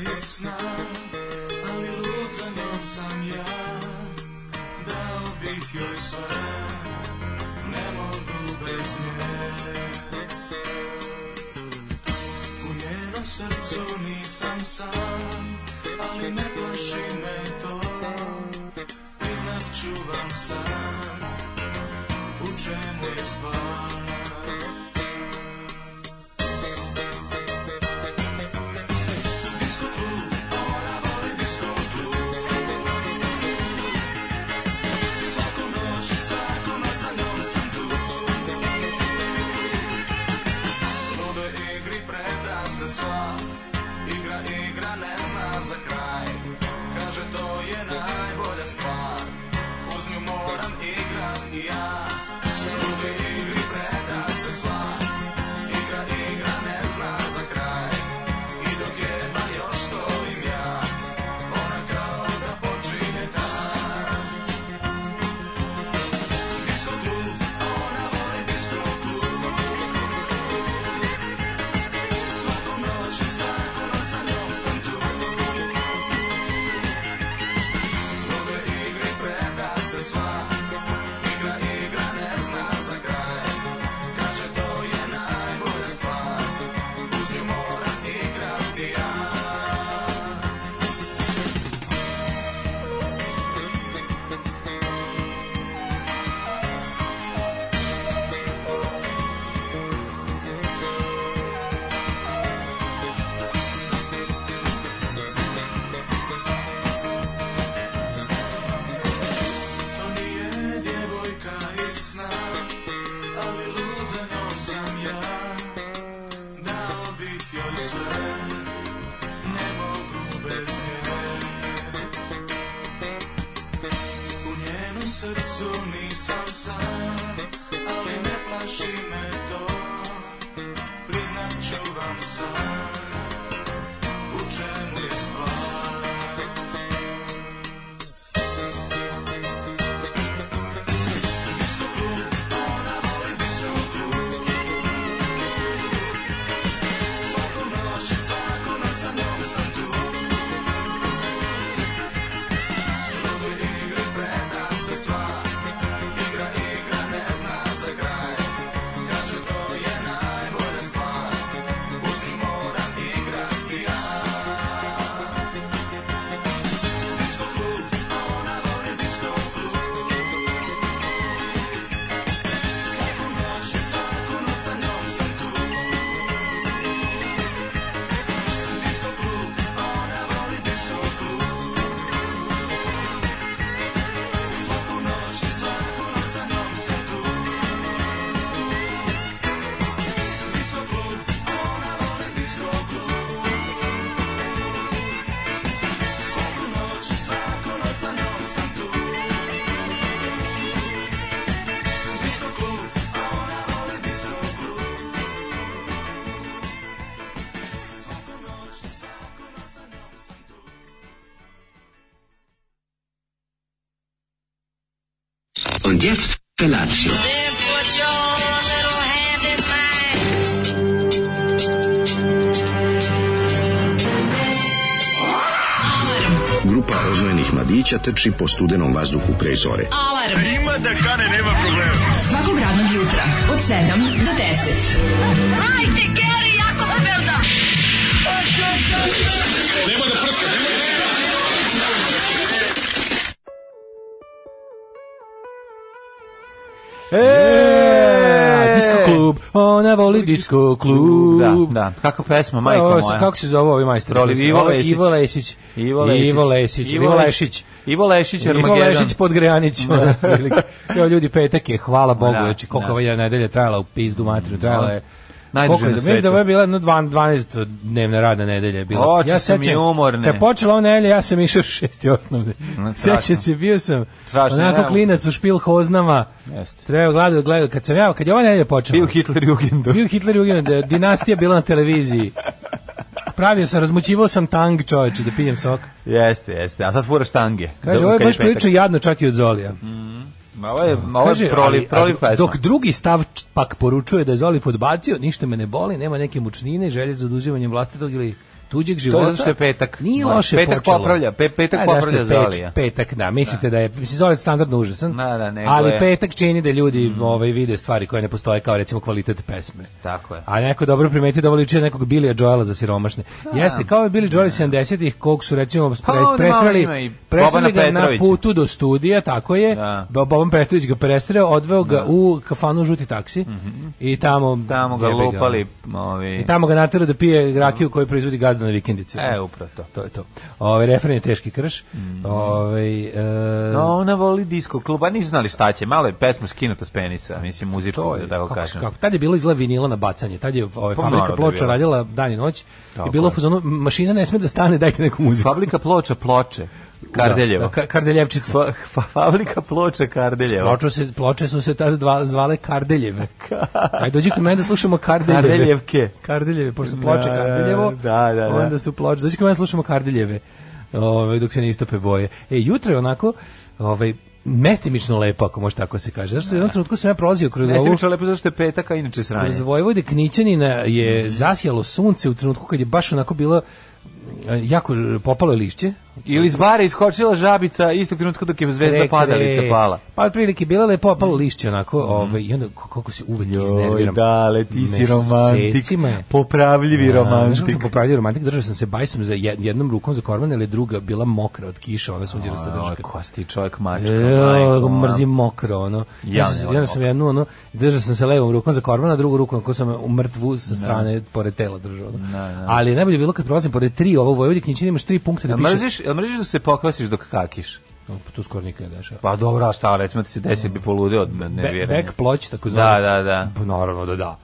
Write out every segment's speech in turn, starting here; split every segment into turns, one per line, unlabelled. je znam, ali lud za njom sam ja Dao bih joj sve, ne mogu bez nje U njenom srcu nisam sam, ali ne plaši me to Priznat ću vam sam, u čemu je stvar Ludo igri preda se sva Igra, igra ne zna za kraj Kaže to je najbolja stvar Uz nju moram igrat i ja Ludo igri preda se sva Igra, igra ne zna za kraj I dok jedna još stojim ja Ona kao da počinje dan Disco klub, a ona voli disco klub Svaku noć, svaku noć sa njom sam tu Nove igre preda se sva Igra, igra ne zna za kraj Kaže to je najbolja stvar Uz nju moram igrati ja To nije djevojka iz sna, ali lud za njom sam ja. Dao bih joj sve, ne mogu bez nje. U njenom srcu nisam sam, ali ne plaši me to. Priznat ću vam sam, u čemu je stvar. Disco klub, ona voli disco klub Svaku noć, svaku noć sa njom sam tu Mnogo igre preda se sva Igra, igra ne zna za kraj Kaže to je najbolja stvar Uz nju moram igrati ja Disco klub, ona voli disco klub Svaku noć, svaku noć sa njom sam tu Disco klub, ona voli disco klub Svaku noć, svaku noć sa njom sam tu Disco klub, ona voli disco klub Svaku noć, svaku noć sa njom sam tu Disco klub, a ona voli disco klub. Svaku noć, svaku noć sa njom sam tu.
Und jetzt Felatio.
Then put your little hand in mine.
Grupa rozvojenih mladića teči po studenom vazduhu pre zore.
Alarm. A ima da kane, nema problema. Svakog radnog jutra, od 7 do 10. Hajde, Geri, jako se velda.
E,
Disco klub, ona voli disco klub.
Da, da. Kako pesma, majko
Ovo,
moja.
Kako se zove ovi majstor?
Proliv Ivo
Ovo je
Lešić.
Ivo Lesić.
Ivo Lešić.
Ivo Lesić. Ivo Lešić.
Ivo Lešić,
Ivo
Armagedon.
Lešić pod Grejanićima. otprilike. Evo ljudi, petak je, hvala Bogu,
Da,
znači koliko
da. Mm,
ova jedna nedelja trajala u pizdu materinu, trajala je
Najduže
koliko je-
na
Mislim da
svetu.
ovo je bila Pa, no, 12 dnevna radna nedelja je bila.
Oči su mi
sećam,
umorne.
Kad je počela ova nedelja, ja sam išao u šesti osnovne.
Ma, strašno.
Sećam se, bio sam
Strašno,
onako
nemam.
klinac u špil hoznama.
Jeste.
Treba gledati, gledati. Kad sam ja, kad je ova nedelja počela.
Bio Hitler Jugendu.
Bio Hitler Jugend, da je dinastija bila na televiziji. Pravio sam, razmućivao sam tang čoveče da pijem sok.
Jeste, jeste. A sad furaš tange.
Kaže,
Za-
ovo je
kad
baš
petak.
prilično jadno čak i od Zolija.
Ma, Ovo je, ovo
Kaže,
je proliv,
ali-
proliv
ali
pesma.
Dok drugi stav č- pak poručuje da je Zoli podbacio, ništa me ne boli, nema neke mučnine, želje za oduzimanjem vlastitog ili tuđeg
To
života.
je zato što je petak.
Nije
Da,
loše
petak
počelo.
popravlja, pe- petak
A, zašto je
popravlja
peč-
Zolija.
Petak, da, mislite da, je, mislim Zolija je standardno užasan,
Da, da, nego
ali
je- Mm.
petak čini da ljudi ovaj, vide stvari koje ne postoje, kao recimo kvalitet pesme.
Tako je.
A neko je dobro primetio da ovo liči na nekog Billy Joela za siromašne. Jeste, kao je Billy Joel iz 70-ih, kog su recimo pre,
onda Pa, malo
presreli,
ima i
presreli
Bobana
ga na
Petrovića.
putu do studija, tako je.
Da.
Bo- Boban Petrović ga presreo, odveo ga u kafanu žuti taksi i tamo...
Mhm. Tamo ga
jebi ono.
lupali, ovi...
I tamo ga naterao da pije rakiju koju proizvodi gazda na vikendici.
E, upravo to.
To je to. Ove, refren je teški krš. Ovaj, e,
Mhm. No, ona voli disco klub, a nisu znali šta će, malo je pesma skinuta s penisa, mislim, muzičko, da tako
kako,
kažem.
kako, tad je bilo izgleda vinila na bacanje, tad je ovaj,
Pa
fabrika
naravno je
ploča
bilo.
radila dan i noć i
Tako
bilo u
je.
fazonu, mašina ne sme da stane, dajte neku muziku.
Fabrika ploča ploče, Kardeljevo.
Da, da, Ka- Kardeljevčica.
Fa- fa- fabrika ploča Kardeljevo.
Ploče, se, ploče su se tada dva, zvale Kardeljeve. Ajde, dođi kod mene da slušamo Kardeljeve.
Kardeljevke.
Kardeljeve, pošto su
Da,
ploče
da,
Kardeljevo,
da, da, da.
onda su ploče. Dođi kod mene da slušamo Kardeljeve, ovaj, dok se ne istope boje. E, jutro je onako, ovaj, mestimično lepo, ako može tako se kaže. Zašto u jednom trenutku sam ja prolazio kroz
Ne ste
ovu...
pričali lepo zašto je petak, a inače sranje.
Kroz Vojvode Knićanina je
Mhm.
zasjalo sunce u trenutku kad je baš onako bilo e, jako popalo je lišće,
Ili iz bara iskočila žabica istog trenutka dok je zvezda
Kre,
padalica
kre.
pala. Mhm.
Pa otprilike bila lepo opalo lišće onako, ovaj i onda k- koliko se uvek iznerviram.
dale, ti si romantik,
Mesecima je.
popravljivi
Znaš kako
romantik.
sam popravljao romantik, držao sam se bajsom za jed- jednom rukom za korman, ali druga bila mokra od kiša, ona sunđera sta
Oj,
držka.
kosti čovjek mačka. majko
Eee,
moja.
E, mrzim mokro, ono.
Ja
Ja,
ne
sam,
volim
ja sam jednu, ono, držao sam se levom rukom za korman, a drugu rukom ako sam u mrtvu sa strane, pored tela držao. Ono. Ali je najbolje bilo kad prolazim pored tri ovo Vojvodik, ničin imaš tri punkta da
Jel
piše.
mrziš, jel mrziš da se pokvasiš dok kakiš?
O, pa To skoro nikad ne dešava.
Pa dobro, a šta, recimo ti se desi bi poludeo od
Be,
nerviranja.
back ploč, tako
Da, da, da.
Pa naravno da da.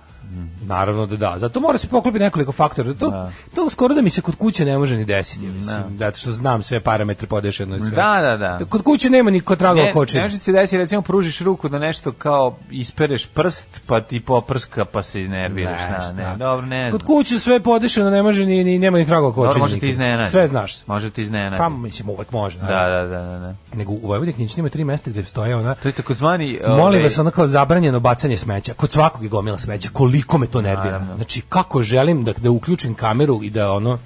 Naravno da da. Zato mora se poklopiti nekoliko faktora. To, to skoro da mi se kod kuće ne može ni desiti, ja mislim. Zato što znam sve parametre podešeno i sve.
Da, da, da.
Kod kuće nema ni kod traga
Ne, ne
kočenja.
može se desi, recimo, pružiš ruku da nešto kao ispereš prst, pa ti poprska, pa se iznerviraš.
Ne,
Ne, ne,
šta.
dobro, ne
Kod
znam.
kuće sve je podešeno, ne može ni, ni nema ni traga kočenja.
Dobro, može ti
nikad.
iznenadi.
Sve znaš.
Može ti iznenadi.
Pa mislim uvek može.
Da,
naravno.
da, da, da, da.
Nego u Vojvodini ima tri mesta gde stoje ona
To je takozvani...
Molim
ovaj,
vas, ono kao zabranjeno bacanje smeća. Kod svakog je gomila smeća. Koliko me to nervira.
Naravno.
Znači, kako želim da, da uključim kameru i da ono...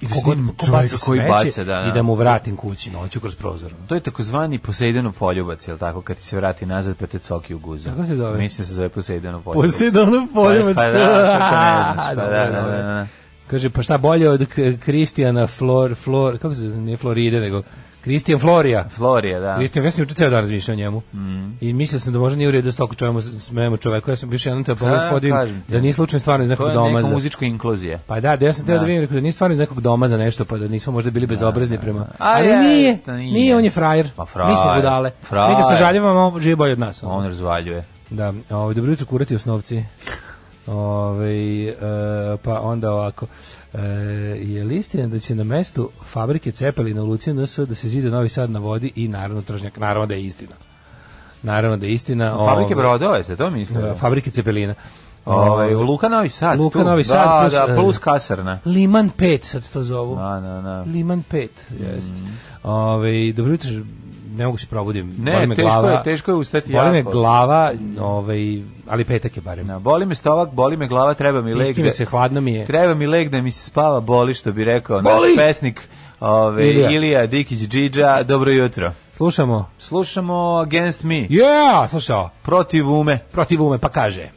I
da snimim čoveka koji baca, da, Pa da.
I da mu vratim kući noću kroz prozor. ono.
To je takozvani Poseidanov poljubac, jel tako? Kad ti se vrati nazad pa te coki u guzu.
Kako se zove?
Mislim da se zove Poseidanov poljubac.
Poseidonov poljubac.
Pa, pa da, kako ne znaš, pa
ono Dobro,
da, da,
dobro.
da, da.
Kaže, pa šta bolje od K- Kristijana Flor... Flor kako se zove? Nije Floride, nego... Kristijan Florija.
Florija, da. Mm.
Kristijan, ja sam juče ceo dan razmišljao o njemu. I mislio sam da možda nije u redu da se toliko čujemo, smemo čoveku. Ja sam više jednom telefonu
Da,
s podim
Pa, kažem ti.
da nije slučajno stvarno iz
To
nekog
je
doma.
neka
za-
muzička inkluzija.
Pa da, da ja sam teo
Da.
da, vidim, rekao da nije stvarno iz nekog doma za nešto, pa da nismo možda bili bezobrazni prema...
A
Ali
je,
nije,
to nije.
nije, on je frajer.
Pa frajer,
Mi smo budale.
frajer.
Mi ga sažaljavamo, on živi bolje od nas. ono.
On razvaljuje.
Da, ovaj, dobro jutro kurati osnovci. Ovaj, e, pa onda ovako. E, je li istina da će na mestu fabrike Cepelina u Luciju NS da se zide Novi Sad na vodi i naravno tržnjak? Naravno da je istina. Naravno da je istina.
Fabrike
ovaj,
brodova, jeste to mislio?
da, Fabrike Cepelina.
Ovaj Luka Novi Sad,
Luka
tu.
Novi Sad
da,
plus,
da,
eh,
plus kasarna.
Liman 5 sad to zovu.
Da, da, da. Mm.
Liman 5, jest. Ove, dobro jutro, ne mogu se probudim.
Ne,
Boli me
teško
glava.
je- teško je ustati
Boli me
jako.
glava, ovaj, ali petak je barem.
Na, boli me stovak, boli me glava, treba mi leg.
Piški
da-
mi se, hladno mi je.
Treba mi leg da mi se spava, boli što bi rekao naš pesnik. Ove, Ilija.
Ilija.
Dikić Džidža, dobro jutro.
Slušamo.
Slušamo Against Me,
Yeah, slušao.
protiv ume.
Protiv ume, pa kaže.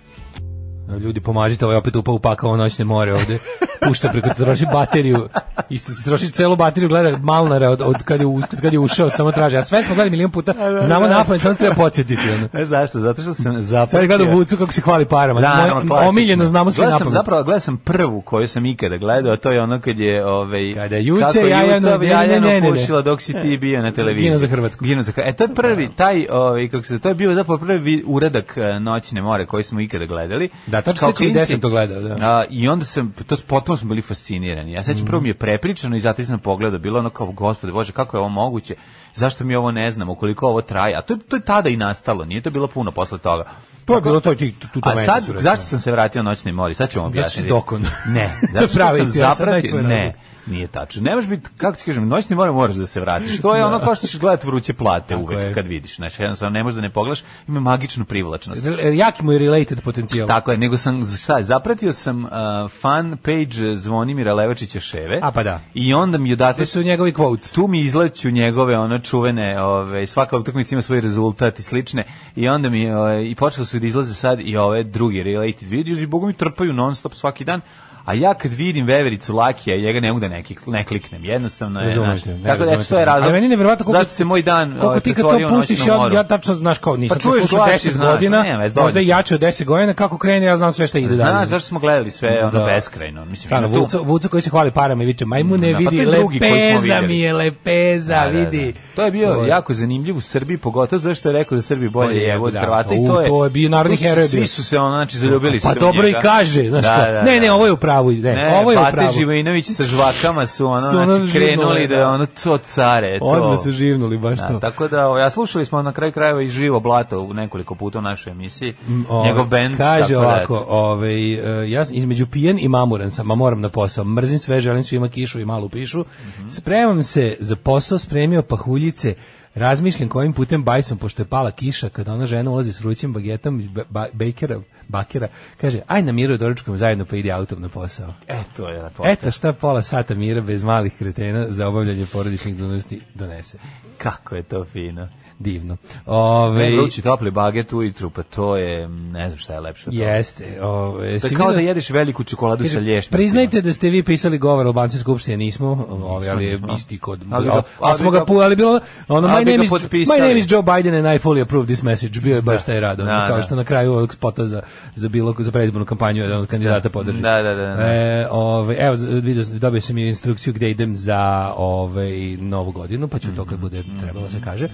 Ljudi, pomažite, ovaj opet upao u pakao u noćne more ovde. Pušta preko, troši bateriju. Isto se troši celu bateriju, gleda Malnara od, od kad, je, u- kad je ušao, samo traže. A sve smo gledali milion puta, znamo napamet, samo se treba podsjetiti. Ono.
Ne zašto, zato što sam zapratio.
Sad gledam Vucu kako se hvali parama.
Da,
Moj-
naravno, klasično.
omiljeno znamo sve
Gledao
na
sam,
pamet.
Zapravo, gledao sam prvu koju sam ikada gledao, a to je ono kad je... Ovaj,
Kada je Juce
kako
Jajanu-
Juca
ne, ne, ne, ne, ne.
pušila dok si ti bio na televiziji.
Gino za Hrvatsku.
Gino za Hrvatsku. E, to je prvi, taj, ovaj, kako se, zove, to je bio zapravo prvi uradak eh, Noćne more koji smo ikada gledali.
Da, tačno
Kao
se sjećam gde
klinci.
sam to gledao, da.
A, I onda sam, to s- potpuno smo bili fascinirani. Ja sećam, prvo mi je
Mhm.
prepričano i zato sam pogledao, bilo ono kao, gospode Bože, kako je ovo moguće? Zašto mi ovo ne znamo, koliko ovo traje? A to, je- to je tada i nastalo, nije to bilo puno posle toga.
To je bilo to ti tu to
A sad, zašto sam se vratio noćni mori? Sad ćemo
Zato što
objasniti.
si dokon.
Ne,
To
zato što
pravi
sam
si, ja sad daj
zapratio,
tvoj
ne.
razlog.
Nije tačno. Ne možeš biti, kako ti kažem, noćni mora moraš da se vratiš. To je ono kao što ćeš gledati vruće plate
Tako
uvek
je.
kad vidiš. Znači, jednostavno ne možeš da ne pogledaš, ima magičnu privlačnost.
Re- Jaki mu je related potencijal.
Tako je, nego sam, šta, zapratio sam uh, fan page Zvonimira Levačića Ševe.
A, pa da.
I onda mi
To
odatle
su njegovi quotes.
tu mi izleću njegove ono čuvene, ove, svaka utakmica ima svoj rezultat i slične i onda mi ove, i počeli su da izlaze sad i ove druge related videos i bogu mi trpaju non stop svaki dan. A ja kad vidim Vevericu Lakija, ja ga ne mogu da ne, klik- ne kliknem. Jednostavno je,
Razumem
znaš,
te, ne,
tako da
razumem
eto,
te.
to je razlog.
Ali meni je nevjerovatno koliko-
zašto se moj dan
Koliko
ove,
ti kad to
Ovaj, pretvorio u
pustiš,
noćnu
ja,
moru.
ja tačno znaš kao, nisam
Pa
pa
čuješ
slušao
glas i
10
znaš, pa
godina,
nema veze,
možda
dođe.
i jače od 10 godina, kako krene, ja znam sve šta ide dalje.
Znaš, zašto smo gledali sve ono
Da.
beskrajno? Mislim,
Stvarno,
ima tu-
Vucu, Vucu koji se hvali parama i viče, majmune
Da, pa to
vidi,
je drugi koji smo
lepeza
videli.
mi je, lepeza,
Da, da, da.
vidi.
To je bio
Ovo
jako zanimljiv u Srbiji, pogotovo zašto je rekao da Srbi bolje
Bolje
jevo od
jebu, da.
Hrvata i
U,
to je
to je bio narodni
tu su-
heroj bio.
Svi su se ono znači zaljubili
Pa
se u
dobro i
njega.
kaže, znaš šta. Ne, ne, ovo je u pravu, ne, ovo je u
Bate
pravu.
Živojinović sa žvakama su ono,
Su ono
znači, krenuli
živnuli,
da
da.
ono to care, to.
Odmah su živnuli, baš
Da,
to.
tako da, ovo, ja slušali smo na kraju krajeva i živo blato u nekoliko puta u našoj emisiji.
Ove,
Njegov bend. tako
Kaže
da,
ovako,
eto.
ovaj, e, ja sam između pijen i mamuran sam, a moram na posao. Mrzim sve, želim svima kišu i malu pišu.
Mhm.
Spremam se za posao, spremio pahuljice, razmišljam kojim putem bajsom, pošto je pala kiša, kada ona žena ulazi s vrućim bagetom iz ba- ba- bejkera, bakera, kaže, aj na miru doručkom zajedno pa idi autom na posao.
Eto e, je lepo.
Eto šta pola sata mira bez malih kretena za obavljanje porodičnih dužnosti donese.
Kako je to fino.
Divno. Ove,
Ve, vrući topli baget ujutru, pa to je, ne znam šta je lepše. od toga.
jeste. Ove,
To
si
je kao da
vidio-
jedeš veliku čokoladu sa
Kaže,
lješnicima.
Priznajte da ste vi pisali govor albanske skupštine, nismo, ovaj, ali je
nismo.
isti kod.
Ali
Ali,
ga- ali
smo ga,
ga-
pu- ali bilo, ono,
ali
my
bi ga
name, is,
potpisali."
my name is Joe Biden and I fully approve this message. Bio je baš taj rad, ono,
Da,
kao
da.
što na kraju ovog spota za, za bilo, za predizbornu kampanju jedan od kandidata podrži.
Da, da, da, da.
E, ovaj, evo, z- vidio sam, dobio sam i instrukciju gde idem za ovaj, novu godinu, pa ću to
Mhm.
kad bude trebalo da se kaže.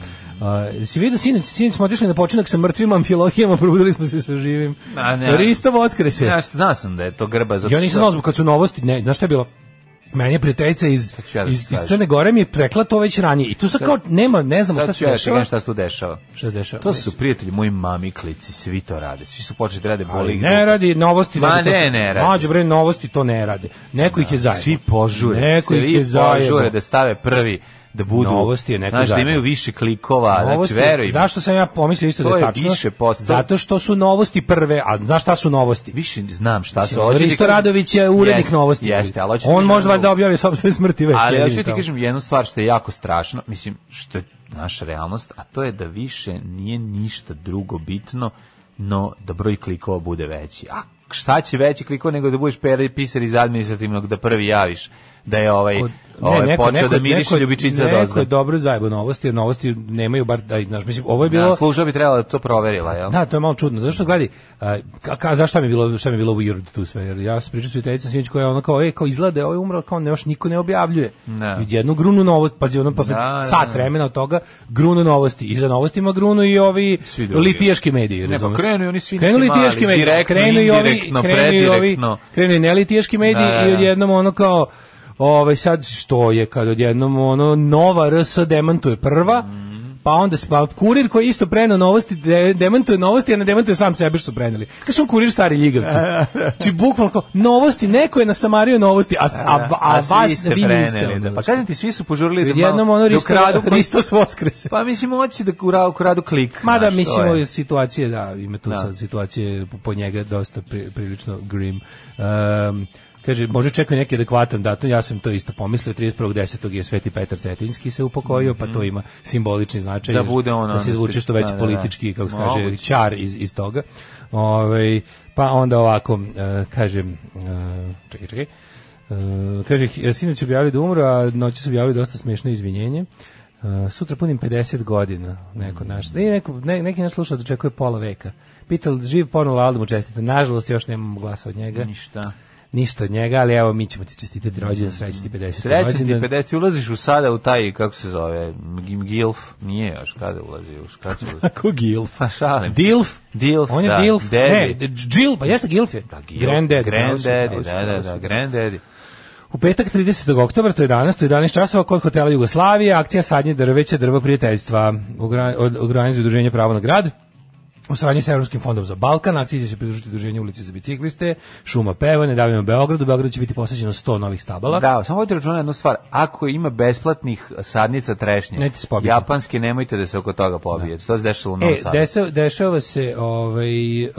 Uh, si vidio, sinoć, sinoć smo otišli na počinak sa mrtvim amfilohijama, probudili smo se sa živim.
A, ne.
Risto Voskrese.
Ja što znao sam da je to grba zato
Ja nisam znao zbog kad su novosti, ne, znaš šta je bilo? Meni je prijateljica iz,
ću ja da ti
iz, iz
kažem.
Crne Gore mi je prekla to već ranije. I tu sad kao nema, ne znamo šta
Sad ću
se
ja da ti
dešava.
kažem šta se tu dešava.
Šta se dešava?
To su prijatelji moji mami klici, svi to rade. Svi su počeli da rade
Ali
poligraf.
ne radi novosti.
Ma
radi, to
ne,
su-
ne radi.
Mađo bre, novosti to ne rade. Neko ih je zajedno.
Svi požure.
Neko ih
svi
je
požure
zajedno.
da stave prvi da budu
Novosti je neko
znaš, da
zajedno.
imaju više klikova,
Novosti-
znači veruj mi.
zašto sam ja pomislio isto
To
da je
je
tačno?
više posto.
Zato što su novosti prve, a znaš šta su novosti?
Više znam šta su.
Mislim,
hoću ti
Risto
kažem-
Radović je urednik
Jeste,
novosti.
Jeste, ali hoću ti
On
kažem
možda
drugo.
valjda objavi sopstvene smrti već.
Ali
ja
ja ću
vidim
ti
tamo.
kažem jednu stvar što je jako strašno, mislim, što je naša realnost, a to je da više nije ništa drugo bitno, no da broj klikova bude veći. A šta će veći klikova nego da budeš pera i pisar iz administrativnog, da prvi javiš da je ovaj,
Od-
ovaj počeo da
je-
miriše
je-
ljubičica
neko
dozna.
je dobro zajebo novosti, jer novosti nemaju bar, da, znaš, mislim, ovo je bilo...
Da, služba bi trebala da to proverila, jel?
Da, to je malo čudno. Zašto gledi? A, ka, ka, zašto mi je bilo, šta mi je bilo weird tu sve? Jer ja sam pričao s prijateljicom sinoć koja je ono kao, ej, kao izgleda, ovo je umro, kao ne, još niko ne objavljuje.
Da.
I odjedno grunu novost, pazi, ono posle
Da, da,
sat
da.
vremena od toga, grunu novosti. Iza novosti ima grunu i ovi
Svi drugi.
litijaški mediji,
Ne, pa
razumeš?
krenu i oni svi
Krenu
neki mali,
litijaški mediji,
direktno,
krenu i ovi,
indirektno,
krenu i ovi,
predirektno.
krenu i nelitijaški mediji
Da, da,
i
da.
odjednom ono kao, ovaj sad što je kad odjednom ono nova RS demantuje prva pa onda spa kurir koji je isto preneo novosti de, demantuje novosti a ne demantuje sam sebe što su preneli kaže on kurir stari ljigavci znači bukvalno kao, novosti neko je nasamario novosti a, s- a, a,
A svi
vas
ste
vi niste
preneli,
ono,
da. Pa
znaš.
kažem ti, svi su požurili da
odjednom ono
da
risto,
ukradu-
risto s Voskrese.
Pa mislim, hoće da kura, ukradu klik.
Mada
znaš, to
mislim
je.
ove situacije da ima tu
Da.
sad situacije po- po njega dosta pri, prilično grim. Um, kaže može čekaju neki adekvatan datum. Ja sam to isto pomislio 31.10. je Sveti Petar Cetinski se upokojio, pa to ima simbolični značaj.
Mhm. Da
jer-
bude ono,
da se
ono,
izvuče što
da,
veći
da, da.
politički kako se kaže
Moguće.
čar iz iz toga. Ovaj pa onda ovako e, kažem e, čekaj čekaj. E, kaže, h- sinoć su objavili da umro, a noći su objavili dosta smešno izvinjenje. E, sutra punim 50 godina, neko naš. Ne, neko, ne, neki naš slušalac očekuje pola veka. Pital, živ ponovno Aldomu čestite. Nažalost, još nemamo glasa od njega.
Ništa.
Ništa od njega, ali evo, mi ćemo ti čestitati rođendan, sreći ti 50.
Srećan ti
rođendan.
50, ti ulaziš u sada u taj, kako se zove, Mg- Gilf, nije još kada ulazi, još kada će ulazi.
Ko Gilf?
Pa šalim.
Dilf?
Dilf,
On je
da,
Dilf?
Daddy.
Ne, Jill, pa jeste Gilf je?
Da,
Granddaddy, pravo si,
Granddaddy,
pravo si,
da, da,
pravo
da,
si.
granddaddy.
U petak 30. oktobra, to je danas, to je 11 časova, kod hotela Jugoslavije, akcija sadnje drveća, drvo prijateljstva, u gra- od- organizuje udruženje Pravo na grad. U saradnji sa Evropskim fondom za Balkan, akciji će se pridružiti druženje ulice za bicikliste, šuma pevane, davimo Beogradu, Beogradu će biti posvećeno 100 novih stabala.
Da, samo vodite računa jednu stvar. Ako ima besplatnih sadnica trešnje,
Nećete se pobiti.
japanski, nemojte da se oko toga pobijete. To se dešava u Novom
E,
Sadu.
desa, dešava se ovaj, uh,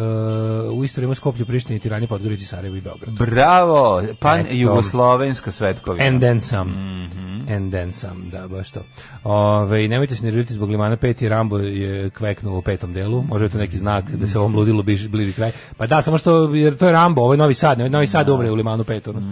u istoriji ima Skoplju, Prištini, Tirani, Podgorici, Sarajevo i Beograd.
Bravo! Pan
Eto.
jugoslovenska svetkovina.
And then some.
Mhm.
And then some, da, baš to. Ove, nemojte se nervirati zbog Limana 5, Rambo je kveknuo u petom delu, možda je to neki znak da se ovom ludilo bliži, bliži kraj. Pa da, samo što, jer to je Rambo, ovo je Novi Sad, ne, Novi Sad umre u Limanu 5, ono.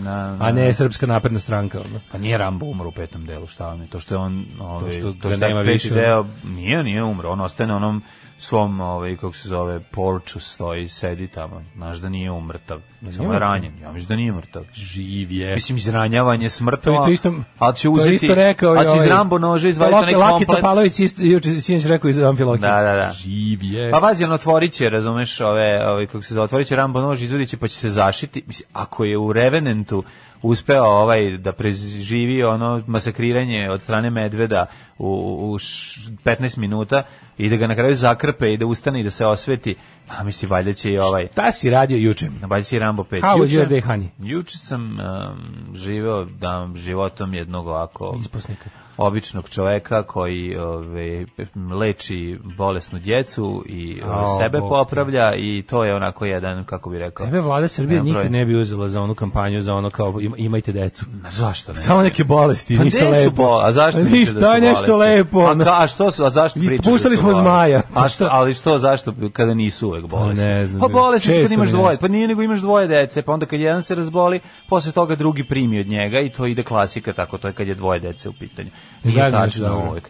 a ne Srpska napredna stranka. Ono.
Pa nije Rambo umro u petom delu, šta vam je? To što je on, ovaj, to
što
što,
ga
je
nema
peti
više, ono.
deo, nije, nije umro. On ostane na onom svom, ovaj, kako se zove, porču stoji, sedi tamo. Znaš da nije umrtav. Samo je
mrtav?
ranjen. Ja mislim da nije mrtav.
Živ je.
Mislim, izranjavanje smrtova,
To je to isto,
ali će
to je
uzeti,
isto rekao,
ali će iz
ovaj,
Rambo nože izvaditi
Laki-
neki
Laki
komplet.
Topalović isto, juče sinoć rekao iz Amfilohije.
Da, da, da.
Živ je.
Pa vazi, on otvorit će, razumeš, ove, ove, kako se zove, otvorit će Rambo nož, izvodit će, pa će se zašiti. Mislim, ako je u Revenantu uspeo ovaj da preživi ono masakriranje od strane medveda u, u š- 15 minuta i da ga na kraju zakrpe i da ustane i da se osveti, pa misli, valjda će i ovaj...
Šta si radio juče?
Na Baljci Rambo 5.
How was your day, honey?
Juče sam um, živeo da, životom jednog ovako
Isposnika.
običnog čoveka koji ove, leči bolesnu djecu i ove,
Ao,
sebe
Bog te.
popravlja i to je onako jedan, kako bi rekao...
Tebe vlada Srbije
Nemam
nikad
broj.
ne bi uzela za onu kampanju, za ono kao im- imajte decu.
Ma Zašto ne?
Samo neke bolesti,
Pa
ništa
gde su
lepo. Pa
bol- a zašto misliš
ništa,
da su
nešto
bolesti?
lepo.
A,
ono.
ka- a što su, a zašto
I
pričaš?
puštali
da su
smo
bolesti?
zmaja.
A što, ali što, zašto, kada nisu uvek bolesti?
Pa ne znam,
Pa bolesti su kad
često
imaš
mi ne
dvoje,
znam.
pa nije nego imaš dvoje dece, pa onda kad jedan se razboli, posle toga drugi primi od njega i to ide klasika tako, to je kad je dvoje dece u pitanju. Nije
Izgleda nešto
tačno
dobro.
uvek.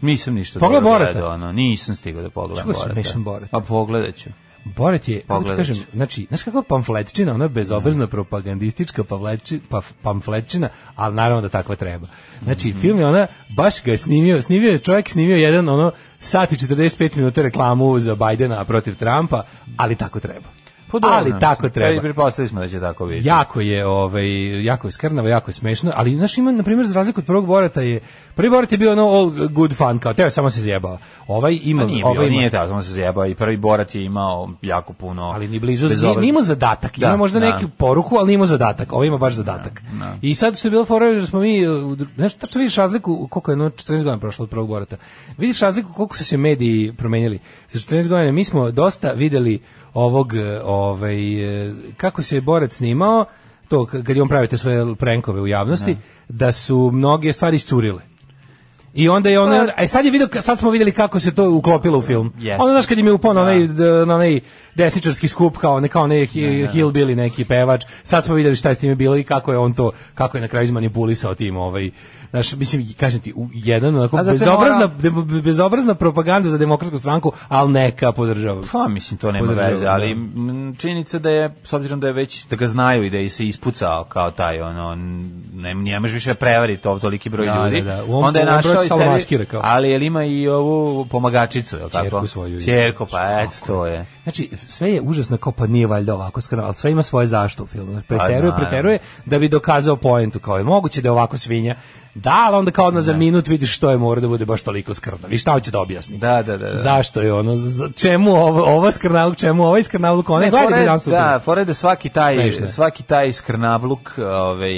Nisam ništa
Pogledaj
dobro
Borata.
gledao, ono, nisam stigao da pogledam
Čuo sam,
Borata.
mešam Borat.
Pa pogledat ću.
Borat je, kako ti
Pogledat ću.
kažem, znači, znaš kakva pamfletčina, ona bezobrazna propagandistička pamfletči- paf- pamfletčina, ali naravno da takva treba. Znači, film je ona, baš ga je snimio, snimio je, čovjek snimio jedan, ono, sat i 45 minuta reklamu za Bajdena protiv Trumpa, ali tako treba.
Pa dobro,
ali
znaš,
tako treba.
Pa i pretpostavili smo da će tako biti.
Jako je, ovaj, jako je skrnavo, jako je smešno, ali znaš ima na primjer za razliku od prvog Borata je prvi Borat je bio ono all good fun kao, teo je samo se zjebao. Ovaj ima,
Pa nije,
ovaj
bio,
ima,
nije tako, samo se zjebao i prvi Borat je imao jako puno...
ali ni blizu,
ono, bez
nije,
obraza.
nije imao zadatak, ima
Da,
možda
da.
neku poruku, ali nije imao zadatak, ovaj ima baš zadatak. I sad što je bilo fora, da smo mi, e, u dru- znaš, tačno vidiš razliku, koliko je, no, 14 godina prošlo od prvog Borata, vidiš razliku koliko su se mediji promenili. Za 14 godina mi smo dosta videli ovog, eh, ovaj, eh, kako se je Borat snimao, to k- kad je on pravio te svoje prenkove u javnosti, da su mnoge stvari iscurile. I onda je ono, e sad je video, sad smo vidjeli kako se to uklopilo u film.
Pa- Jeste.
Ono, znaš, kad im je upao na onaj, d- na onaj desničarski skup, kao, ne, kao onaj hi- hillbilly neki pevač, sad smo vidjeli šta je s time bilo i kako je on to, kako je na kraju izmanipulisao tim, ovaj, znaš, mislim, kažem ti, u- jedan, onako,
A zato je
bezobrazna,
morao-
de- bezobrazna propaganda za demokratsku stranku, ali neka podržava.
Pa mislim to nema
Podržavam,
veze, ali m, činjenica da je s obzirom da je već da ga znaju i da je se ispucao kao taj ono ne ne možeš više prevariti to toliki broj
Da,
ljudi.
da, da. U ovom-
Onda je
u ovom
našao
broju
i
stalno
sebi-
maskira kao.
ali je ima i ovu pomagačicu, je tako?
Ćerku svoju.
Ćerku, pa eto to je.
Znači, sve je užasno kao pa nije valjda ovako skrano, ali sve ima svoje zašto u filmu. Znači, preteruje,
Pa naravno.
preteruje da bi dokazao poentu kao je moguće da je ovako svinja. Da, ali onda kao odmah za minut vidiš što je mora da bude baš toliko skrna. Vi šta hoće da objasni?
Da, da, da. da.
Zašto je ono, za- čemu ovo, ovo skrnavluk, čemu ovaj skrnavluk, onaj, gledaj
fora je-
Briljan Super.
Da, fora je da svaki taj
Smešno je.
svaki taj skrnavluk, ovaj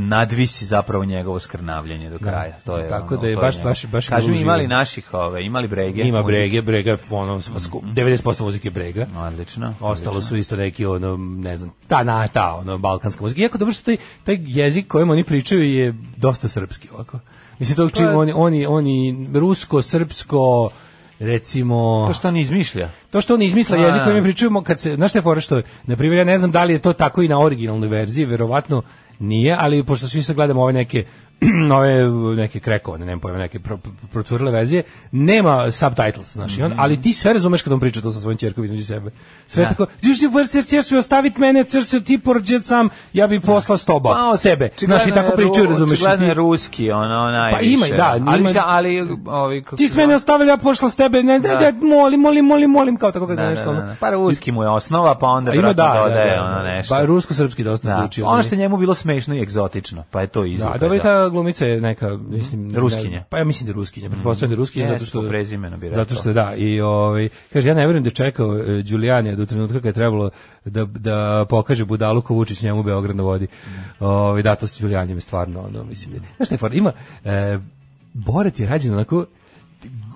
nadvisi zapravo njegovo skrnavljenje do kraja. To je
Tako
ono,
da je
to
baš-
njegov.
baš- baš ga
Kažu
uživam.
imali naših, ove, imali brege.
Ima
muzike.
brege, brega, je ono, sku-
Mhm.
90% muzike je brega.
Odlično.
Ostalo su isto neki ono ne znam, ta na ta ono balkanska muzika. Iako dobro što taj taj jezik kojim oni pričaju je dosta srpski ovako. Mislim to čim oni oni oni rusko, srpsko recimo
To što ne izmišlja.
to što oni izmisle
Da,
jezik kojim
da.
mi pričujemo kad se znaš šta je fora što je, na primjer ja ne znam da li je to tako i na originalnoj verziji verovatno nije ali pošto svi sad gledamo ove neke nove neke krekovane nemam pojma neke pro, pro- procurile verzije nema subtitles znaš i on, ali ti sve razumeš kad on priča to sa svojim ćerkom između sebe sve
Mm. Da.
tako ti si vrste ćeš mi ostavit mene ćeš se ti porđet sam ja bi posla s toba s tebe Pa, znaš i tako pričaju razumeš i
Pa, Očigledno je
ti, Pa
ruski, ono, najviše.
ima i da, ima-
ali, mislim, ali, ovi, kako
ti
se
si mene
zove?
ostavila ja pošla s tebe ne, ne,
Da.
ne, molim molim molim molim kao tako kad
Da,
nešto
da, da,
ono.
da. Pa ruski mu je osnova, pa onda
A ima
vjerojatno
da, da,
dodaje
da,
ono
da.
nešto.
Ba, rusko-srpski dosta
da.
zvuči.
Ono
ovaj.
što je njemu bilo smešno i egzotično, pa je to
Da,
izvukao.
dobro je ta ova glumica je neka, mislim, ne-
Mm-hmm. Ruskinja.
pa ja mislim da je Ruskinja, pretpostavljam da je Ruskinja zato
Jeste,
što
po prezimenu bi rekao.
Zato što da i ovaj kaže ja ne verujem da je čekao e, Đulijanja do trenutka kad je trebalo da da pokaže budalu ko Vučić njemu Beograd na vodi.
Mm-hmm.
Ovaj da to s Đulijanjem je stvarno ono mislim. da- Znaš šta je fora? Ima e, Borat je rađen onako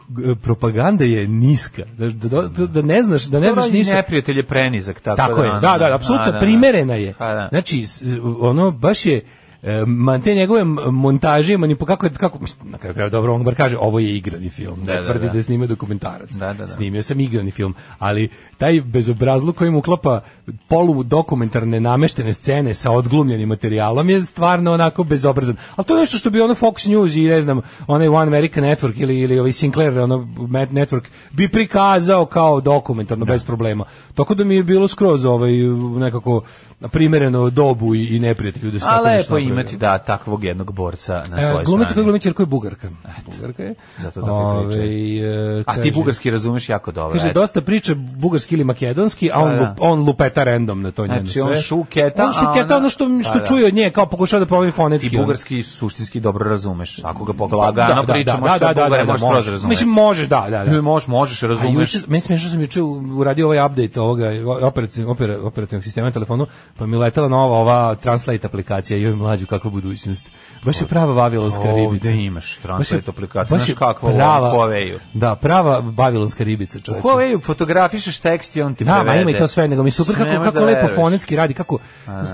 g- propaganda je niska. Da, da, da, da ne znaš, da ne znaš
Dobro, i
ništa.
Neprijatelj je prenizak, tako, ono,
Tako je, da, ono, da, apsolutno primerena je.
Pa da.
Znači, s- s- ono, baš je e, man te njegove m- montaže, mani po kako kako mislim, na kraju krajeva, dobro on bar kaže ovo je igrani film da,
Da, da,
tvrdi da,
da.
je snimio dokumentarac
Da, da, da.
snimio sam igrani film ali taj bezobrazluk kojim uklapa polu dokumentarne nameštene scene sa odglumljenim materijalom je stvarno onako bezobrazan ali to je nešto što bi ono Fox News i ne znam onaj One American Network ili ili ovaj Sinclair ono Met Network bi prikazao kao dokumentarno bez problema tako da mi je bilo skroz ovaj nekako primereno dobu i, i neprijatelju da se
A
tako nešto
lepo je
napravi.
imati, da, takvog jednog borca na
E,
svojoj
Glumica koja
strani.
glumi ćerku je Bugarka. Bugarka je.
zato tako i pričaju.
Ovaj, e,
A ti
kaže-
bugarski razumeš jako dobro.
Kaže,
eto.
dosta priča bugarski ili makedonski, a on,
Pa da.
lup- on lupeta random na to njeno
Znači,
sve.
on šuketa,
On
a
šuketa
ona-
ono što, što
Pa da.
čuje od nje, kao pokušava da pobavi fonetski.
ti
ono.
bugarski suštinski dobro razumeš. Ako ga
Da, da,
polagano
da,
pričamo
da,
što
da, da,
Bugare
da, da,
možeš
može.
proći razumeš.
Mislim, može, da, da, da.
možeš, možeš,
A
razumeš.
juče, meni je smiješno sam juče u- uradio ovaj update ovoga operativnog, opera, operativnog sistema na telefonu, pa mi je letela nova ova Translate aplikacija i ovaj mlađu kakva budućnost. Baš je prava vavilonska
Ovdje
ribica.
imaš Translate
Baš je-
aplikaciju,
baš je
znaš kakva u
prava- Znači-
Huawei-u.
Da, prava vavilonska ribica,
U
čoveče.
Huawei fotografišeš tekst i on ti
Da,
prevede.
ma ima i to sve, nego mi je super
Ne
kako,
možeš
kako
da
lepo
veruješ.
fonetski radi, kako,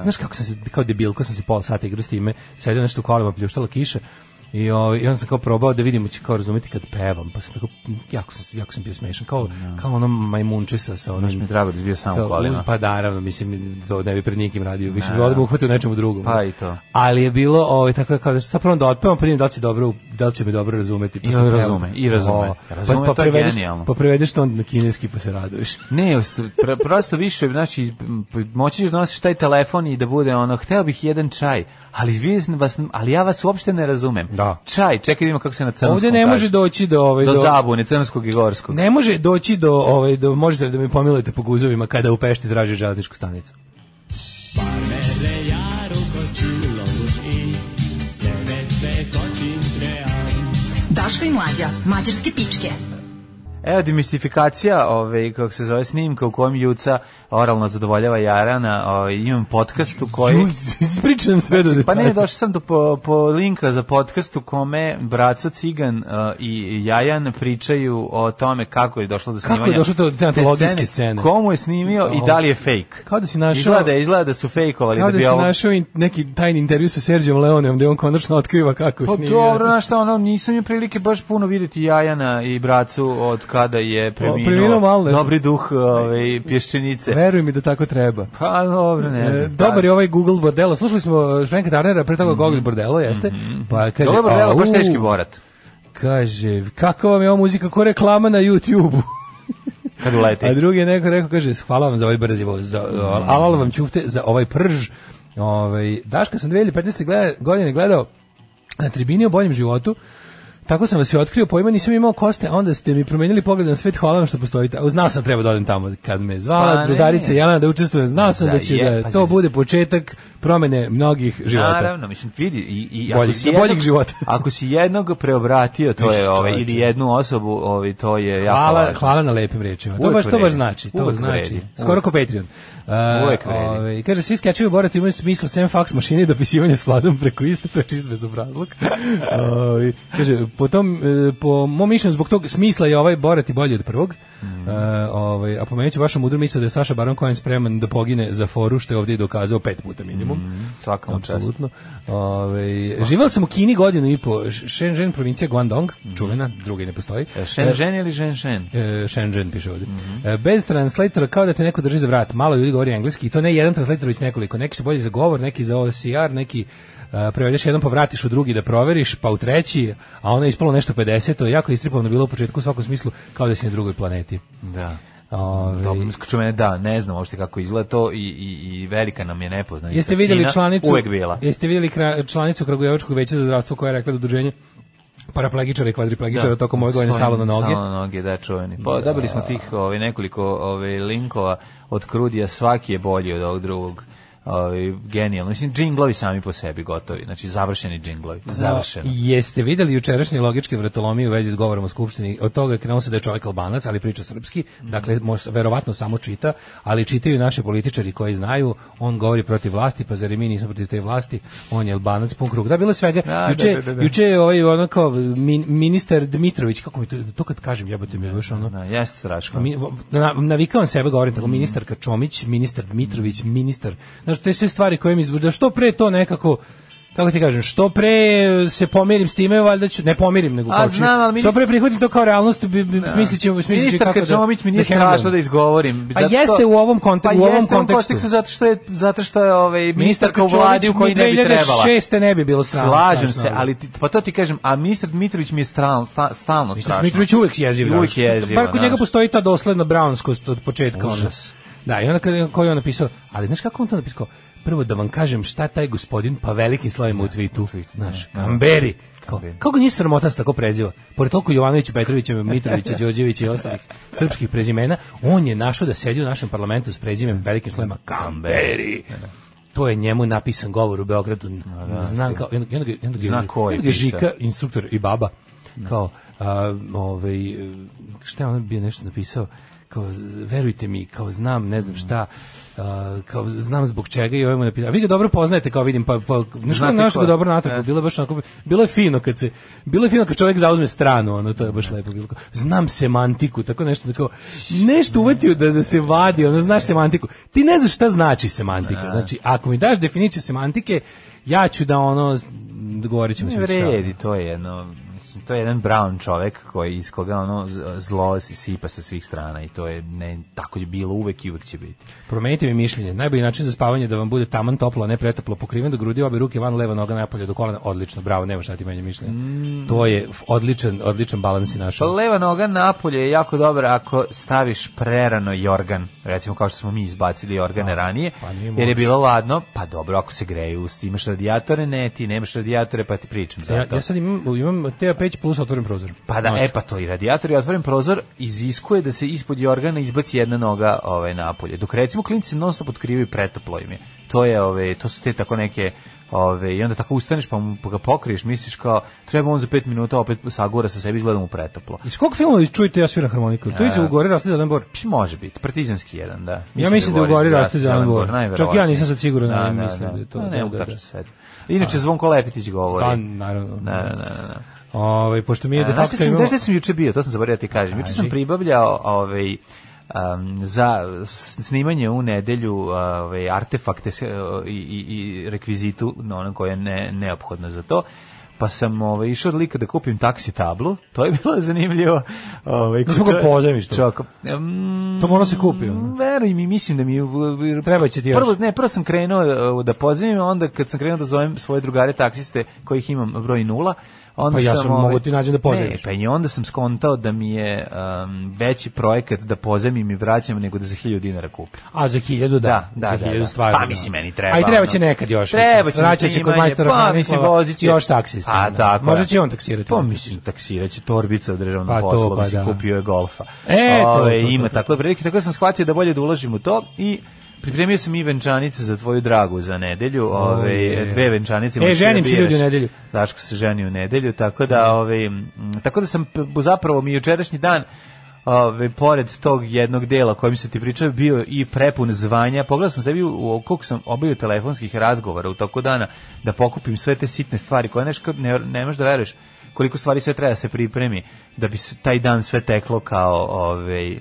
znaš kako sam se, kao debil, ko sam se pola sata igrao s time, sedio nešto u kolima, pljuštala kiša, I, ovaj, I onda sam kao probao da vidim će kao razumeti kad pevam, pa sam tako, jako sam, jako sam bio smešan, kao, kao ono majmunče sa, sa onim...
mi je drago da si bio sam u
kao,
kolima.
Pa naravno, mislim, to ne bi pred nikim radio, više bi odmah uhvatio u nečemu drugom.
Pa i to.
Ali je bilo, ovaj, tako je kao, da sad prvo da otpevam, pa vidim da li će, dobro, da li će me dobro razumeti. Pa
I
sam
on
pevao.
razume, i razume.
O,
Razume, to je
prevedeš-
genijalno.
Pa prevedeš to onda na kineski, pa se raduješ.
Ne, s- pr- prosto više, znači, p- moći ćeš da nosiš taj telefon i da bude ono, hteo bih jedan čaj, ali, vi, vas, ali ja vas uopšte ne razumem.
Da.
Čaj, čekaj da vidimo kako se na crnskom
Ovdje ne
kaže.
može doći do ovaj
Do
do,
zabune, crnskog i gorskog.
ne može doći do ovaj do možete da mi pomilujete po guzovima kada u Pešti traži železničku stanicu.
Daško i mlađa, mađarske pičke.
Evo demistifikacija, ovaj kako se zove snimka u kojem Juca oralno zadovoljava Jarana, ovaj imam podcast u koji
Juj, Ispričaj nam sve do
Pa ne,
detalja.
došao sam do po, po linka za podcast u kome Braco Cigan eh, i Jajan pričaju o tome kako je došlo do
Kako je
snimanja.
došlo do te antologijske scene.
Komu je snimio i da li je fake.
Kao da si našao-
Izgleda, da- izgleda da su fejkovali.
Kao
da
da
bi
si
ovo-
našao in- neki tajni intervju sa Serđom Leoneom gde on konačno otkriva kako je
Pa
snimio.
dobro, znaš šta, ono, nisam je prilike baš puno vidjeti Jajana i bracu od kada je preminuo,
Pa, preminuo Malner.
dobri duh ovaj, pješčenice.
Veruj mi da tako treba.
Pa dobro, ne znam. Mhm.
E, dobar je ovaj Google Bordello. Slušali smo e, Franka Tarnera, pre toga Google Bordello, jeste? Pa kaže,
Dobar delo, mhm. baš
"Au,
teški borat.
Kaže, kako vam je ova muzika, ko reklama na YouTube-u?
Kad uleti.
A drugi je neko rekao, kaže, hvala vam za ovaj brzi voz, za,
Mm.
alal vam ćufte za ovaj prž. Ovaj, Daška sam 2015. gleda- godine gledao na tribini o boljem životu, Tako sam vas i otkrio, pojma nisam imao koste, a onda ste mi promenili pogled na svet, hvala vam što postojite. A Znao sam treba da odem tamo kad me je zvala,
Pa ne.
drugarica Jana da učestvujem, znao sam da će
Za je-
da
pa
to
za-
bude početak promene mnogih života.
Naravno, mislim, vidi, i, i
Boljih-
ako si
do
jednog,
boljih života.
ako si jednog preobratio, to
Više
je, ovaj,
čoveče.
ili jednu osobu, ovaj, to je jako
Hvala,
važno.
hvala na lepim rečima. To
Uvek
baš, to
vredi.
baš znači. To
Uvek
znači.
vredi.
Skoro ko Patreon. Uh,
Uvek vredi.
ovaj, kaže, svi skečivi borati imaju smisla sem faks mašine i dopisivanje s vladom preko iste, to je čist bezobrazluk. Ovaj, kaže, po, tom, e, po mom mišljenju, zbog tog smisla je ovaj borati bolji od prvog.
Mm.
E, ovaj, a pomenut ću vašu mudru misle da je Saša Baron Cohen spreman da pogine za foru, što je ovdje i dokazao pet puta minimum.
svaka mu Mm, čast.
Apsolutno. Ovaj, živjela sam u Kini godinu i po. Š- Shenzhen, provincija Guangdong, čuvena, druga i ne postoji.
E, Shenzhen ili Shenzhen?
E, Shenzhen piše ovdje.
Mhm.
E, bez translatora kao da te neko drži za vrat. Malo ljudi govori engleski i to ne jedan translator, već nekoliko. Neki su bolji za govor, neki za OCR, neki e, prevedeš jednom pa vratiš u drugi da proveriš, pa u treći, a ono je ispalo nešto 50, to je jako istripovno bilo u početku u svakom smislu kao da si na drugoj planeti.
Da.
Ove,
Dobro, skuču mene, da, ne znam uopšte kako izgleda to i, i, i velika nam je nepoznanica.
Jeste vidjeli
Kina
članicu
Uvek bila.
Jeste vidjeli kra- članicu Kragujevačkog veća za zdravstvo koja je rekla da udruženje paraplegičara i kvadriplegičara tokom ove godine
Stojim,
stalo na noge.
Stalo na noge, da, čuveni. Pa, dobili smo tih ovaj, nekoliko ovaj, linkova od Krudija, svaki je bolji od ovog drugog. ovaj, genijalno. Mislim, džinglovi sami po sebi gotovi. Znači, završeni džinglovi. Završeno.
No, jeste videli jučerašnje logičke vratolomije u vezi s govorom u skupštini? Od toga je krenulo se da je čovjek albanac, ali priča srpski,
Mhm.
dakle, mož, verovatno samo čita, ali čitaju naše političari koji znaju, on govori protiv vlasti, pa zar i mi nismo protiv te vlasti, on je albanac, pun krug. Da, bilo je svega.
Da,
juče,
da, da, da.
juče je ovaj, ono kao, min, ministar Dmitrović, kako mi to, to kad kažem, jebote mi je baš ono,
Da, jeste strašno.
Mi, v- na, navikavam sebe, govorim tako, ministarka Čomić, ministar Dmitrović, ministar, znaš, te sve stvari koje mi izbr- da što pre to nekako, kako ti kažem, što pre se pomirim s time, valjda ću, ne pomirim, nego
A,
kao ću-
znam, ali
što
ministar-
pre prihvatim to kao realnost, bi, bi, smislit ću, smislit ću
Ministarka
kako da-
Čomić mi
da
nije
handlujem.
strašno da izgovorim.
A
zato što- pa
jeste u ovom konte- u ovom
jeste
kontekstu.
zato što je, zato što je ovaj, ministarka u
Čomić
vladi u
ni
kojoj ne bi trebala.
2006. ne bi bilo strano.
Slažem
strašno,
se, ali ti, pa to ti kažem, a ministar Dmitrović mi je stalno, sta, stalno strašno.
Mitrović uvek jeziv.
Uvek
znaš.
jeziv,
Bar kod
znaš.
njega postoji ta dosledna brownskost od početka. ono.
Užas.
Da, i onda kada- koji je on napisao, ali znaš kako on to napisao? Prvo da vam kažem šta taj gospodin pa velikim slovima u tweetu, znaš, Kamberi. Kao, kako ga nije sramota se tako preziva? Pored toliko Jovanovića, Petrovića, Mitrovića, Đorđevića i ostalih srpskih prezimena, on je našao da sedi u našem parlamentu s prezimem velikim slovima Kamberi. To je njemu napisan govor u Beogradu. Znam kao, i onda, i onda, ga- i onda, ga-
Zna ko je
i onda ga
pisao.
Žika instruktor i baba kao a, ovaj šta je on bio nešto napisao kao verujte mi kao znam ne znam šta a, kao znam zbog čega i ovaj mu napisao a vi ga dobro poznajete kao vidim pa pa znaš kako
Znate
našli
ko je? E.
dobro natrag bilo je baš onako bilo je fino kad se bilo je fino kad čovjek zauzme stranu ono to je baš lepo bilo kao, znam semantiku tako nešto tako nešto uvatio da da se vadi ono znaš semantiku ti ne znaš šta znači
E.
semantika znači ako mi daš definiciju semantike ja ću da ono govorit ćemo
Ne
se više.
vredi, to je jedno, mislim, to je jedan brown čovek koji iz koga ono z- zlo si- sipa sa svih strana i to je ne tako je bilo uvek i uvek će biti.
Promenite mi mišljenje. Najbolji način za spavanje je da vam bude taman toplo, a ne pretoplo pokriven do grudi, obe ruke van, leva noga napolje do kolena. Odlično, bravo, nema šta ti manje mišljenje. To je f- odličan, odličan balans i
Mm. Pa
našao.
leva noga napolje je jako dobra ako staviš prerano jorgan, recimo kao što smo mi izbacili jorgane ranije,
pa nije
jer je
moguće.
bilo ladno, pa dobro ako se greju, imaš radijatore, ne, ti nemaš radijatore, pa ti pričam za
Ja,
to.
ja sad imam, imam TEA 5 plus otvoren prozor. Znači,
Pa da,
Noću.
e pa to i radijator i otvoren prozor iziskuje da se ispod jorgana izbaci jedna noga ovaj napolje. Dok recimo klinci non stop otkrivaju pretoplo im je. To je ove to su te tako neke ove i onda tako ustaneš pa mu pa ga pokriješ, misliš kao treba on za 5 minuta opet sagora sa sebi izgleda mu pretoplo.
Iz kog filma čujete ja sviram harmoniku? To je iz u Gori raste zelen bor.
Pi Znači, može biti partizanski jedan, da.
Ja mislim da je u Gori raste zelen bor.
najverovatnije.
Čak ja nisam sad siguran,
Da,
ali
da,
mislim
da.
da je to-
Da,
da,
ne mogu
da, da.
tačno se setiti. Inače Zvonko Lepetić govori.
Da, naravno.
Da, da, da, da.
Ovaj, pošto mi je de
E, Znaš
facto
gde sam,
imamo...
znaš gde sam juče bio, to sam zaboravio da ti kažem. Juče sam
Kaži.
pribavljao ovaj, um, za s- snimanje u nedelju ovaj, artefakte s- i, i, i rekvizitu, no, ono koje je ne, neophodno za to pa sam ovaj, išao od lika da kupim taksi tablu, to je bilo zanimljivo. Ovaj,
Nismo ga
kuća-
pozajmiš to.
čovjeka- Mm,
To mora se kupi, ono.
Veruj mi, mislim da mi... je-
Treba će ti još.
Prvo, ne, prvo sam krenuo e, da pozivim, onda kad sam krenuo da zovem svoje drugare taksiste, kojih imam broj nula, onda
Pa ja
sam,
sam
ovaj,
mogao ti nađem da
Ne,
pozajmiš.
pa i onda sam skontao da mi je um, veći projekat da pozajmim i vraćam nego da za 1000 dinara kupim.
A za hiljadu da.
Da, da,
za
da,
hiljadu
da.
stvarno.
Pa mislim, meni treba,
A i treba će
ono.
nekad još.
Treba
mislim,
će za
vraćat će kod
snimanje,
majstora
pa, mislim,
Hranislava
vozit će.
Još taksista.
A, tako
Možda
je.
će on taksirati.
Pa mislim, taksiraće torbica u državnom
Pa to,
poslu,
pa
mislim,
da.
kupio je golfa.
E, to, to, to,
Ima
to.
takve prilike, tako da sam shvatio da bolje da uložim u to i pripremio sam i venčanice za tvoju dragu za nedelju, ove,
je.
dve venčanice.
E,
možeš
ženim
da
se ljudi
biraš.
u nedelju.
Daško se ženi u nedelju, tako da, ove, m, tako da sam p- zapravo mi jučerašnji dan Ove, pored tog jednog dela kojim se ti pričao bio i prepun zvanja pogledao sam sebi u, u koliko sam obavio telefonskih razgovora u toku dana da pokupim sve te sitne stvari koje neš, ne, ne možeš da veruješ koliko stvari sve treba da se pripremi da bi se taj dan sve teklo kao ove,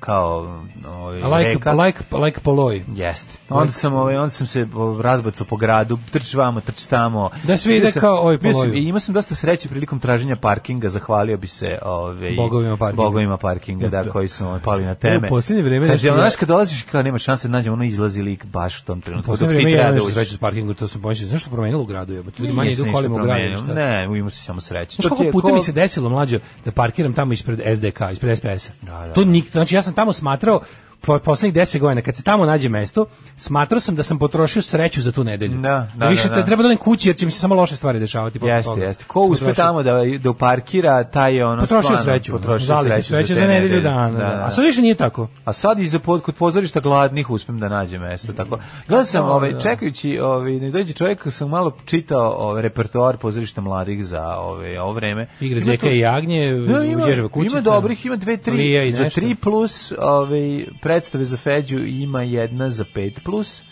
kao ove,
A like,
reka.
like, like Poloj.
Jeste. Onda sam ovaj onda sam se o, razbacao po gradu, trč vamo, trč tamo.
Da svi
Bio
ide
sam-
kao, oj,
bio sam-
poloju.
I imao sam dosta sreće prilikom traženja parkinga, zahvalio bi se ovaj
Bogovima parkinga.
Bogovima parkinga, da,
Da.
koji su ovaj, pali na teme.
U posljednje vreme
Kad
nešto
je,
ja-
znaš kad dolaziš kao nema šanse da nađemo ono izlazi lik baš u tom trenutku.
Poslednje
dok ti
vreme ja
treba
imam
da
nešto
uđeš.
sreće s parkingu, to sam pomislio. Znaš što promenilo u gradu? Jebote? Ljudi manje
Nije se
idu
ništa
kolima u gradu.
promenilo.
šta?
Ne, imao si samo sreće. To
Znaš
ti
koliko
je
puta
ko-
mi se desilo mlađo da parkiram tamo ispred SDK, ispred SPS-a.
Da, da.
To nik, znači ja sam tamo smatrao po, poslednjih 10 godina kad se tamo nađe mesto, smatrao sam da sam potrošio sreću za tu nedelju.
Da, da,
više
da,
te
da.
treba da odem kući jer će mi se samo loše stvari dešavati posle
Jeste,
toga.
jeste. Ko
Sam
uspe
potrošio-
tamo da da uparkira, taj je ono
potrošio
stvarno
sreću,
potrošio
zalihe sreće za
te
nedelju
nedelje.
dana.
Da, da.
A sad više nije tako.
A sad iza pod kod pozorišta gladnih uspem da nađem mesto tako. Gledao sam ovaj čekajući ovaj ne dođe čovjek sam malo čitao ovaj repertoar pozorišta mladih za ovaj ovo vreme.
Igre
Ima
Zeka
tu-
i Jagnje,
Da,
no,
ima,
Uđeževa kućica.
ima dobrih, ima dve, tri
Lija i
za
nešto.
tri plus, ovaj, predstave za Feđu ima jedna za pet plus.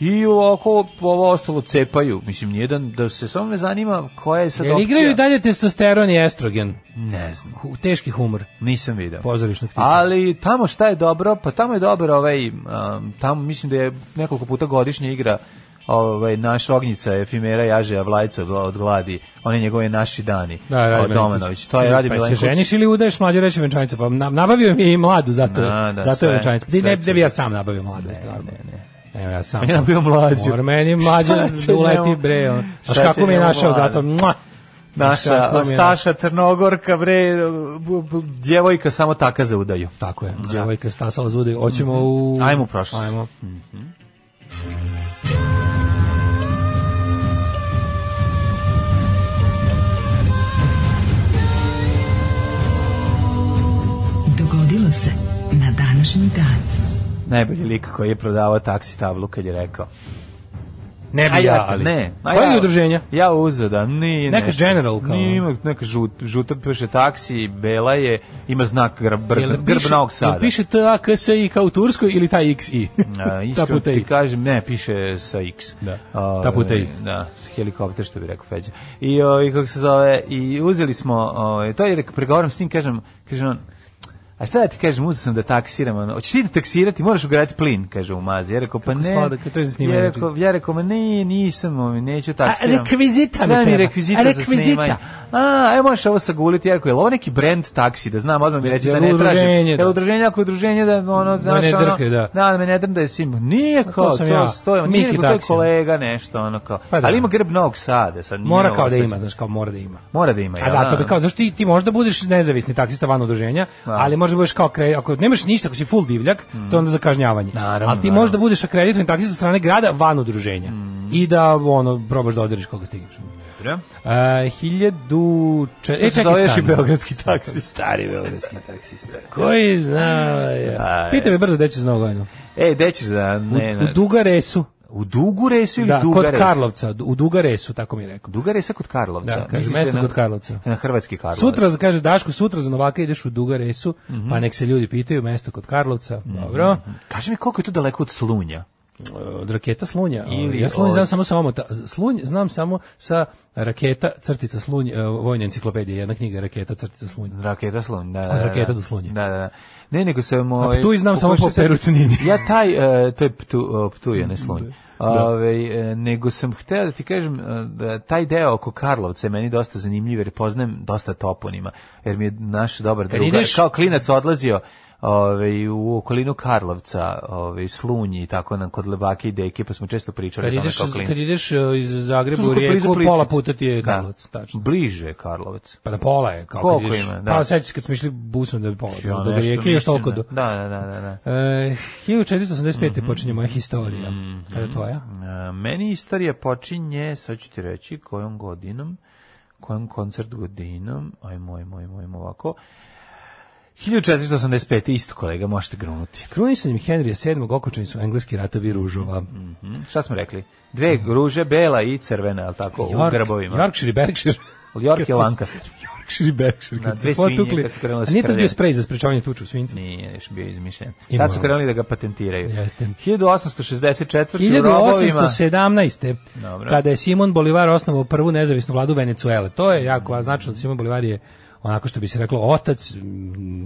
I ovako ovo ostalo cepaju. Mislim, nijedan, da se samo me zanima koja je sad
Jel
opcija.
igraju i dalje testosteron i estrogen?
Ne znam.
Hu- Teški humor.
Nisam video.
Pozorišnog tipa.
Ali tamo šta je dobro? Pa tamo je dobar ovaj, um, tamo mislim da je nekoliko puta godišnje igra ovaj, naš ognjica Efimera Jažeja Vlajca od- od gladi, one njegove naši dani
Da,
od
radi
Domanović. To je radi
pa se
Milenković.
ženiš ili udaješ mlađe reče venčanicu? Pa na- nabavio mi je i mladu, zato,
Da, da,
zato
sve,
je venčanica. Ti ne,
sve
ne bi
ću.
ja sam nabavio mladu, ne, stvarno. Ne, ne. Evo ja sam.
On je nabavio mlađu.
Mora meni mlađa
Šta će
da uleti
njemu-
bre. ono.
šta
Znaš
će
kako mi je
njemu
našao
mlada?
zato? Mua! Znaš
Naša
pa kako mi je našao?
Staša Crnogorka, bre, bu- bu- djevojka samo taka za udaju.
Tako je, djevojka stasala zvude. Hoćemo u...
Ajmo u prošlost. Hmm.
Ajmo.
Dogodilo se na današnji dan.
Najbolji lik koji je prodavao taksi tablu kad je rekao.
Ne
A
bi ja, ali...
ne. a
Koje
ja-
je udruženja?
Ja uzo da nije
Neka
nešto.
General kao.
Nije, ima neka žut, žuta piše taksi, bela je, ima znak grb,
Jel
grb, grb
piše-
Novog Sada.
jel piše TAKSI kao u Turskoj ili taj XI?
A,
Ta
iskreno
puta
ti
i.
kažem, ne, piše sa X.
Da.
Ove,
Ta puta i.
Da, s helikopter, što bi rekao Feđa. I, ovi, kako se zove, i uzeli smo, ovaj, to je, rek- pregovaram s tim, kažem, kažem on, a šta da ti kažem, uzeo sam da taksiram, ono, hoćeš ti da taksirati, moraš ugrati plin, kaže u mazi. Ja rekao, pa
Kako
ne.
sladak, to je za snimanje, znači.
Ja rekao, ja rekao, ma ne, nisam, ovaj, neću taksiram.
rekvizita mi
Daj mi
treba.
rekvizita,
A
za
rekvizita.
snimanje. A, evo možeš ovo saguliti, ja rekao, je li ovo neki brand taksi, da znam, odmah mi
Jel-
reći
jel
da ne tražim.
udruženje, da.
Jel udruženje, ako je udruženje, da ono, znaš,
ne
ono,
drkaj, da. Pa
da, me ne drn da je sim. Nije kao, to,
sam
ja.
ja.
stoje, nije
Miki
nego to je
Taksi.
kolega nešto, ono kao.
Pa da.
Ali ima grb Novog Sada, sad nije
Mora
ovo
kao da
sad-
ima, znaš, kao mora da ima.
Mora da ima,
A da, to bi kao, zašto ti, ti možda budeš nezavisni taksista van udruženja, ali možda budeš kao kre, ako nemaš ništa, ako si full divljak, to je onda za kažnjavanje.
Mm. Naravno,
ali ti
naravno. Mm.
možda budeš akreditovan taksista od strane grada van udruženja. I da, ono, probaš da odrediš koga stigneš.
Dobro.
A, hiljadu... Če, e,
E,
čekaj,
zoveš i
stani.
beogradski taksi.
Stari beogradski taksista. Koji zna... Ja.
Aj.
Pita me brzo gde ćeš za novu godinu.
E, gde ćeš za...
U,
Ne, ne.
u Dugaresu.
U Duguresu ili
Da, kod
Dugaresu?
Karlovca. U Dugaresu, tako mi je rekao.
Dugaresa kod Karlovca.
Da, kaže,
Misli se
mesto
na-
kod Karlovca.
Na hrvatski Karlovac.
Sutra, kaže Daško, sutra za Novaka ideš u Dugaresu,
Mhm.
pa nek se ljudi pitaju, mesto kod Karlovca, dobro, E,
Kaži mi koliko je to daleko od Slunja.
od raketa Slunja, ovaj,
Ili
ja Slunj
od-
znam samo sa omota, Slunj znam samo sa raketa, crtica Slunj, e, vojna enciklopedija, jedna knjiga raketa, crtica Slunj.
Raketa Slunj, da. da,
Od
da.
raketa do Slunja.
Da, da, da. Ne, nego sam...
A
ovaj,
Ptuj znam samo po
pokušao sam-
Perutnini.
Ja taj, e, to je ptu, e, Ptuj, a ne Slunj. Ove, e, nego sam hteo da ti kažem e, da taj deo oko Karlovca je meni dosta zanimljiv jer poznajem dosta toponima jer mi je naš dobar
Kad
drugar
ideš-
kao klinac odlazio Ove, u okolinu Karlovca, ove, Slunji i tako nam kod Lebake i Deke, pa smo često pričali
Kad
o tome
ideš,
kao klinci.
kad ideš e, iz
Tu
Zagreba
smo
u
kod blizu
rijeku,
Plitvice.
pola puta ti je
Da.
Karlovac, tačno.
Bliže je Karlovac.
Pa na pola je, kao
Koliko
kad ideš,
ima, da.
da. pa sećaš kad smo išli busom da bi pola,
Ja
do do
Ono nešto
rijeke, još
mislim,
toliko do...
Da, Mhm. da, da, da. da.
E, 1485. počinje moja historija,
Mhm.
kada je tvoja?
E, Meni istorija počinje, sad ću ti reći, kojom godinom, kojom koncert godinom, ajmo, ajmo, ajmo, ajmo ovako. 1485. isto kolega, možete grunuti.
Krunisanjem Henrija VII okočeni su engleski ratovi ružova.
Hm, Šta smo rekli? Dve
Mhm.
gruže, bela i crvena, ali tako, u grbovima.
Yorkshire i Berkshire.
York
Kad
je
se-
Lancaster.
Yorkshire i Berkshire.
Na
Kad
dve
se
svinje,
potukli.
kad su krenule
A nije to
skrlje.
bio sprej za sprečavanje tuča u svincu?
Nije još bio izmišljen.
Ima
Tad su
ovo.
krenuli da ga patentiraju.
Jeste.
1864. u robovima.
1817.
Dobro.
Kada je Simon Bolivar osnovao prvu nezavisnu vladu Venecuele. To je jako značno. Simon Bolivar je onako što bi se reklo otac m,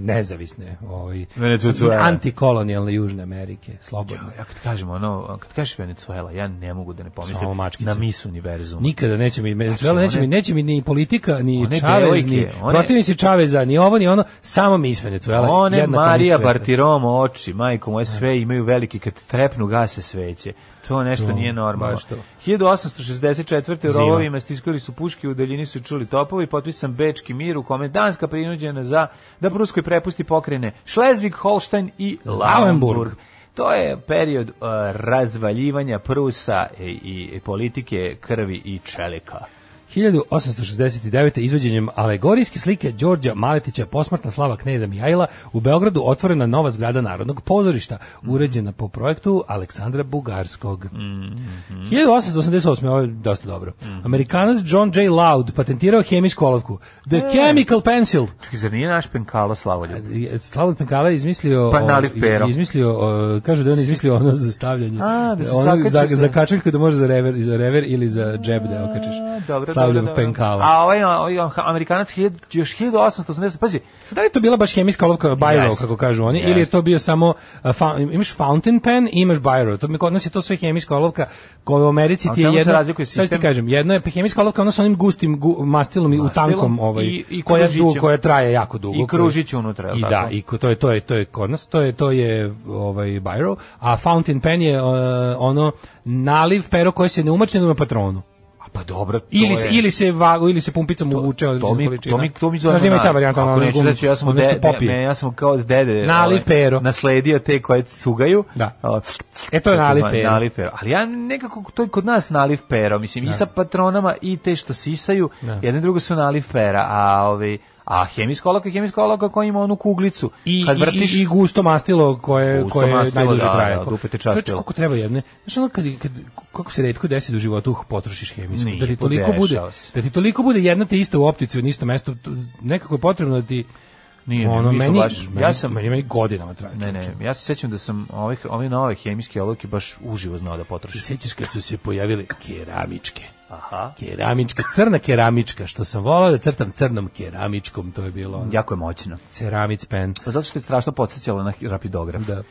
nezavisne ovaj
Venecuele.
antikolonijalne Južne Amerike slobodne
Ja kad kažem ono, kad kažeš Venezuela, ja ne mogu da ne
Samo
pomislim
mačkice.
na mis univerzum.
Nikada neće mi Venezuela,
Znači,
neće mi
one-
neće mi ni politika, ni
one
Čavez,
devojke,
ni
one-
protivnici Čaveza, ni ovo ni ono, samo mi iz Venezuela.
One Marija Bartiromo oči, majko moje sve imaju veliki kad trepnu gase sveće. To nešto
No,
nije normalno.
baš to.
1864. u
Zima.
rovovima stiskali su puške, u daljini su čuli topovi, potpisan Bečki mir u kome je Danska prinuđena za da Pruskoj prepusti pokrene Šlezvig, Holštajn i Lauenburg.
Lauenburg.
To je period uh, razvaljivanja Prusa i, i politike krvi i čelika.
1869. izvođenjem alegorijske slike Đorđa Maletića posmrtna slava kneza Mihajla u Beogradu otvorena nova zgrada Narodnog pozorišta, uređena po projektu Aleksandra Bugarskog.
Mhm.
1888. Ovo je dosta dobro. Amerikanac John J. Loud patentirao hemijsku olovku. The
E.
Chemical Pencil.
Čekaj, zar nije naš penkalo slavoljub?
Slavut Penkala je izmislio...
Pa nalip pero.
Izmislio, o, kažu da je on izmislio ono za stavljanje.
A, da se
ono
zakači
za,
se.
za kačeljku da može za rever, za rever ili za džep da okačiš.
Dobro, dobro,
Slavljom
dobro.
Penkala.
A ovaj, ovaj Amerikanac hiljad- još 1880, pazi,
Sad, da li je to bila baš hemijska olovka Biro,
Yes.
kako kažu oni, ili je
Yes.
to bio samo, a, fa- imaš fountain pen i imaš Biro, to mi kod nas je to sve hemijska olovka, koja u Americi
A u
ti je
čemu se
jedna,
razlikuje
sad ti
sistem?
kažem, jedno je hemijska olovka, ona sa onim gustim gu, mastilom i u
Mastilom
tankom, ovaj,
i- i
koja,
kružićem.
du- koja traje jako dugo.
I kružić unutra, jel
I
tako?
da, i ko- to je, to je, to je kod nas, to je, to je ovaj, Biro, a fountain pen je e, ono naliv pero koje se ne umače na patronu.
A pa dobro, to
Ili se,
je-
ili se vagu ili se pumpicom uvuče od
to mi, to mi, to mi zove.
Znaš da ima i ta varijanta
Ako
ono
neću
gum-
reći, ja sam,
ono što
de,
popije.
ne, ja sam kao od dede
Naliv
ovaj,
pero.
nasledio te koje cugaju.
Da.
O,
E, to je naliv pero.
naliv pero. Ali ja nekako, to je kod nas naliv pero. Mislim, i sa patronama i te što sisaju,
Da.
jedno i drugo su naliv pera. A, ovi, a hemijska olovka je hemijska olovka koja ima onu kuglicu.
I,
Kad vrtiš,
i, i gusto mastilo koje,
Gusto
koje
mastilo,
najduže
da,
traje.
da, dupe te častilo.
Čovječe, koliko treba jedne? Znaš ono kad, kad, kako se redko desi da u životu uh, potrošiš hemijsku?
Nije,
da ti toliko
podešava
bude,
se.
da ti toliko bude jedna te ista u optici u istom mestu, tu- nekako je potrebno da ti
Nije,
ono,
mi smo
meni,
baš-
meni,
ja sam-
meni, meni godinama traje.
Ne, ne,
čovječe.
ja se sjećam da sam ovih, ove nove hemijske olovke baš uživo znao da
Ti
potrošim.
sećaš kad su se pojavile keramičke?
Aha.
Keramička, crna keramička, što sam volao da crtam crnom keramičkom, to je bilo ono,
Jako je moćno.
ceramic pen.
Pa zato što je strašno podsjećalo na rapidograf.
Da.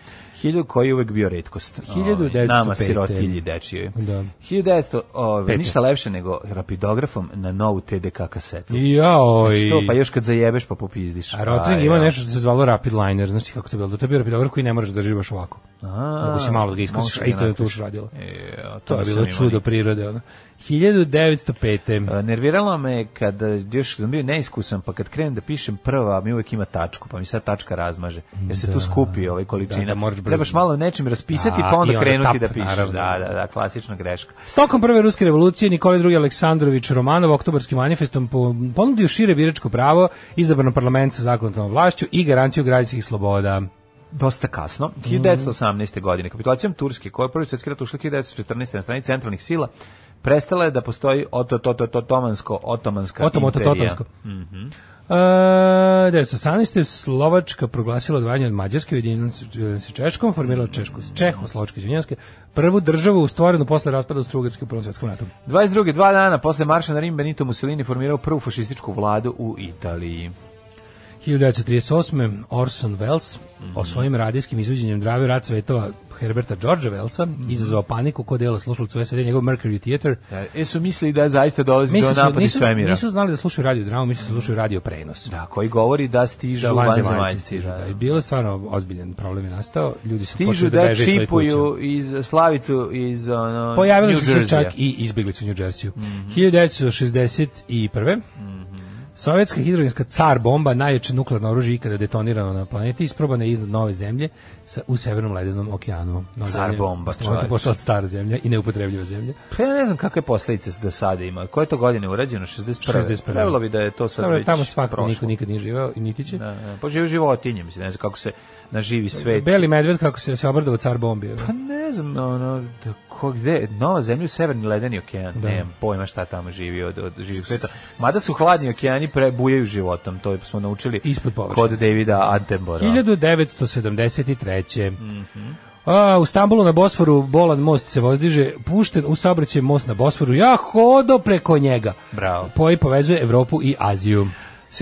Hiljadu koji je uvek bio redkost.
1905.
Ovaj, Nama sirotilji dečije.
Da.
1900, ovaj,
Pete.
ništa lepše nego rapidografom na novu TDK kasetu.
Jaoj.
Što, pa još kad zajebeš pa popizdiš.
A Rotring ima
ja.
nešto što se zvalo Rapid Liner, znači kako to je bilo, to je bio rapidograf koji ne moraš da držiš baš ovako.
A,
Mogu si malo da
mogu
ga iskusiš,
da
a isto je to
napraviš.
už radilo.
E, a
To je
nisam
bilo
imao
čudo
nikad.
prirode. Ono. 1905.
E, Nerviralo me kad e, još sam bio neiskusan, pa kad krenem da pišem prva, mi uvek ima tačku, pa mi sad tačka razmaže. Jer se tu skupi ovaj količina.
Da, da, moraš brzo.
Trebaš malo nečim raspisati,
Da,
pa
i
onda
onda
krenuti
tap,
da pišeš.
naravno.
Da, da, da, klasična greška.
Tokom prve ruske revolucije Nikolaj II. Aleksandrović Romanov oktobarskim manifestom po- ponudio šire biračko pravo, izabrano parlament sa zakonodavnom vlašću i garanciju građanskih sloboda.
dosta kasno, 1918. godine. Kapitulacijom Turske, koja je prvi svjetski rat ušla 1914. na strani centralnih sila, prestala je da postoji oto, to, to, to, otomansko, otomanska
Otom, oto,
imperija.
totonsko. E, 1918. Slovačka proglasila odvajanje od Mađarske, ujedinjena se- se Češkom, formirala Češku, Čehoslovačke, izvinjavske, prvu državu stvorenu posle raspada Austro-Ugarske u Prvom svjetskom ratu.
22. dva dana posle marša na Rim Benito Mussolini formirao prvu fašističku vladu u Italiji.
1938. Orson Welles o svojim radijskim izvođenjem drave rad svetova Herberta Georgea Wellsa izazvao paniku kod dela slušalcu SVD njegov Mercury Theater.
E su mislili da zaista dolazi
Mislim
do
su,
napada
nisu,
svemira.
nisu znali da slušaju radio dramu, mislim da slušaju radio prenos.
Da, koji govori da stižu da,
vanzemaljci
vanzemaljci.
stižu,
Da,
da. I bilo je stvarno ozbiljan problem je nastao, ljudi su
Stižu
počeli
da,
da, beže iz svojih kuća.
čipuju iz Slavicu iz ono,
Pojavili
New
su se
Jersey-a. Mhm.
čak i izbeglice u New Jersey-u. 1961. Sovjetska hidrogenska car bomba, najjače nuklearno oružje ikada detonirano na planeti, isprobana je iznad nove zemlje sa, u severnom ledenom okeanu. Nova
Car
zemlja,
bomba,
astronaut je
čoveče.
postala stara zemlja i neupotrebljiva zemlja.
Pa ja ne znam kakve posledice do sada ima. Koje to godine je urađeno? 61.
61..
Trebalo bi da je to sad
Dobro,
već
tamo svakako
prošlo.
niko nikad nije živao i niti će.
Da, da. Pa živi životinje, mislim, ne znam kako se naživi svet.
Beli medved kako se, se obradovao car bombi.
Pa ne znam, ono, da, ko gde, nova zemlja u severni ledeni okean,
Da.
nemam pojma šta tamo živi od, od živih sveta. Mada su hladni okeani prebujaju životom, to smo naučili
Ispod površine.
kod Davida Attenborough.
1973. A, u Stambulu na Bosforu bolan most se vozdiže, pušten u saobraćaj most na Bosforu. Ja hodo preko njega.
Bravo.
Koji povezuje Evropu i Aziju.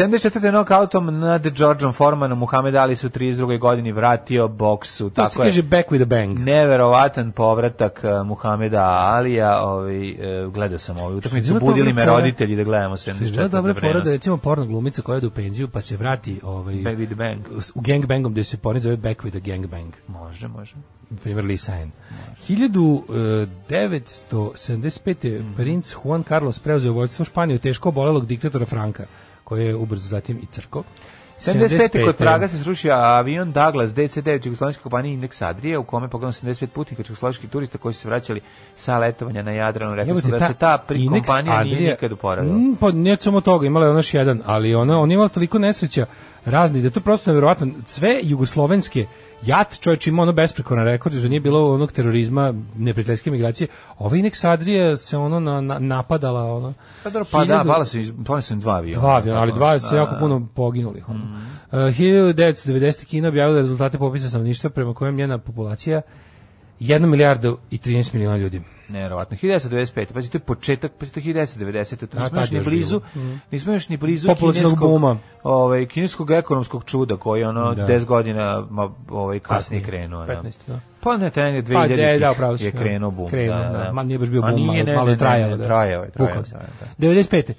74. nokautom nad Georgeom Formanom Muhammed Ali se u 32. godini vratio boksu.
To se
Tako je.
kaže back with a bang.
Neverovatan povratak eh, Muhameda Alija, ovaj eh, gledao sam ovu utakmicu,
Ima dobra
budili me
fora.
roditelji da gledamo
Znaš,
74.
Bila dobra fora
prenos.
da je, recimo porno glumica koja ide u penziju pa se vrati ovaj,
Back with a bang.
s- u gangbangom gde se pornic zove Back with a gangbang.
Može, može.
Na primjer Lee e, Sain. 1975. je
Mhm.
princ Juan Carlos preuzeo vojstvo Španije od teško obolelog diktatora Franka, koji je ubrzo zatim i crko.
75. kod Praga se srušio avion Douglas DC-9 Jugoslovenske kompanije Index Adria u kome je poginulo 75 putnika čegoslovačkih turista koji su se vraćali sa letovanja na Jadranu. Rekli
Jebote,
smo da se ta pri-
Inex
kompanija nije
Adria-
nikad uporavila.
Mm, pa ne samo toga, imala je ona još jedan, ali ona, ona je imala toliko nesreća razni, da je to prosto nevjerovatno. Sve jugoslovenske jat, čovječ ima ono besprekoran rekord, da nije bilo onog terorizma, neprijateljske migracije. Ova Inex Adria se ono na, na, napadala, ono.
Pa dobro, pa da,
hiljadu-
pala su, iz- pala su im dva aviona.
Dva aviona, ali
Tako,
dva se
da, Mhm.
jako
da.
puno poginulih. ono. Uh, 1990. Kina objavila rezultate popisa stanovništva prema kojem njena populacija 1 milijarda i 13 miliona ljudi.
Neverovatno. 1995. Pazi, to je početak, pazi, to je 1990. To
A,
nismo
tad
još
je
ni
još
blizu,
bilo. Mm.
nismo još ni blizu
Populacionog
kineskog,
buma.
ovaj, kineskog ekonomskog čuda koji ono
Da.
10 godina ma, ovaj, kasnije
Kasnije,
krenuo.
15, da.
Pa ne, taj negde
Pa,
2000
de, da, upravo si,
je
da.
krenuo bum.
Krenuo,
da, da.
Ma nije baš bio
A
bum,
nije,
malo,
ne,
malo
ne,
je
ne,
trajalo.
ne,
Da.
Trajao je, trajao
Bukvalno.
je. da, da.
95.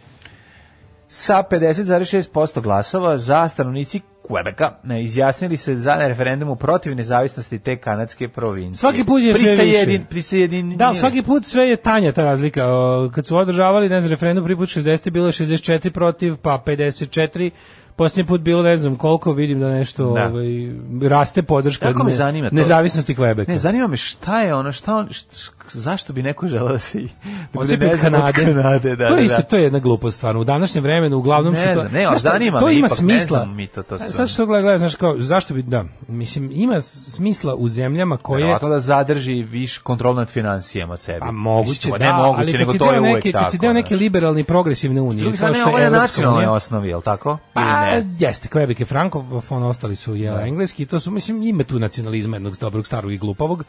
Sa 50,6% glasova za stanovnici Quebeca ne, izjasnili se za referendumu protiv nezavisnosti te kanadske provincije.
Svaki put je sve
Prisajedin-
više.
Prisajedinjenje.
Da, ali svaki put sve je tanja ta razlika. O, Kad su održavali, ne znam, referendum, prvi put 60 bilo je 64 protiv, pa 54, posljednji put bilo ne znam koliko, vidim da nešto
Da.
ovaj, raste podrška
Jako me zanima to.
nezavisnosti Kvebeka.
Ne, zanima me šta je ono, šta on, št- š- zašto bi neko želeo da se... da bude
Odcepi od
vezan od
Kanade.
Kanade, da,
to je
da,
isto,
da.
to je jedna glupost stvarno. U današnjem vremenu uglavnom
Ne
su to...
znam, ne, ali
Znaš šta,
zanima
to
me
ima
ipak, ne
smisla. E,
znam mi to- to sve.
Sad što gledaš, znaš kao, zašto bi, da, mislim, ima s- smisla u zemljama koje...
Verovatno da zadrži viš kontrol nad financijama od sebe.
Pa moguće,
Mislim,
da,
ne moguće,
ali
nego
kad si
to je
deo
uvek
neke,
tako.
kad si deo neke
znaš.
liberalne i progresivne unije,
S druge
kao
strane,
što
ovo
je
je na
Evropska
nacionalnoj
unija,
osnovi, je li tako? Ili
Pa,
ne?
jeste, Quebec je frankofon, ostali su jel, engleski, to su, mislim, ima tu nacionalizma jednog dobrog, starog i glupavog,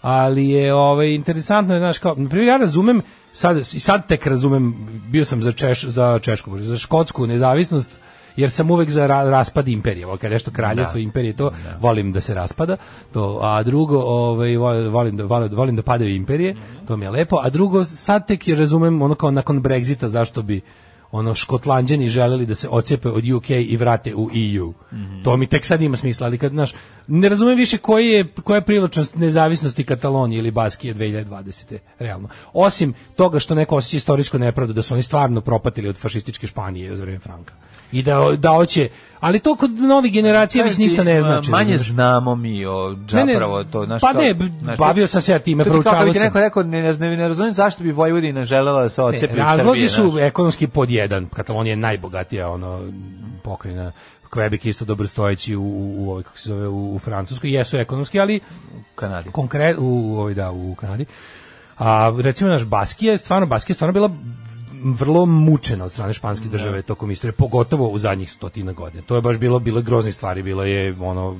ali je ovaj, interesantno, je, znaš, kao, na primjer, ja razumem, sad, i sad tek razumem, bio sam za, Češ, za Češku, bože, za škotsku nezavisnost, jer sam uvek za ra- raspad imperije, Ovo, kad je nešto kraljevstvo, imperije, to volim da se raspada, to, a drugo, ovaj, vo- volim, da, volim, volim da padaju imperije,
Mhm.
to mi je lepo, a drugo, sad tek je razumem, ono kao nakon Brexita, zašto bi ono Škotlanđani želeli da se ocepe od UK i vrate u EU. To mi tek sad ima smisla, ali kad znaš, ne razumem više koji je koja je privlačnost nezavisnosti Katalonije ili Baskije 2020. realno. Osim toga što neko osjeća istorijsku nepravdu da su oni stvarno propatili od fašističke Španije za vreme Franka. I da da hoće, ali to kod novih generacija više ništa ne znači.
Manje
razumeš?
znamo mi o
Ne, ne,
Džapravo, to, znaš,
pa
kao-
ne, b-
znaš,
bavio sam se ja time,
to ti kao kad
proučavao
bi ti
sam.
Neko rekao, ne, ne, ne razumijem zašto bi Vojvodina želela da se
Ne,
ocepi od
razlozi
Srbije.
su
znaš.
ekonomski pod jedan. Katalonija je najbogatija ono pokrajina. Quebec je isto dobrostojeći u, u, u ovoj, kako se zove, u, u Francuskoj. Jesu ekonomski, ali
Kanadi.
konkret u ovoj da u Kanadi. A recimo naš Baskija je stvarno Baskija je stvarno bila vrlo mučena od strane španske države tokom istorije, pogotovo u zadnjih stotina godina. To je baš bilo bilo je groznih stvari, bilo je ono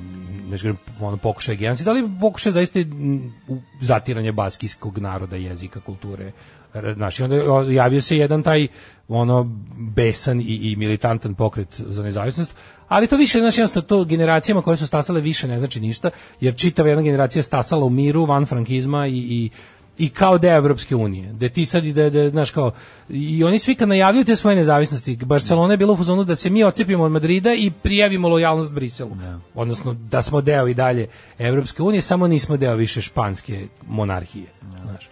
neću kažem, ono pokušaj genocida, ali pokušaj zaista mm, u- zatiranje baskijskog naroda, jezika, kulture. R- Znaš, i onda je o- javio se jedan taj ono besan i, i militantan pokret za nezavisnost, ali to više znači jednostavno to generacijama koje su stasale više ne znači ništa, jer čitava jedna generacija je stasala u miru, van frankizma i, i i kao deo Evropske unije. Da ti sad i da, da, znaš kao, i oni svi kad najavljuju te svoje nezavisnosti, Barcelona je bila u fazonu da se mi ocepimo od Madrida i prijavimo lojalnost Briselu. Odnosno da smo deo i dalje Evropske unije, samo nismo deo više španske monarhije. Znaš.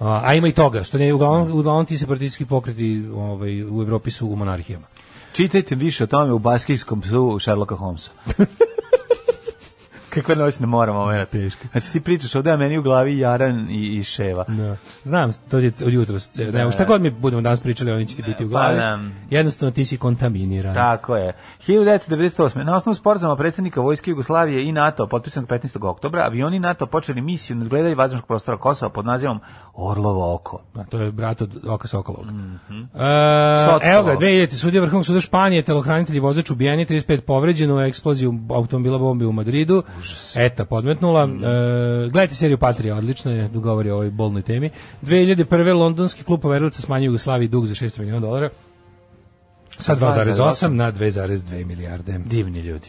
A, a ima i toga, što ne, uglavnom, uglavnom ti separatistički pokreti ovaj, u Evropi su u monarhijama.
Čitajte više o tome u baskijskom psu Sherlocka Holmesa. Kako je noćna mora momena teška. Znači ti pričaš ovde, a meni u glavi Jaran i, i Ševa.
Da. Znam, to je od jutra. Ne, šta god mi budemo danas pričali, oni će ti biti
Pa,
u glavi.
da.
Jednostavno ti si kontaminiran.
Tako je. 1998. Na osnovu sporazuma predsjednika Vojske Jugoslavije i NATO, potpisanog 15. oktobra, avioni NATO počeli misiju nadgledaju vazdušnog prostora Kosova pod nazivom Orlovo oko.
Da, to je brat od Oka Sokolovog. Mm
Mhm. Socko.
evo ga, 2000. sudija Vrhovnog suda Španije, telohranitelj i vozač ubijeni, 35 povređeno u eksploziju automobila bombi u Madridu. Eta podmetnula.
Mhm.
E, gledajte seriju Patrija, odlično je, dogovori o ovoj bolnoj temi. 2001. londonski klub poverilaca smanjio Jugoslaviji dug za 600 miliona dolara. sa 2,8 na 2,2 milijarde.
Divni ljudi.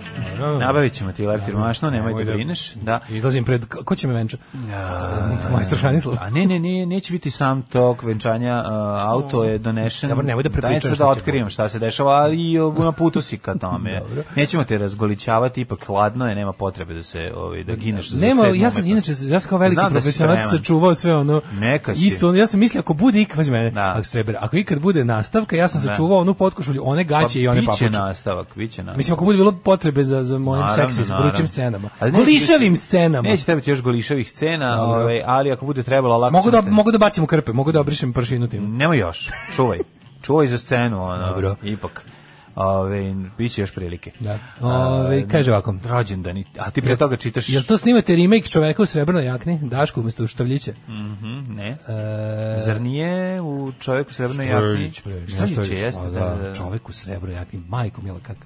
Nabavit ćemo ti leptir mašno, nemoj da brineš. Da.
Izlazim pred, ko će me venčati?
Ja.
Majstor Hranislav.
A ne, ne, ne, neće biti sam tok venčanja, uh, auto je donešen.
Dobro, nemoj da
Daj
prepričaš
sad
šta
da
će
otkrijem šta se dešava, ali i uh, na putu si ka tome.
Dobro.
Nećemo te razgoličavati, ipak hladno je, nema potrebe da se ovaj da gineš za
Nema,
sedmu
ja sam
umetnost.
inače ja sam kao veliki
Znam da si
profesionalac
spreman.
sačuvao sve ono.
Neka si.
Isto, ono, ja sam mislio ako bude ikad pazi mene,
Da.
ako srebra, ako ikad bude nastavka, ja sam sačuvao onu potkošulju, one gaće i one
Pa
papuče.
Biće nastavak, biće nastavak.
Mislim ako bude bilo potrebe za za mojim seksom, za
naravno.
vrućim scenama,
Ali neće
golišavim
biti-
scenama.
Neće trebati još golišavih scena,
Dobro.
ovaj, ali ako bude trebalo, lako
Mogu da
ćemo te-
mogu da bacim u krpe, mogu da obrišem pršinu tim.
Nema još, čuvaj. čuvaj za scenu, ono,
Dobro.
ipak. Ove, biće još prilike.
Da. Ovaj,
A,
kaže ovako.
Rođendan, i- a ti pre toga čitaš...
Jel to snimate remake čoveka u srebrnoj jakni, Daško umesto Štavljića?
Mhm, ne.
E,
Zar nije u čovjeku srebrnoj jakni?
Štrlić, bre,
Štrlić
Štrlić,
je, jeste,
pa
da, da, da.
Čovek u srebru jakni, majko mila kak.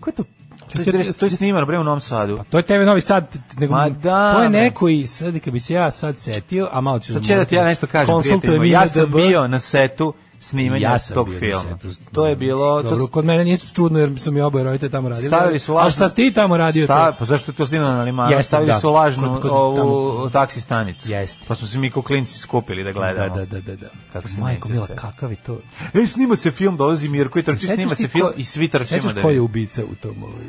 Ko je to?
To je, to je snimano, bre, u Novom Sadu.
To je tebe Novi Sad, nego,
Ma da,
to je
bre.
neko i sad kad bi se ja sad setio, a malo ću...
Sad će da ti ja nešto kažem, prijateljima. Ja sam bio na setu snimanja
Ja sam
tog
bio na
filma.
setu.
To je bilo...
Dobro,
to,
kod mene nije čudno jer su mi oboje roditelji tamo radili.
Stavili su lažnu...
A šta si ti tamo radio?
Sta,
to?
pa zašto je to snimano na limanu?
Jeste,
Stavili
da.
su lažnu
Kod- kod
ovu taksi stanicu.
Jeste.
Pa smo se mi ko klinci skupili da
Da,
gledamo.
da, da, da. da.
Kako se
Majko,
ne
mila,
sjećaš?
kakav je to?
E, snima se film, dolazi Mirko i trči,
Sećaš
snima
ti
se film
ko-
i svi trčimo
Sećaš
da
ko je
je.
ubica u tom ovaj...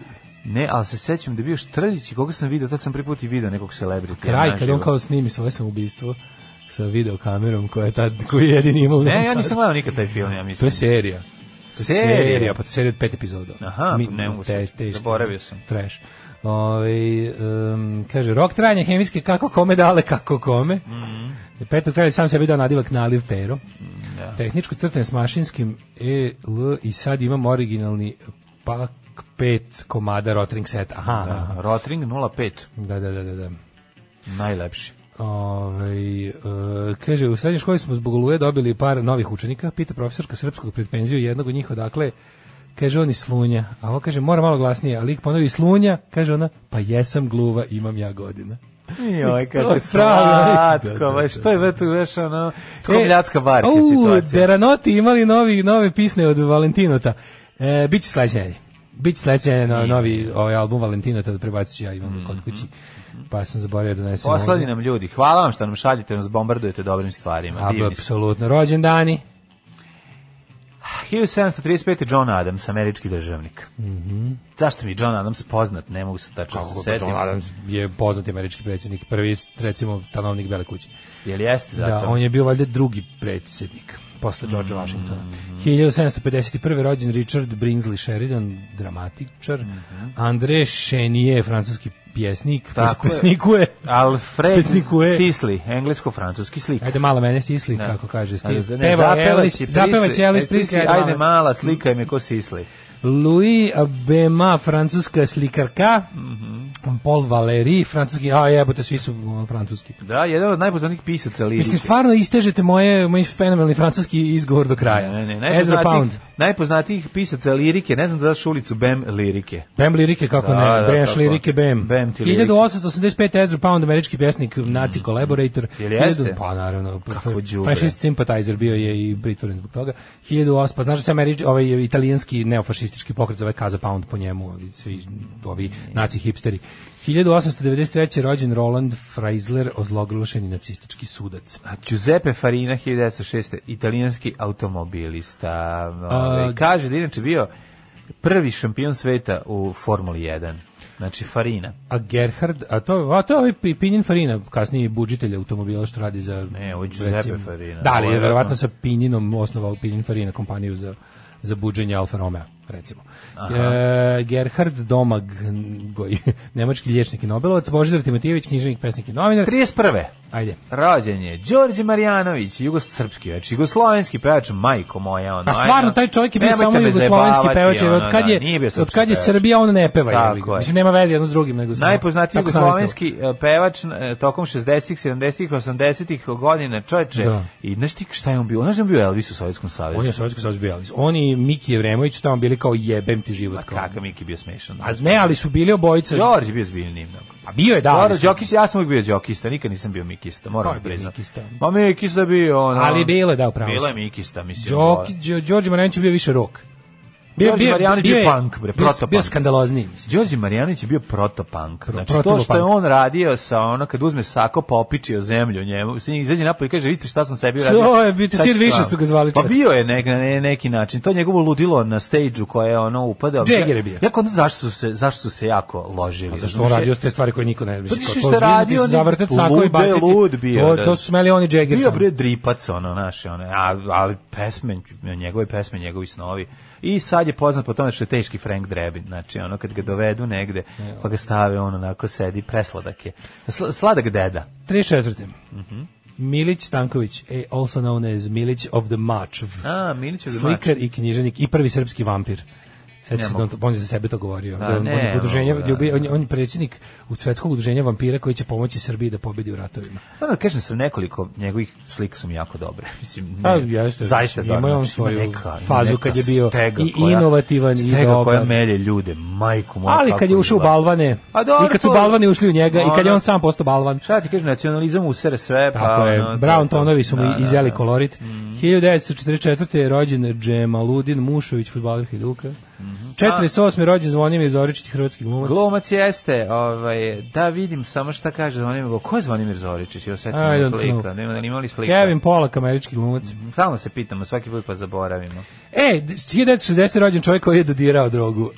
Ne, ali se sećam da je bio Štrljić i koga sam video, tad sam prvi put i video nekog celebrity.
kraj kad on kao snimi svoje samoubistvo sa videokamerom koja je tad koji je jedini imao. u Novom
Ne, ja nisam
Sadu.
gledao nikad taj film, ja
To
mislim.
je serija. To je
Serija?
Serija, pa to je serija od pet epizoda.
Aha, pa ne mogu se- zaboravio sam.
Trash. Ove, um, kaže, rok trajanja hemijske kako kome dale, kako kome. Mm
Mhm.
-hmm. Petar Kralj sam sebi dao nadivak naliv pero.
Mm, da.
Tehničko crtanje s mašinskim E, L i sad imam originalni pak pet komada Rotring set. Aha, aha.
Rotring 05,
da, da, da, da. da.
najlepši.
Ove, e, kaže, u srednjoj školi smo zbog oluje dobili par novih učenika, pita profesorka srpskog pred penziju jednog od njih odakle, kaže on iz Slunja, a on kaže, mora malo glasnije, a lik ponovi iz Slunja, kaže ona, pa jesam gluva, imam ja godina.
Joj,
To
kako
je pravi. Da, da,
slatko,
da.
baš, to je vetu, veš, ono, to je mljacka barka
E, au,
situacija.
Deranoti imali novi, nove pisne od Valentinota. E, biće sledeće nedelje. Biće sledeće nedelje no, novi ovaj album Valentinota da prebacit ću ja imam kod kući. Pa sam zaboravio da donesem.
Poslali
ovdje.
nam ljudi, hvala vam što nam šaljete, nas bombardujete dobrim stvarima.
A,
divni ste.
Apsolutno. Rođendani.
1735. John Adams, američki državnik.
Mhm.
Zašto mi je John Adams poznat? Ne mogu se tačno se setim.
John Adams je poznati američki predsjednik, prvi recimo stanovnik Bele kuće.
Jel jeste zato? Mm-hmm.
Da, on je bio valjda drugi predsjednik posle George Washingtona. 1751. rođen Richard Brinsley Sheridan, dramatičar. André Chenier, francuski pjesnik,
Mm-hmm. Tako je.
pesnikuje.
Alfred
Pesnikuje.
Sisli, englesko-francuski slik.
E. Ajde malo mene sisli, kako kaže. Sti,
Ne,
peva
zapeva
Elvis,
će
zapeva
Prisli,
će Elvis
e,
Prisli.
Ajde mala, slikaj me ko Sisli.
Louis Bema, francuska slikarka.
Mm-hmm.
Paul Valéry, francuski, a jebote, svi su um, francuski.
Da, jedan od najpoznatijih pisaca lirike.
Mislim, stvarno istežete moje, moj fenomenalni francuski izgovor do kraja.
Ne, ne,
Ezra Pound.
najpoznatijih, najpoznatijih pisaca lirike, ne znam da znaš ulicu Bem lirike.
Bem lirike, kako
Da,
ne,
da,
Breš
tako.
lirike, Bem.
Bem ti lirike.
1885. Ezra Pound, američki pjesnik, nazi collaborator.
Jel jeste?
1000 Pa naravno,
Kako đubre.
fašist sympathizer bio je i pritvoren zbog toga. 1800, pa znaš da se američki, ovaj italijanski neofašistički pokret zove Casa Pound po njemu, i svi ovi naci hipsteri. 1893. rođen Roland Freisler, ozloglašeni nacistički sudac.
A Giuseppe Farina 1906. italijanski automobilista. Ovaj, kaže da je inače bio prvi šampion sveta u Formuli 1. Znači Farina.
A Gerhard, a to, a to je ovaj Pi- Pinjin Farina, kasniji budžitelj automobila što radi za...
Ne, ovo je Giuseppe
recimo-
Farina.
Da,
Ovo
ali
je
je verovatno
verovatno.
sa Pinjinom osnovao Pinjin Farina kompaniju za, za buđenje Alfa Romeo, recimo. E, Gerhard Domag, goj, nemački liječnik i Nobelovac, Božidar Timotijević, književnik, pesnik i novinar.
31.
Ajde.
Rođen je Đorđe Marjanović, jugosrpski, znači jugoslovenski pevač, majko moja. Ono,
A stvarno,
ajde,
taj čovjek je bio
nemojte
samo
me
jugoslovenski
zajebavati,
pevač, jer
ono,
od kad
da,
je,
nije bio srpski
od kad je
pevač.
Srbija, on ne peva.
Tako
jebi ga.
je.
Mislim, nema veze jedno s drugim. Nego samo-
Najpoznatiji
Tako sam
jugoslovenski eh, pevač eh, tokom 60-ih, 70-ih, 80-ih godina čoveče.
Da.
I znaš ti šta je on bio? Znaš da je on bio Elvis u Sovjetskom savjezu?
On je Sovjetski savez bio Elvis. On i Miki Jevremović su tamo bili kao jebem ti život.
A
kao.
Pa kakav Miki bio smešan.
A ne, ali su bili obojica.
Đorđe je bio zbiljni mnogo.
Pa bio je, da. ali
Dobro,
su-
Đokis, ja sam uvijek bio Đokista, nikad nisam bio Mikista,
Ko
moram
je
da
bio
priznati.
Mikista?
Ma Mikista bio, ono...
Ali bilo je, da, upravo
Bila je
si.
Mikista, mislim.
Đoki, Đo- Đorđe Marjanić je bio više rock. Bio,
Đorđe
bio,
Marjanić
bio,
bio
je-
punk, bre,
bio,
protopunk.
bio skandalozniji, mislim.
Đorđe Marjanović je bio protopunk. Znači, to
protopunk.
što je on radio sa ono, kad uzme sako pa opičio zemlju njemu, s njim izađe napolje i kaže, vidite šta sam sebi radio.
To je biti,
Sad
Sir
ću
Više
vam.
su ga zvali
Pa
čovječe.
bio je nek, na ne, neki način. To je njegovo ludilo na stage-u koje je ono upadao.
Jagger je bio.
Ja kod nas zašto su se, zašto su se jako ložili.
Zašto on radio te stvari koje niko ne
Pa
misli.
ti
kao,
si
To
šta
zviznuti
radio,
se
oni-
zavrtet sako i
lud,
baciti.
lud bio,
to,
da.
to su smeli oni Jagger.
Bio
samo.
bre dripac ono naše ono, a, ali pesme, njegove pesme, njegovi snovi. I sad je poznat po tome što je teški Frank Drebin, znači ono kad ga dovedu negde, pa ga stave on onako sedi presladak je. Sla- sladak deda.
34.
Mhm.
Milić Stanković, a also known as Milić of the Mačv.
A, Milić je
Slikar i knjiženik i prvi srpski vampir. Sjeća
Ne
se da
mogu.
on, to- on je za sebe to govorio.
Da,
Da, on,
ne
on, je udruženje,
mogu, da,
ljubi,
da,
on, je- on je predsjednik u svetskog udruženja vampira koji će pomoći Srbiji da pobedi u ratovima.
Pa da kažem sam nekoliko njegovih slika su mi jako dobre. Mislim,
A, jeste,
zaista
Pa, mislim,
da,
imao je on
znači, ima
svoju fazu kad je bio i inovativan i
stega koja
dobar.
melje ljude, majku moju.
Ali
kako
kad je ušao u
bila.
balvane,
A dobro,
i kad su
to-
balvani ušli u njega, i kad je
Ono-
on sam postao balvan.
Šta ti kažem, nacionalizam usere sve, pa...
Tako je,
ono, to-
brown tonovi su mu
Da, da,
izjeli
da. Mhm.
kolorit. 1944. je rođen Džemaludin Mušović, futbaler Hajduka.
Mhm.
48. je rođen Zvonimir Zoričić, hrvatski glumac.
Glumac jeste, ovaj, da vidim samo šta kaže Zvonimir, ko je Zvonimir Zoričić, joj setim
I don't
slika,
know.
nema da nimali slika.
Kevin Pollak, američki glumac.
Samo se pitamo, svaki put pa zaboravimo.
E, 1960. je rođen čovjek koji je dodirao drogu.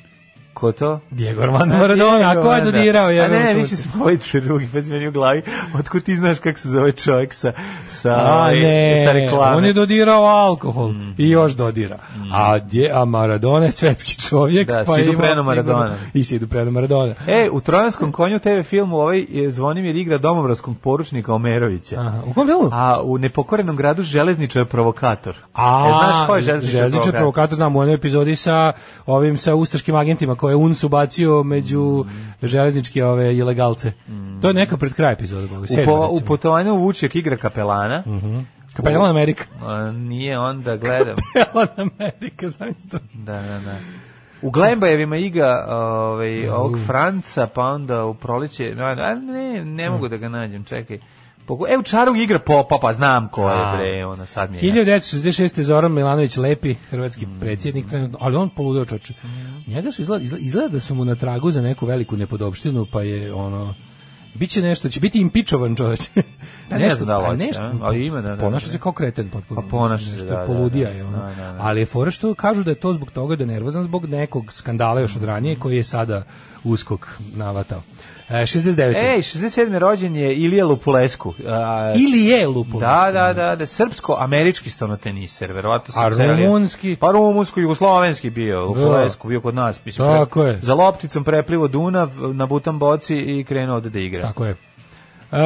Ko to?
Diego Armando Maradona, a ko je
Onda.
dodirao?
A
jebem
ne,
sunce?
više smo ovdje drugi, pa si meni u glavi. Otkud ti znaš kako se zove čovjek sa, sa,
A
ovaj,
ne,
sa reklame?
on je dodirao alkohol
Mhm.
i još dodira. A, dje, a Maradona je svetski čovjek.
Da,
pa
Sidu
ima
Preno
sigurno-
Maradona.
I Sidu Preno Maradona.
E, u Trojanskom konju TV filmu ovaj je Zvonimir igra domobranskog poručnika Omerovića.
Aha, u kom filmu?
A u nepokorenom gradu železničar je provokator.
A,
e, znaš ko je železničar,
železničar provokator, znam, u onoj epizodi sa ovim, sa ustaškim agentima koje je UNS ubacio među
Mhm.
železničke ove ilegalce. To je neka pred kraj epizoda, boga,
U,
sedma,
po, u
recimo. Mhm.
putovanju Vučjak igra kapelana.
Kapelan Amerika.
A, nije onda, gledam.
Kapelan Amerika, znam se to.
Da, da, da. U Glembajevima iga ovaj, ovog Franca, pa onda u proleće... no, A ne, ne mogu da ga nađem, čekaj. Poku... E, u Čaru igra popa, pa znam ko je,
A.
bre, ono, sad mi je.
1966. Zoran Milanović Lepi, hrvatski
Mm.
predsjednik trenutno, ali on poludeo čoče. Njega su izgleda, izgleda, izgleda da su mu na tragu za neku veliku nepodopštinu, pa je ono... Biće nešto, će biti impičovan čoveč.
Pa ne znam da li hoće, a? Ali ima, da, da,
pa Ponaša
da.
se kao kreten potpuno.
Pa ponaša se,
Nešto
da, da,
poludija
da.
je ono.
Da, da, da.
Ali je fora što kažu da je to zbog toga da je nervozan zbog nekog skandala još od ranije koji je sada uskok navatao. E, 69.
Ej, 67. rođen je Ilija Lupulesku. A,
Ili je lupo.
Da, da, da, da, srpsko-američki stonoteniser, verovatno sam
A
celio.
rumunski?
Pa rumunsko-jugoslovenski bio, u
Da.
Polesku, bio kod nas. Mislim,
Tako je.
Za lopticom preplivo Dunav, na butan boci i krenuo ovde da igra.
Tako je. Uh,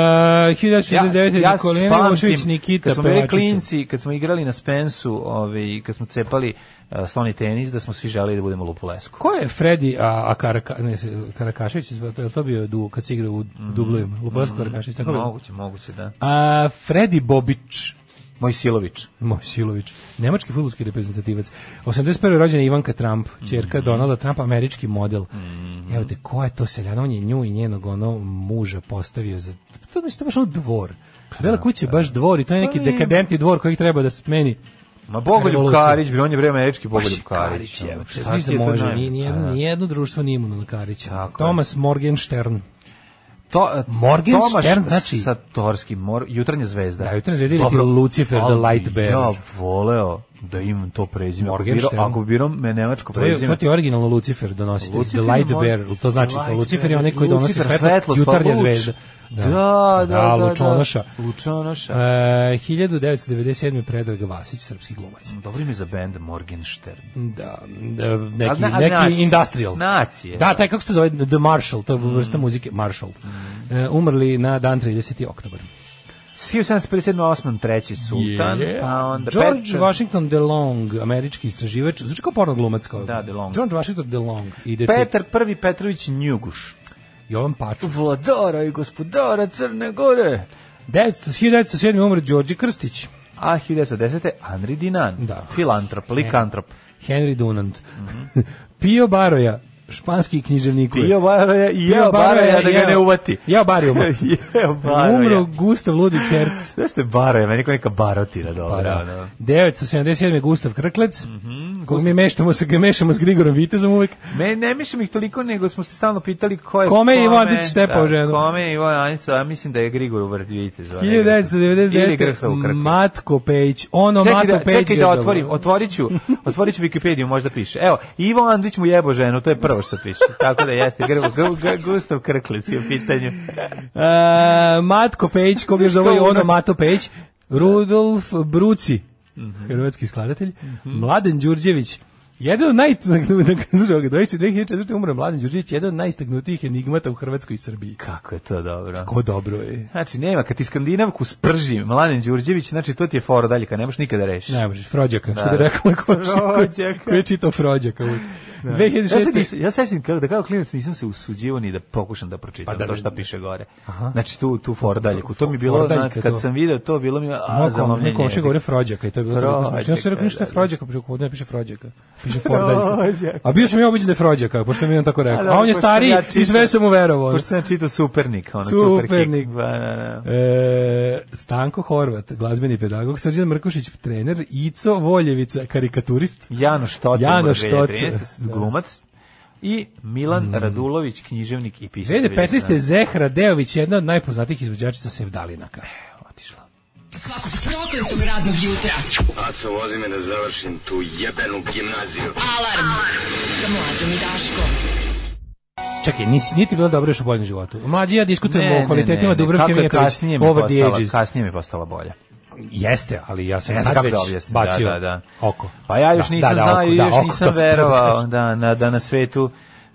1969. Ja, Nikolina
spamtim,
Milošević Nikita
kad smo bili
pevačica.
klinci, kad smo igrali na Spensu, ovaj, kad smo cepali uh, sloni tenis, da smo svi želeli da budemo lupulesku.
Ko je Fredi a, a Karaka, ne, Karakašić? izba- Je li to bio du, kad se igra u Dublovima? Lubosko Karakašić, tako bilo?
Mm. Moguće, moguće, da.
A, Fredi Bobić.
Moj Silović.
Moj Silović. Nemački futbolski reprezentativac. 81. rođena Ivanka Trump,
Mhm.
čerka Donalda Trump, američki model. Evo te, ko je to seljano? On je nju i njenog ono muža postavio za... To mislim, to je baš ono dvor. Bela kuća je baš dvor i to je neki
Pa nije.
dekadentni dvor koji treba da smeni.
Ma Bogoljub
Revolucija.
Karić, bre, on je bre američki Bogoljub Karić.
Karić, evo,
ono,
te,
šta
vidiš
ti
da
je to
može,
najmanje?
ni,
Pa da.
nijedno, nijedno društvo nije imuno na Karića.
Tako je.
Thomas Morgenstern.
To, e,
Morgenstern,
Tomaš
znači-
Satorski, mor, jutarnja zvezda.
Da, Jutarnja zvezda ili
Dobro,
ti Lucifer the
ali
Light Bearer.
Ja voleo da imam to prezime. Ako biro,
Morgenstern.
ako biram me nemačko
To, je,
prezime.
to ti je originalno Lucifer donositi.
Lucifer
The Light
je moj-
Bearer. To znači,
The
Light
Light
Lucifer je onaj koji
Bearer.
donosi
Lucifer,
svetlo,
svetlost, pa
jutarnja
luč.
zvezda.
Da, da, da. da
Lučonoša.
Lučonoša.
E, 1997. Predrag Vasić, srpski glumac.
Dobro ime za bend Morgenstern.
Da, da, neki,
Ali na- ali
neki
nacije.
industrial.
Nacije.
Da, taj kako se zove, The Marshall, to je vrsta muzike, Marshall.
Mm.
E, umrli na dan 30. oktobar.
1757. Osman III. sultan,
Je, je.
pa onda
George
Petar-
Washington DeLong, američki istraživač, zvuči kao porno glumac kao.
Da, DeLonge.
George Washington DeLong i det-
Petar prvi Petrović Njuguš.
Jovan Paču.
Vladara i gospodara Crne Gore.
1900 1907. umre Đorđe Krstić.
a 1910. Andri Dinan,
Da.
filantrop, likantrop.
Henry Dunant. Pio Baroja, španski književnik.
Mhm. Pio Baroja i jeo Baroja da ga ne uvati.
Ja Barijuma.
Jeo Baroja.
Umro Gustav Ludvig Herz.
Znaš što je Baroja, meni kao neka barotira dobra.
Para.
ono.
977. Gustav Krklec. Mm
Mhm,
-hmm. Kog mi meštamo sa, mešamo s Grigorom Vitezom uvek.
Me, ne mišljam ih toliko, nego smo se stalno pitali ko je...
Kome je Ivo Andrić štepao ženu?
Kome je Ivo Andrić, a mislim da je Grigor Uvrdvijice zove. Ili Grhsa
1999.
u Krku.
Matko Pejić. Ono
Čekaj
Matko
da,
Pejić.
čekaj
je
da
dobro.
otvorim, otvorit ću, otvorit ću Wikipediju, možda piše. Evo, Ivo Andrić mu jebo ženu, to je prvo što piše. Tako da jeste, Grgo, Gustav Krklec je u pitanju.
E, Matko Pejić, ko bi još zove
kao u
ono
nas-
Mato Pejić. Rudolf Bruci,
Mhm.
hrvatski skladatelj. Mladen Đurđević, jedan od najistaknutijih, 2004. umro Mladen Đurđević, jedan od najistaknutijih enigmata u Hrvatskoj i Srbiji.
Kako je to dobro.
Kako dobro je.
Znači, nema, kad ti Skandinavku sprži Mladen Đurđević, znači to ti je fora dalje, kad ne možeš nikada reši.
Ne možeš, Frođaka, što
Da.
bi rekao moj komšija koji-
Frođaka. E
koji je čitao Frođaka. uvijek.
Ja se,
2006.
nis- ja se sjećam kako da kao klinac nisam se usuđivao ni da pokušam da pročitam
Pa da,
to šta
da.
piše gore.
Aha.
Znači tu tu fordaljku, to mi je bilo
Fordaljka,
znači,
to.
kad sam video to bilo mi je, a
Moj kom-
zalomljenje.
Moj komšija
jezik.
govori Frođaka i to je bilo toliko smiješno. Ja sam rekao
Frođaka,
ništa je
da, da.
Frođaka, pa rekao, ne piše Frođaka, piše Fordaljka.
Frođaka.
A bio sam ja obiđen da je Frođaka, pošto mi je on tako
A
rekao.
dobro,
A on je
pošto sam
stariji
ja
i sve
čitao-
sam mu verovao.
Pošto sam ja čitao Supernik, ono
Supernik.
Supernik. Ba, da, da.
E, Stanko Horvat, glazbeni pedagog, Srđan Mrkušić, trener, Ico Voljevica, karikaturist.
Jano Štot,
Jano
Jano
Štot, da. Mm.
glumac. I Milan Radulović, književnik i pisac.
2015.
Vidiš,
Zehra Deović, jedna od najpoznatijih izvođačica Sevdalinaka.
da, Otišla.
Svakog prokletog radnog jutra.
Aco, vozi me da završim tu jebenu gimnaziju.
Alarm. Sa mlađom i Daškom.
Čekaj, nisi, nije ti bilo dobro još u boljem životu. Mlađi ja diskutujemo o
ne,
kvalitetima pa
ne,
Dubravke
kako je
Mijatović.
kasnije mi
Over the
postala,
ages.
kasnije mi postala bolja.
Jeste, ali ja sam
Ne znam
tad
kako
već
da objasnim, da,
bacio
da, da.
oko.
Pa ja još
Da,
nisam
da, da,
znao
oko,
i
da,
još
oko,
nisam
to sam-
verovao da, na, da na svetu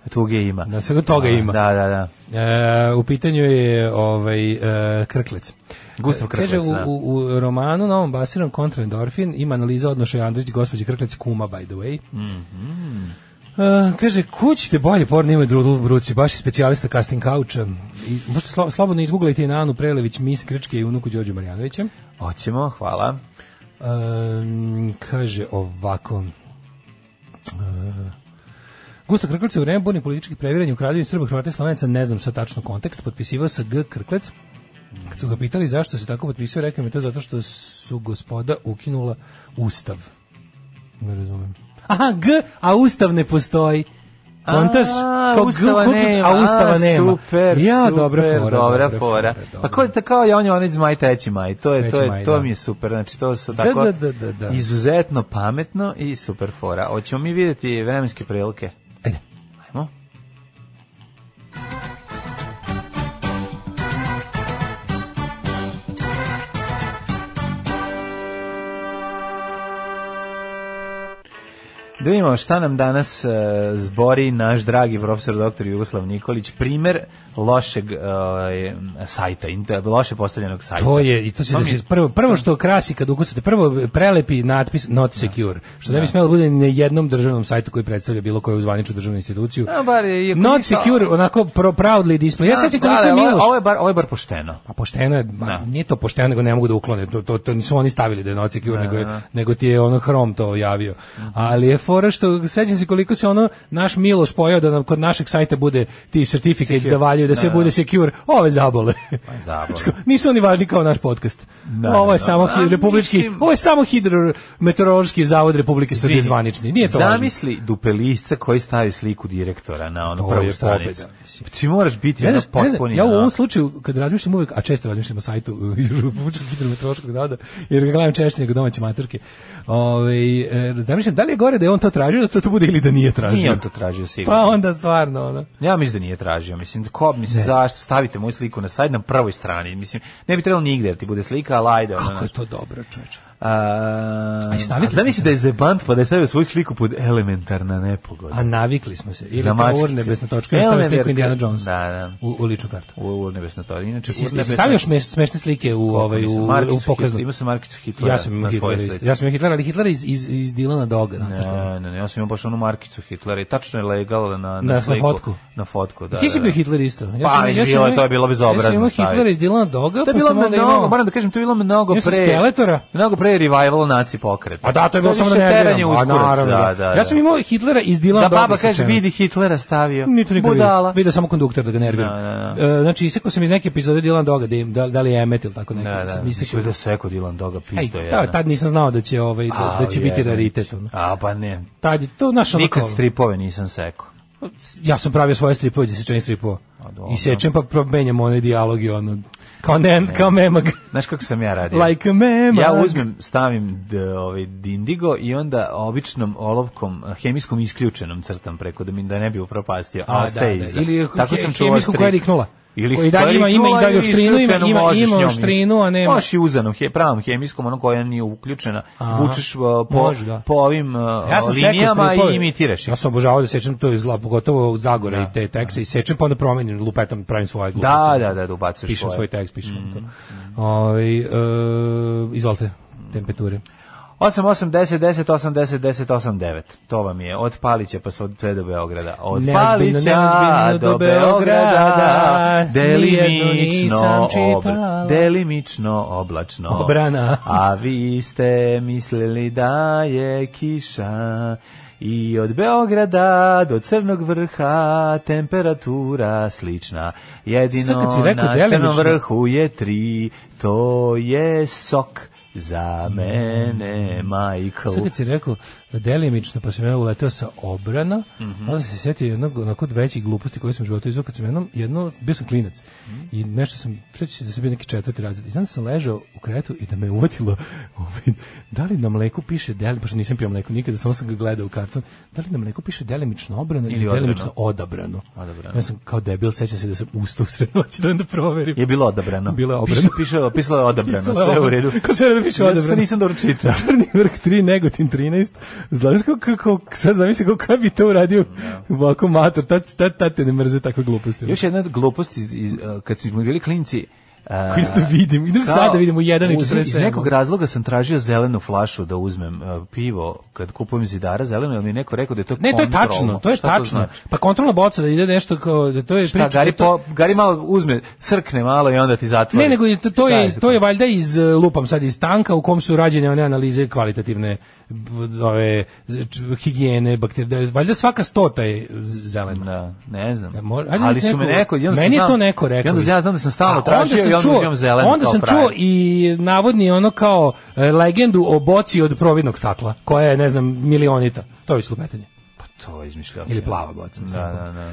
tuge ima.
Na svega toga
Da,
ima.
Da, da, da.
E, u pitanju je ovaj, e, Krklec.
Gustav Krklec,
Kaže, u,
da.
u, u romanu Novom basirom kontra endorfin ima analiza odnošaja Andrić gospođe Krklec kuma, by the way.
Mhm.
E, kaže, kućite bolje porno ima Rudolf Bruci, baš je specijalista casting kauča. I, možete slo, slobodno izgooglajte i na Anu Prelević, mis Krčke i unuku Đorđu Marjanovića.
Hoćemo, hvala.
Um, kaže ovako. Uh, Gusto Krklec je u vreme burnih političkih previranja u kraljevini Srba, Hrvata i Slovenaca, ne znam sad tačno kontekst, potpisivao sa G. Krklec. Kad su ga pitali zašto se tako potpisao, rekao mi je to zato što su gospoda ukinula ustav. Ne razumem. Aha, G, a ustav ne postoji. Kontaš?
A,
Kao G
ustava
Krklec,
nema.
a ustava
a,
nema.
Super,
ja,
super,
dobra fora.
dobra fora. Pa ko je to kao ja on je onaj zmaj treći maj. To je
Treći
to je
maj,
to
da.
mi je super. Znači to su tako
da, da, da, da.
izuzetno pametno i super fora. Hoćemo mi vidjeti vremenske prilike.
Ajde.
Ajmo. Da vidimo šta nam danas e, zbori naš dragi profesor doktor Jugoslav Nikolić, primer lošeg e, sajta, inter- loše postavljenog sajta.
To je i to se
To mi je-
desi. Prvo prvo što krasi kad ukucate, prvo prelepi natpis not secure, što ne bi smelo da bude ni na jednom državnom sajtu koji predstavlja bilo koju zvaničnu državnu instituciju.
A, bar je- iako
not
nisam-
secure, onako pro, proudly display. Ja sećam koliko
Da,
je
da, ovo,
Miloš.
ovo je bar, ovo je bar pošteno.
Pa pošteno je, ma,
Da.
nije to pošteno, nego ne mogu da uklone. To, to, to nisu oni stavili da je not secure, nego, je, nego ti je ono Hrom to javio. Ali je fora što, sećam se koliko se ono naš Miloš pojao da nam kod našeg sajta bude ti certificate da valjaju, da sve bude secure. Ove zabole.
Pa zabole.
Što, nisu oni važni kao naš podcast.
da,
ovo je
da.
samo
A,
hi- republički,
mislim-
ovo je samo hidrometeorološki zavod Republike Srbije
Izvini,
zvanični. Nije to važno.
Zamisli dupelisca koji stavi sliku direktora na
To
ono prvu
je
stranicu.
pobeda, mislim.
Ti moraš biti
Ne
ono
znaš, ne znam,
potpuni.
ja u
ono.
ovom slučaju, kad razmišljam uvek, a često razmišljam o sajtu uh, Republičkog hidrometeorološkog zavoda, jer ga gledam češće nego domaće maturke, ovaj, e, zamišljam da li je gore da je on to tražio, da to, to bude ili da nije tražio.
Nije on to tražio sigurno.
Pa onda stvarno, ono.
Ja mislim da nije tražio. Mislim, ko, mislim, zašto stavite moju sliku na sajt na prvoj strani? Mislim, ne bi trebalo nigde, jer ti bude slika, ali ajde. ono,
Kako je to dobro, čoveče.
A,
A i stavite
a zamisli
sliku.
da je zebant pa da je stavio svoju sliku pod elementarna nepogoda.
A navikli smo se.
Pa
Ili
Za E,
kao
mačice.
urnebesna točka, ili stavio sliku
Elementarka-
Indiana Jonesa
Da, da.
u, u ličnu kartu.
U urnebesno to. Inače,
Jesi- jesi
urnebesno-
Stavio smeš, smešne slike u, ovaj, u, u pokaznu.
Ima sam Markicu Hitlera.
Ja sam imao
na svojoj
Hitlera, isto.
slici. E,
ja sam imao Hitlera, ali Hitlera iz, iz, iz Dilana Doga. znate šta je.
Ne, ne, ne, ja sam imao baš onu markicu Hitlera i tačno je legal na, na,
Na- na
sliku.
fotku.
Na fotku, da.
Ti si
da,
bio
da.
Hitler isto.
Pa, već bilo je,
imao-
to je bilo bezobrazno
Ja sam imao
staviti.
Hitlera iz Dilana Doga,
To je
pa
bilo
sam onda
mnogo,
imao...
moram da kažem, to je bilo mnogo
Imao sam
pre...
Skeletora.
Mnogo pre je revival naci pokret.
A da, to je bilo samo da
više
ne
teranje
gledam. A
uskurac,
naravno,
da, da, da.
Ja sam imao Hitlera iz Dylan
da
Dobre
baba kaže
isečeno.
vidi Hitlera stavio.
Nije to nikad
Budala.
Vidio samo konduktor da ga nervira.
Da, da,
E, znači, isekao sam iz neke epizode Dylan Doga, da, im- da, da li je Emmet ili tako
Da,
neko.
da.
sam isekao.
Mislim da se eko Dylan Doga
Ej,
pisto je.
da, tad nisam znao da će, ovaj, da, da će biti raritet. ono.
A pa ne.
Tad je to naš
Nikad stripove nisam sekao.
ja sam pravio svoje stripove, gdje sečem stripova.
dobro.
I sečem pa promenjam one dijalog i ono, kao, nem, kao memag.
Znaš kako sam ja radio?
Like a memag.
Ja uzmem, stavim d, ovaj dindigo i onda običnom olovkom eh, hemijskom isključenom crtam preko da mi da ne bi upropastio. A,
A,
ostaje
da, da.
iza.
Ili
Tako sam čuvao
hemijsku koja je
strip.
riknula.
Ili
Koji dalje ima- ima i dalje oštrinu, ima- ima- ima oštrinu, a nema-
Možeš i uzanom, he, pravom hemijskom, ono koja nije uključena,
Aha.
vučeš eh, po,
Može, da.
po ovim eh,
Ja sam sekao
linijama
stripove.
i imitiraš ih.
Ja sam obožavao da sečem to iz la, pogotovo u Zagora i te tekste i sečem pa onda promenim, lupetam, pravim
Da,
svoje gluposti.
da, da, da ubacuješ
Pišem
svoje. Mm.
svoj tekst, pišem to. Ovaj, e, izvolite, temperature.
8, 8, 10, 10, 8, 10, 10, 8, 9. To vam je od Palića pa sve sve do Beograda. Od
Neozbiljno,
Palića
neozbiljno
do
do
Beograda,
Beograda, nijedno
delimično,
nisam
obla,
čitala.
delimično oblačno.
Obrana.
A vi ste mislili da je kiša. I od Beograda do Crnog vrha temperatura slična.
Sad
Jedino
kad si rekao
na Crnom
delimično-
vrhu je tri, to je sok za mene, Michael.
Sad kad si rekao delimično, pa sam ja uleteo sa obrana,
Mhm.
onda sam se sjetio jednog onako od većih gluposti koje sam u životu izvukao. Kad sam jednom, jedno, bio sam klinac
Mhm.
i nešto sam, preći se da sam bio neki četvrti razred. I znam da sam ležao u kretu i da me uvatilo, ovaj, da li na mleku piše delimično, pošto nisam pio mleko nikada, samo sam ga gledao u karton, da li na mleku piše delimično obrano ili,
odrano.
delimično odabrano.
Odabrano.
Ja sam kao debil, sećam se da sam ustao u sred noći da onda proverim.
Je bilo odabrano.
Bilo je
Piše,
obrano.
piše, pisalo je odabrano,
Pisalo
sve
je
u
obrano.
redu.
Ko sve da piše
Zato što
odabrano?
nisam dobro čitao.
Crni vrh 3, Negotin 13. Znaš kako, kako sad zamisli kako kad bi to uradio ovako mator, tad, tad, tad te ne mrze takve gluposti.
Još jedna glupost iz, iz, eh, kad smo bili klinci, eh,
Koji da vidim, idem sad da vidim u 1 i
uz-
47.
Iz nekog razloga sam tražio zelenu flašu da uzmem eh, pivo kad kupujem zidara zeleno, jer mi je neko rekao da je to
Ne, to je
kontrolno.
tačno, to je
Šta
tačno.
znači?
Pa kontrolna boca da ide nešto kao da to je
Šta, Gari, po, Gari malo uzme, srkne malo i onda ti zatvori.
Ne, nego je to, to
Šta
je to je
to?
valjda iz e, lupam sad iz tanka u kom su rađene one analize kvalitativne b- ove z- č- higijene bakterije. Valjda svaka stota je z- zelena.
Da, ne znam.
E, mora- ajde
ali
nek
su me
neko-
neko, i onda sam
meni je
znao-
to neko rekao.
i onda ja znam da sam stalno
A
tražio
sam
i onda
čuo-
uzimam zeleno
Onda
kao
sam
frajer.
čuo i navodni ono kao e, legendu o boci od providnog stakla, koja je, ne znam, milionita. To je već lupetanje.
Pa to je izmišljao.
Ili plava boca.
Da, da, da.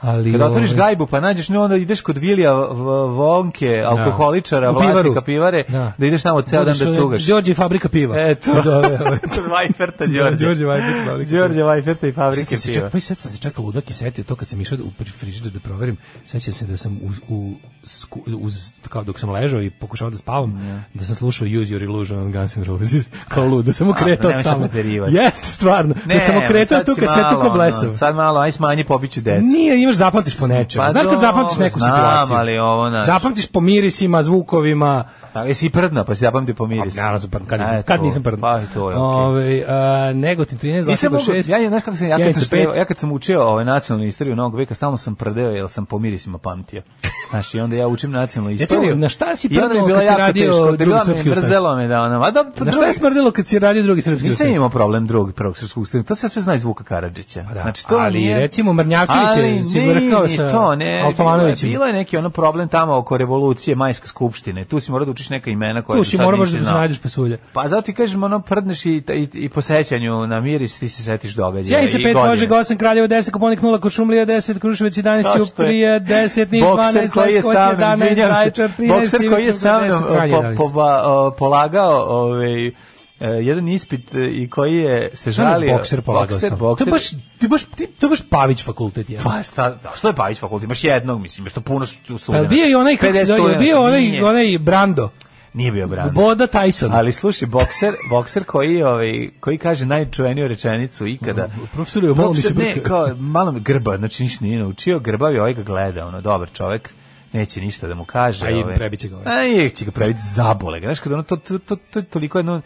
Ali,
Kada otvoriš
ovaj,
gajbu pa nađeš nju, onda ideš kod Vilija V- Vonke, alkoholičara,
u pivaru.
vlasnika pivare, da, ideš tamo ceo dan
Budeš,
da
e,
cugaš. E,
Đorđe fabrika piva.
Eto.
Se zove, ovaj.
Vajferta
Da, Đorđe Vajferta, fabrika piva.
Đorđe Vajferta i
Sad
fabrike
sam se
piva.
čak, pa i sad sam se čak ludak i setio to kad sam išao da- u pri- frižider da proverim, sećam se da sam uz, u, sku- uz, kao dok sam ležao i pokušao da spavam, da sam slušao Use Your Illusion on Guns N' Roses, kao lud, da sam okretao
nemoj sad
stalno.
preterivati.
Jeste, stvarno, da sam
ma,
okretao
sad
tu
si
kasetu
malo,
ko
ono,
blesav.
Sad malo, aj smanji pobiću decu.
Nije, imaš zapamtiš po nečemu.
Pa
Znaš kad
dobro,
zapamtiš neku
znam,
situaciju?
ali ovo, znaš.
Zapamtiš po mirisima, zvukovima,
A, jesi i prdno, pa si zapamti po
Pa,
mirisu.
Naravno sam prdan, kad nisam,
Eto,
kad nisam prdan.
Pa i to je okej.
Ovaj, a, Negotin 13,
Nisam
Zlatibor
mogu,
6,
ja, znaš kako sam, ja kad sam,
Sjenica pet.
števao, ja kad sam učio ovaj, nacionalnu istoriju novog veka, stalno sam prdeo jer sam po mirisima pamtio. Znaš, i onda ja učim nacionalnu
Recimo,
istoriju.
na šta si
I onda mi je
prdnuo
bilo
kad si
jako
radio
teško,
Drugi
bila me-
srpski ustanak?
Mrzelo me da ono, a da, pa
Na šta je
drugi-
smrdilo kad si radio drugi srpski
Nisam
ustanak?
imao problem drugog prvog srpskog ustanak, to se sve zna iz Vuka Karadžića.
Pa da,
Znači, to
ali
nije...
recimo Mrnjavčević je
Ali
si
nije
vrkao
ni
sa
to, ne,
Altomanovićem.
Bilo je neki ono problem tamo oko revolucije, majske skupštine. Tu si morao da učiš neka imena koja
Tu
do
si
sad
morao baš
nisi
da
znao.
nađeš pasulja.
Pa zato ti kažem, ono, prdneš i, i, i po sećanju na miris, ti se setiš događaja
Sjenica
i
5,
godine.
Požeg 8, Kraljevo 10, Koponik 0, Kočumlija 10, Kruševac 11,
To što je.
Ćuprija 10, Niš 12,
Bokser
Leskovac
koji je sa mnom,
11,
izvinjam se,
Zajčar 13,
bokser koji je sa mnom
10, Kralje
po-
11.
poba- o, polagao ovaj, e, jedan ispit e, i koji je se
Šta nam
žalio.
Bokser polagao
Bokser,
sam?
bokser.
To je baš, ti baš, ti, to je baš Pavić fakultet je.
Pa šta, da, što je Pavić fakultet? Imaš jednog, mislim, imaš to puno studenta.
Pa bio i onaj, kako se
50
zove, jel bio
studenata?
onaj,
Nije.
onaj Brando,
Nije bio Brando.
Boda Tyson.
Ali slušaj, bokser, bokser koji, ovaj, koji kaže najčuveniju rečenicu ikada.
Profesor je malo mi se
Profesor, ne,
brka.
kao, malo mi grba, znači ništa nije naučio, grbavi ovaj ga gleda, ono, dobar čovek, neće ništa da mu kaže.
A i
ovaj.
prebit će ga ovaj.
A i će ga prebiti zabole ga, znaš, kad ono, to, to, to, to je toliko jedno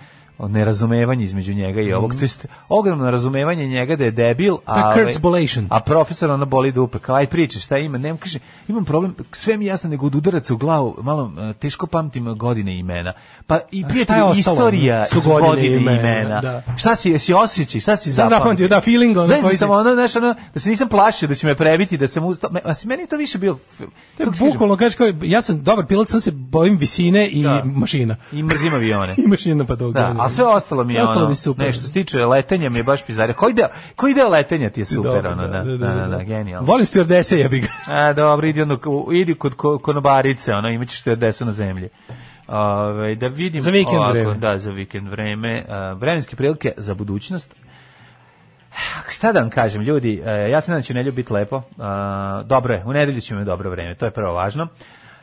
nerazumevanje između njega i ovog, to jest ogromno razumevanje njega da je debil,
To je
a,
Mhm.
ovaj-
Kurt's bolation.
a profesor ona boli dupe, kao aj priča, šta ima, nemam, kaže, imam problem, sve mi je jasno, nego od udaraca u glavu, malo e, teško pamtim godine i imena, pa i
je
prijatelj,
ostalo?
istorija su godine, i imena,
da.
šta si, jesi osjećaj, šta si
Sam
zapamtio,
zapamtio, da, feeling ono
Znaš da
koji
sam
ti-
ono, znaš, ono, da se nisam plašio da će me prebiti, da sam ustao, me- a si- meni je to više bio,
To je
kako ti kažem,
bukvalno, kažeš kao, ja sam dobar pilot, sam se bojim visine i
Da.
mašina.
i mrzim avione.
I mašina pa to
Da, a sve ostalo mi je
ostalo
ono,
mi je super.
ne, što se tiče letenja mi je baš pizdarija. Koji deo, koji deo letenja ti je super,
Dobro,
ono, da, da, da, da, genijalno.
Volim stewardese, ja bih ga.
A, dobro, idi, ono, u- idi kod ko- konobarice, ono, imat ćeš te desu na zemlji. Ove, da vidim
Za vikend
ovako,
vreme.
Da, za vikend vreme. A, vremenske prilike za budućnost. Šta da vam kažem, ljudi, e, ja se nadam da će u nedelju biti lepo. A, dobro je, u nedelju ćemo imati dobro vreme, to je prvo važno.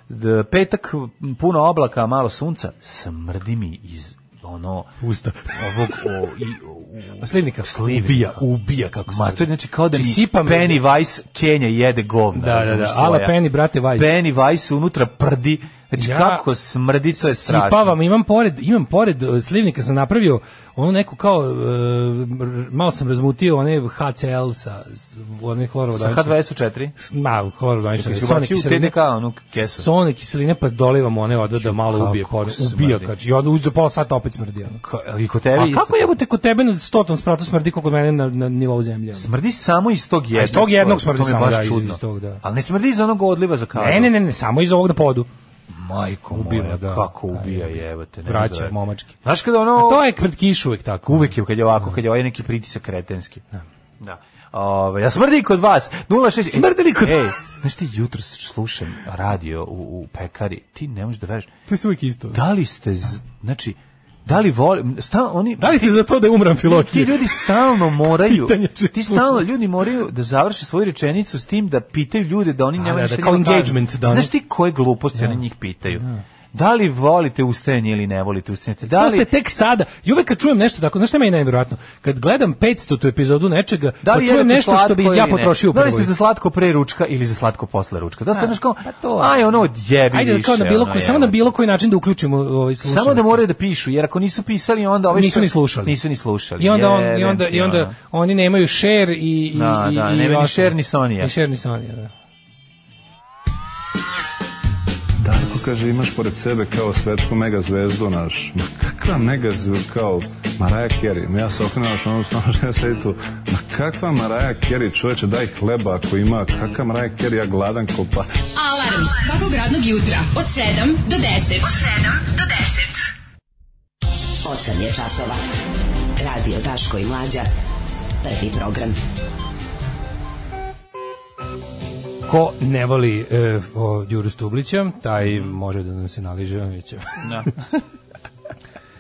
D- Petak, m, puno oblaka, malo sunca, smrdi mi iz ono
Usta.
ovog o, i, o,
Slivnika.
Slivnika.
Ubija, ubija kako
Ma,
smrdi.
to je znači kao da mi
Znači, sipa me-
Penny Weiss Kenja jede govna.
Da, da, da,
razumeš,
ala
svoja.
Penny, brate, Weiss.
Penny Weiss unutra prdi. Znači
Ja
kako smrdi, to je strašno.
Sipavam, imam pored, imam pored e, slivnika sam napravio ono neku kao e, r- malo sam razmutio one HCL sa s- onih
Sa
hlorovodaničnih.
H2SO4.
Ma, hlorovodanične.
Čekaj, si ubacio u TDK, onu kesu?
Sone kiseline, pa dolivam one odve da malo
kako
ubije. Kako
smrdi.
ubija, kači. I onda uz za pola sata opet smrdi. Ono.
Ka- ali kod tebe
A
isto.
kako jebote kod tebe na stotom spratu smrdi kako kod mene na, na nivou zemlje? ono?
Smrdi samo iz tog jednog.
iz tog jednog
To mi je
smrdi samo,
baš
da, iz-
čudno.
iz tog, da.
Ali ne smrdi iz onog odliva za kazu.
Ne, ne, ne, ne, samo iz ovog da podu.
Majko
Ubija,
moja,
da.
kako
Da,
ubija,
jebi.
jebote. ne
Vraća,
zove.
momački.
Znaš kada ono...
A to je pred kišu uvek tako.
Uvek je kad je ovako, kad je ovaj neki pritisak kretenski. Da. Ove, ja smrdi kod vas. 06
Smrdi li kod
Ej, znaš ti jutro slušam radio u, u pekari. Ti ne možeš da veruješ.
To je uvek isto. Da,
Da li ste z- znači da li voli sta, oni
li ste za to da umram
ti
Filokije?
ljudi stalno moraju
Pitanje će
ti stalno
slušati.
ljudi moraju da završe svoju rečenicu s tim da pitaju ljude da oni
da,
njemu
da,
ništa
kao
njima kažu.
engagement, da, ono.
znaš ti koje gluposti oni njih pitaju da li volite ustajanje ili ne volite ustajanje da
To
li
ste tek sada. I uvek kad čujem nešto tako, znaš šta je meni najvjerojatno? Kad gledam 500 tu epizodu nečega,
Da
pa
li
čujem
jedete
nešto što
slatko
bi
ili
ja
ne?
potrošio u
Da li ste
prvoj.
za slatko pre ručka ili za slatko posle ručka? Da ste znaš kao,
pa to.
aj ono odjebi
Ajde,
više.
kao na bilo
ono,
koji, samo na
jebote.
bilo koji način da uključimo ovaj slušalice.
Samo da moraju da pišu, jer ako nisu pisali, onda ovi
nisu
što-
ni slušali.
Nisu ni slušali.
I onda, on, i
Jebem
onda,
ti,
i
ono.
onda oni nemaju share i... i
Da,
i,
da, nemaju
i
ni
ostalo.
share, ni Sonija.
Ni share, ni Sonija, da.
Darko kaže imaš pored sebe kao svetsku mega zvezdu naš. Ma kakva mega zvezdu kao Maraja Kerry. Ma ja se okrenuo naš onom stanu što ja sedi tu. Ma kakva Maraja Kerry čoveče daj hleba ako ima. Kakva Maraja Kerry ja gladan ko pas.
Alarm svakog radnog jutra od 7 do 10. Od 7 do 10. 8 je časova. Radio Daško i Mlađa. Prvi program.
Ko ne voli e, o, Đuru Stublića, taj može da nam se naliže on već.
Da.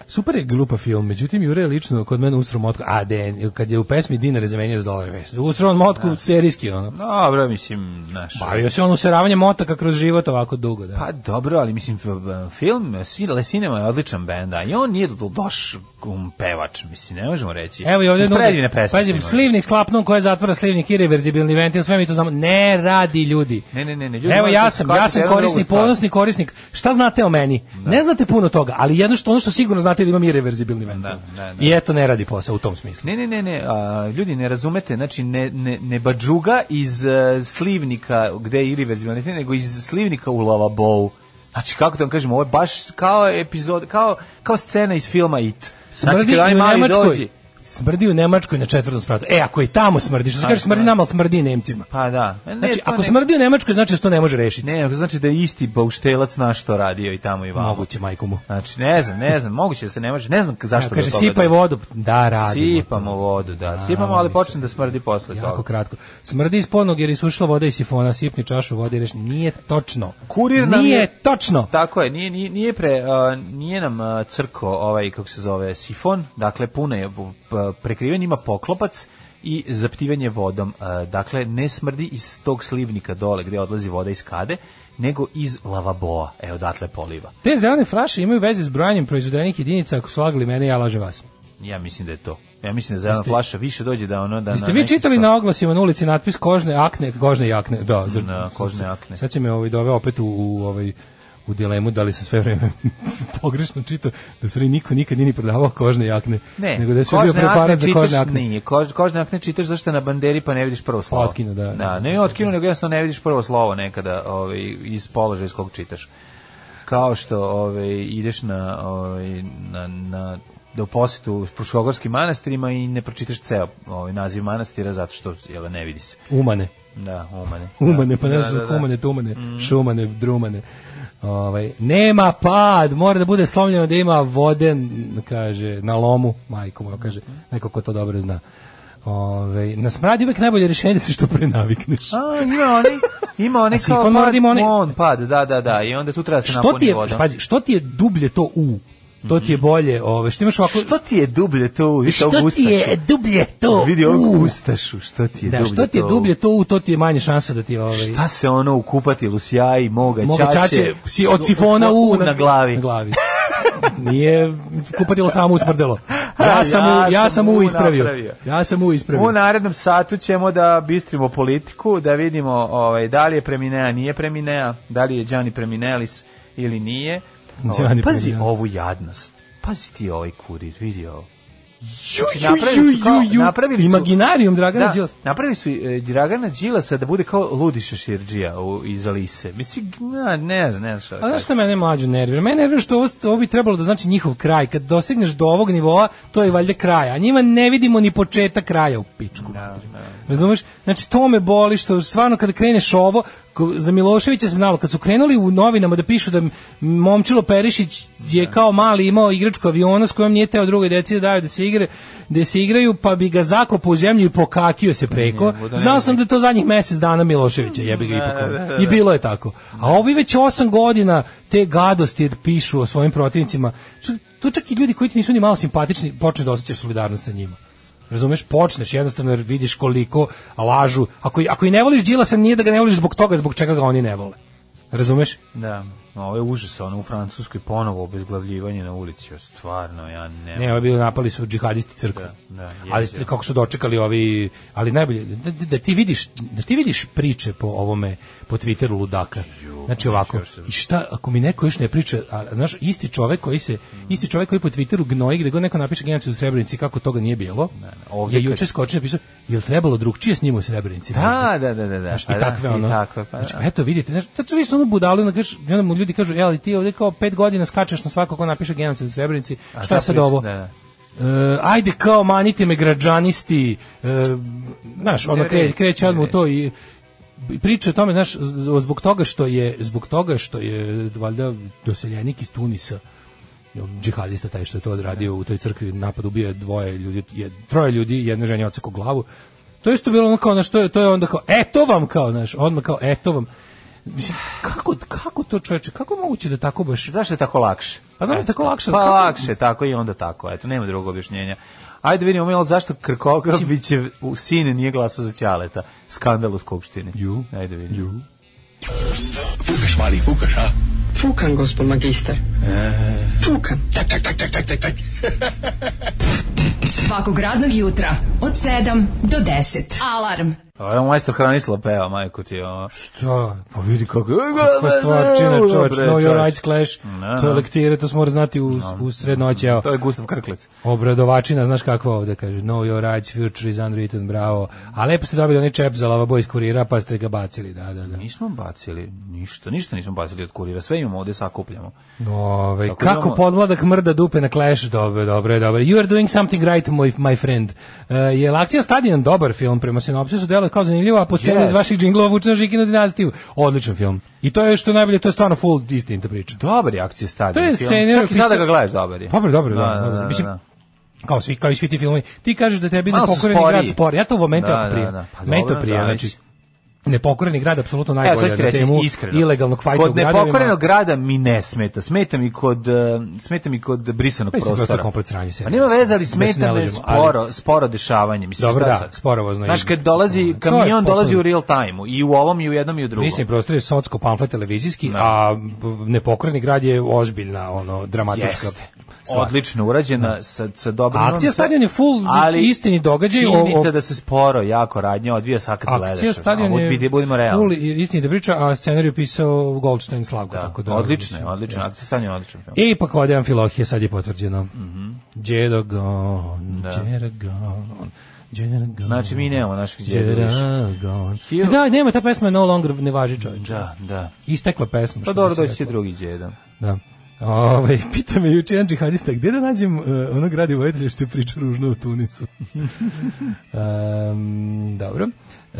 Super je glupa film, međutim Jure je lično kod mene usro motku, a de, kad je u pesmi dinare zamenio za dolare, već, usro on motku serijski, ono.
Dobro, mislim, znaš.
Bavio se on useravanje motaka kroz život ovako dugo, da.
Pa dobro, ali mislim f- b- film si- Le Cinema je odličan bend, a i on nije do- doš um, pevač, mislim, ne možemo reći.
Evo i ovdje
Mislim, Predivne
nude.
pesme.
Pazim,
snimao.
slivnik s klapnom koja zatvara slivnik i reverzibilni ventil, sve mi to znamo. Ne radi ljudi.
Ne, ne, ne, ne, ljudi
Evo
moraju
ja
da
sam,
shvatite
ja sam
jednu
korisni,
drugu stvar.
ponosni korisnik. Šta znate o meni? Ne znate puno toga, ali jedno što ono što sigurno znate je da imam i reverzibilni ventil.
Da, da, da.
I eto ne radi posao u tom smislu.
Ne, ne, ne, ne, a, ljudi ne razumete, znači ne, ne, ne bađuga iz e, slivnika, gde je irreverzibilni ventil, nego iz slivnika u lavabou. Znači, kako da vam kažem, ovo je baš kao epizod, kao, kao scena iz filma It. Znači,
Smrdi
kada onaj
i u
mali
Nemačkoj.
dođi,
Smrdi u Nemačkoj na četvrtom spratu. E, ako i tamo smrdi, što se kaže smrdi nama, ali smrdi i Nemcima.
pa da. E, Znači, Ne,
Znači,
to
ako
ne-
smrdi u Nemačkoj, znači da se to ne može rešiti.
Ne, pa- nego znači da je isti bauštelac naš što radio i tamo i vamo.
Moguće, majku mu.
Znači, ne znam, ne znam, moguće da se ne može, ne znam zašto
Kaže,
do toga
sipaj
dođe.
vodu. Da, radimo.
Sipamo vodu, da. Sipamo, ali počne da smrdi posle
Jako
toga.
kratko. Smrdi iz ponog jer isušla voda iz sifona, sipni čašu vode i reši. Nije točno.
Kurir nam
Nije
je-
točno.
Tako je, nije, nije, nije, pre, a, nije nam a, crko ovaj, kako se zove, sifon, dakle puno je bu- p- prekriven, ima poklopac i zaptivanje vodom. A, dakle, ne smrdi iz tog slivnika dole gde odlazi voda iz kade, nego iz lavaboa, evo odatle poliva.
Te zelene flaše imaju veze s brojanjem proizvedenih jedinica, ako su lagali mene, ja lažem vas.
Ja mislim da je to. Ja mislim da zelena flaša više dođe da ono... Da
Jeste
na
vi
neki
čitali
sto-
na oglasima na ulici natpis kožne akne, kožne jakne, da, zr-
Na kožne akne.
Sad će me ovaj doveo opet u, u ovaj u dilemu da li sam sve vreme pogrešno čitao da se niko nikad nije ni prodavao kožne jakne.
Ne,
nego da je sve bio preparat za kožne jakne.
Nije, kož, kožne akne čitaš zašto je na banderi pa ne vidiš prvo slovo.
Otkinu, da.
da ne otkinu, nego jednostavno ne vidiš prvo slovo nekada ovaj, iz položaja iz kog čitaš. Kao što ovaj, ideš na, ovaj, na, na do posetu u Pruškogorskim manastirima i ne pročitaš ceo ovaj, naziv manastira zato što jel, ne vidi se.
Umane.
Da, umane.
Umane, pa ne
Da,
znaš,
da, Mm. da.
kumane, tumane, šumane, drumane. Ovaj, nema pad, mora da bude slomljeno da ima vode, kaže, na lomu, majko moja, kaže, neko ko to dobro zna. Ovaj, na smradi uvek najbolje rješenje da se što pre navikneš.
A, ima onaj, ima onaj
A sifon
kao
mora
pad,
da ima onaj-
on pad, da, da, da, i onda tu treba da se
Što ti
napuni
je,
vodom.
pazi, što ti je dublje to u, to ti je bolje, ovaj, što imaš ovako...
Što ti je dublje to, vidi
Što
ovog
ti je
ustašu.
dublje to
Vidi
u?
ovog ustašu, što ti je
Da,
dublje
što ti je
to u?
dublje to u, to ti je manje šansa da ti ovaj
Šta se ono ukupati lusjaji, moga,
moga čače si od sifona u
na, glavi.
Na glavi. Nije kupatilo samo usmrdelo. Ja sam u, ja sam u ispravio.
napravio.
Ja sam u ispravio.
U narednom satu ćemo da bistrimo politiku, da vidimo ovaj, da li je Preminea, nije Preminea, da li je Gianni Preminelis ili nije. Ovaj,
Gianni
pazi
Preminelis.
ovu jadnost. Pazi ti ovaj kurir, vidi ovo. Znači,
Ju, ju,
napravili
ju,
su kao-
ju, ju.
napravili su-
Imaginarium Dragana
Da,
Đilas.
napravili su e, Dragana Đilasa da bude kao ludi šeširđija u, iz Alise. Misli, na, ne znam, ne znam šta. da
A
kažem.
znaš šta mene mlađu nervira? Mene nervira što ovo, ovo bi trebalo da znači njihov kraj. Kad dosegneš do ovog nivoa, to je valjda kraj. A njima ne vidimo ni početak kraja u pičku. Razumeš? Znači, to me boli što stvarno kada kreneš ovo, ko- za Miloševića se znalo, kad su krenuli u novinama da pišu da m- Momčilo Perišić je kao mali imao igračku aviona s kojom nije teo drugoj deci da daju da se igre, da se igraju, pa bi ga zakopao u zemlju i pokakio se preko.
Njemu da ne
Znao
bi-
sam da je to zadnjih mjesec dana Miloševića, jebi ga i
Da, da, da,
pokorio.
da.
I bilo je tako. A ovi već osam godina te gadosti pišu o svojim protivnicima. Čak- Tu čak i ljudi koji ti nisu ni malo simpatični počneš da osjećaš solidarnost sa njima. Razumeš, počneš jednostavno jer vidiš koliko lažu. Ako, i- ako i ne voliš Đilasa, nije da ga ne voliš zbog toga, zbog čega ga oni ne vole. Razumeš?
Da, ovo je užas, ono u Francuskoj ponovo obezglavljivanje na ulici, o, stvarno, ja ne...
Ne, ovo je bilo napali su džihadisti crkve.
Da, da,
ali
jezivo.
kako su dočekali ovi, ali najbolje da, da- da ti vidiš, da ti vidiš priče po ovome po Twitteru ludaka.
pa
Znači ovako, i šta ako mi neko još ne priča, a znaš isti čovjek koji se isti čovjek koji po Twitteru gnoji gdje god neko napiše genocid u Srebrenici kako toga nije bilo.
ovdje
je
kad-
juče skočio i napisao, jel trebalo drugčije s njim u Srebrenici?
Da, da, da, da, da.
Znaš,
Pa
i
da,
takve ono.
I takve, pa
znači,
da.
eto vidite, znači tačno vidiš ono budalu, onda kažeš, i onda mu ljudi kažu, e, ali ti ovdje kao pet godina skačeš na svako ko napiše genocid u Srebrenici,
A
šta sad
priča-
ovo?
Da, da.
E, ajde kao manite me građanisti, e, znaš, ono
Ne
kre,
vredi,
kreće
ne
odmah u
vredi.
to i i priča o tome, znaš, z- zbog toga što je, zbog toga što je valjda doseljenik iz Tunisa, džihadista taj što je to odradio u toj crkvi napad ubio je dvoje ljudi je, troje ljudi jedna žena odseko glavu to je isto bilo ono kao na što je to je onda kao eto vam kao naš odmah kao eto vam mislim kako kako to čoveče kako je moguće da tako baš
Zašto je tako lakše?
Pa znam,
Eto,
tako lakše,
Pa
kako-
lakše, tako i onda tako, eto, nema drugog objašnjenja. Ajde vidimo malo zašto Krkograbićev u sin nije glasao za Ćaleta. Skandal u Skupštini.
Ju.
Ajde vidimo. Ju.
Fukan, gospod magister. Fukan.
Svakog radnog jutra od 7 do 10. Alarm.
Ovo majstor Hranislav peva, majko ti, ovo.
to
Pa vidi kako...
Pa stvarčina čoveč, no your rights clash,
Ne,
to
ne.
je lektire, to se mora znati u, u srednoći, evo.
To je Gustav Krklec.
Obradovačina, znaš kakva ovde, kaže, no your rights, future is unwritten, bravo. A lepo ste dobili onaj čep za lavabo iz kurira, pa ste ga bacili, da, da, da.
Pa Nismo bacili ništa, ništa nismo bacili od kurira, sve imamo ovde, sakupljamo.
Ove,
Tako
kako
imamo.
podmladak mrda dupe na Clash, dobro, dobro, dobro. You are doing something right, my, my friend. Uh, je Lakcija Stadion dobar film, prema sinopsisu delo je kao zanimljivo, a po sceni
Yes.
iz vaših džinglova vučena Žikinu dinastiju. Odličan film. I to je što je najbolje, to je stvarno full istinita priča.
Dobar je akcija stadion.
To je
film.
scenario
Čak i sada
pisao-
ga gledaš, dobar je.
Dobro, dobro, da,
Da, da,
dobro.
da,
Mislim,
da.
kao svi kao i svi ti filmovi. Ti kažeš da tebi
Malo su
nepokoreni
sporiji.
grad spor. Ja to u momentu
Da,
jako
da,
prije.
da. Pa
Meni to
dobro,
prije,
zavisi.
znači nepokoreni grad apsolutno
Evo, sad
najbolje
ću ti
na
reći,
temu
iskreno.
ilegalnog fajta u
Kod
gradovima.
nepokorenog grada mi ne smeta. Smeta mi kod, eh, smeta mi kod brisanog
Pa Mislim,
prostora.
prosto je komplet sranje,
Pa nema veze, ali
mislim, da se ne
smeta me
lažemo, ali-
sporo, sporo dešavanje. Mislim,
Dobro,
šta
da,
sad?
sporovozno
Znaš,
i-
kad
To
dolazi,
je
kamion dolazi
potpuno-
u real time-u. I u ovom, i u jednom, i u drugom.
Mislim, prostor je socko pamflet televizijski, a b- nepokoreni grad je ozbiljna, ono, dramatička
Jeste.
stvar.
Odlično urađena sa sa dobrim.
A akcija
sa-
stadion je full istini događaj, o-
Činjenica
o-
da se sporo jako radnja odvija sad kad
Akcija
gledaš.
stadion
ono,
je
biti, budimo
Full
realni.
istini da priča, a scenariju pisao Goldstein Slavko.
Da,
tako da,
odlično, je,
mislim,
odlično,
jeste.
akcija stanje je odlično. film.
I pa kod Amfilohije, sad je potvrđeno. Mm -hmm. Jerogon,
Mhm. Da.
Jerogon, Jerogon.
Znači, mi nemamo naših djeda više.
Jerogon.
Hugh-
Da, nema, ta pesma je no longer ne važi čovječ.
Da, da.
Istekla pesma.
Pa
što
dobro,
bi se
doći će
reklo.
drugi djeda.
Da. Ove, pita me juče jedan džihadista, gdje da nađem uh, onog radi vojitelja što je priča ružno o Tunisu? um, dobro. E,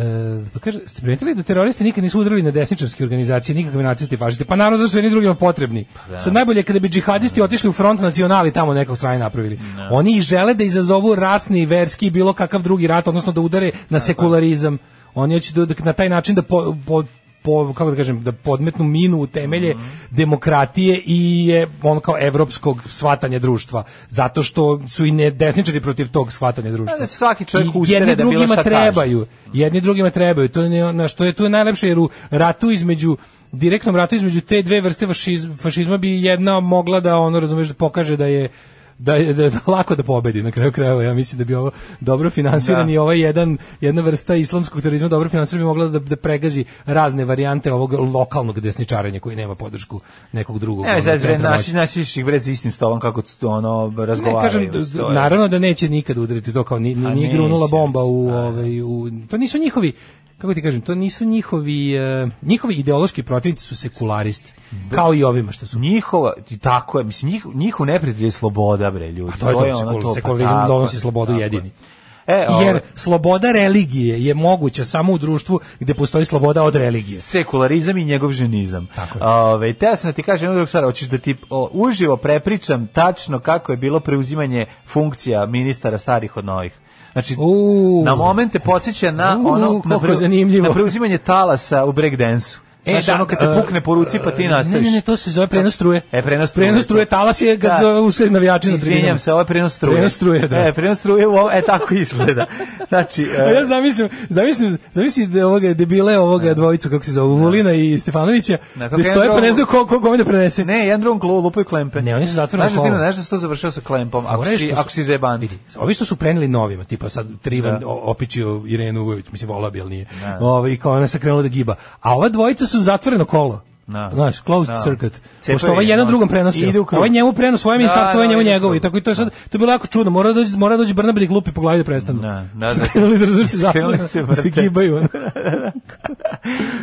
pa kaže, ste primetili da teroristi nikad nisu udarili na desničarske organizacije, nikakve nacisti i fašisti? Pa naravno, zašto su jedni drugima potrebni? Sad najbolje je kada bi džihadisti otišli u front nacionali tamo nekog strane napravili. Oni i žele da izazovu rasni, verski i bilo kakav drugi rat, odnosno da udare na sekularizam. Oni hoće da, da na taj način da po, po, po, kako da kažem, da podmetnu minu u temelje demokratije i je on kao evropskog shvatanja društva. Zato što su i ne desničari protiv tog shvatanja društva.
Pa da svaki čovjek
I
usere
jedni
da bilo
drugima
šta kaže.
trebaju. Jedni drugima trebaju. To je ne- ono, na što je tu je najlepše jer u ratu između direktnom ratu između te dve vrste fašiz- fašizma bi jedna mogla da ono razumeš da pokaže da je da je, da je lako da pobedi na kraju krajeva ja mislim da bi ovo dobro finansiran
Da.
i ovaj jedan jedna vrsta islamskog terorizma dobro finansiran bi mogla da, da pregazi razne varijante ovog lokalnog desničarenja koji nema podršku nekog drugog
Ne,
ono,
znači, bre,
centra moći.
naći, naći ćeš ih bre za istim stolom kako tu ono
Ne,
razgovaraju.
kažem, d-
stoje.
naravno da neće nikad udariti to kao ni, ni,
A
nije grunula
neće.
bomba u, ovaj, u, to nisu njihovi kako ti kažem, to nisu njihovi eh, njihovi ideološki protivnici su sekularisti, kao i ovima što su
Pa Njihova, i tako je, mislim, njih, njihov neprijatelj je sloboda, bre, ljudi.
A to je to, sekul-
pa
sekularizam
tako
donosi
je,
slobodu
tako je.
jedini.
E,
Jer
Jer,
sloboda religije je moguća samo u društvu gdje postoji sloboda od religije.
sekularizam i njegov ženizam.
Tako je.
Ove, teo sam da ti kažem jednu drugu stvar, hoćeš da ti o, uživo prepričam tačno kako je bilo preuzimanje funkcija ministara starih od novih. Znači,
Uuu.
na momente podsjeća na
Uuu,
ono na,
koliko zanimljivo.
na preuzimanje talasa u breakdansu. E, znači, ono kad te
e,
pukne po ruci pa ti
e,
nastaviš.
Ne, ne, ne, to se zove prenos struje.
E, prenos struje.
struje, talas je kad
Da.
zove usred navijači na tribinama.
Izvinjam se, ovo je prenos struje.
Prenos struje, da.
E, prenos struje, u ovo- e, tako izgleda. Znači,
A
e,
ja zamislim, zamislim, zamislim da ovoga debile, ovoga dvojicu, kako se zove, Vulina i Stefanovića,
Da, E. kako
da stoje
jedan
pa ne znaju
drugog-
ko, ko gome da prenese.
ne, jedan drugom klu, lupaju klempe.
Ne, oni su zatvorena
Znaš da ti
škola.
Znaš da se to završio sa klempom, ako
Fora je
si,
što su-
ako si zajeban.
Vidi, ovi što su preneli novima, tipa sad Trivan
Da.
o- opičio Irenu Ugović, mislim vola bi, ali nije. Ovaj, I kao ona se krenula da giba. A ova dvojica su zatvoreno kolo.
Da.
Znaš, closed
Da.
circuit.
Cepaju
Pošto ovaj
je,
jedan
no,
drugom prenosi.
ide u krug.
Ovaj njemu prenosi svoje
Da,
ministarstvo, ovaj
da,
njemu
ide u
njegovo. I
krug.
tako i to je sad, to je bilo jako čudno. Mora doći, mora doći Brnabić glupi po glavi da prestanu.
Da, da, da.
Su krenuli da razvrši
Krenuli
zatvoreno,
se
da se
vrte.
gibaju. ono.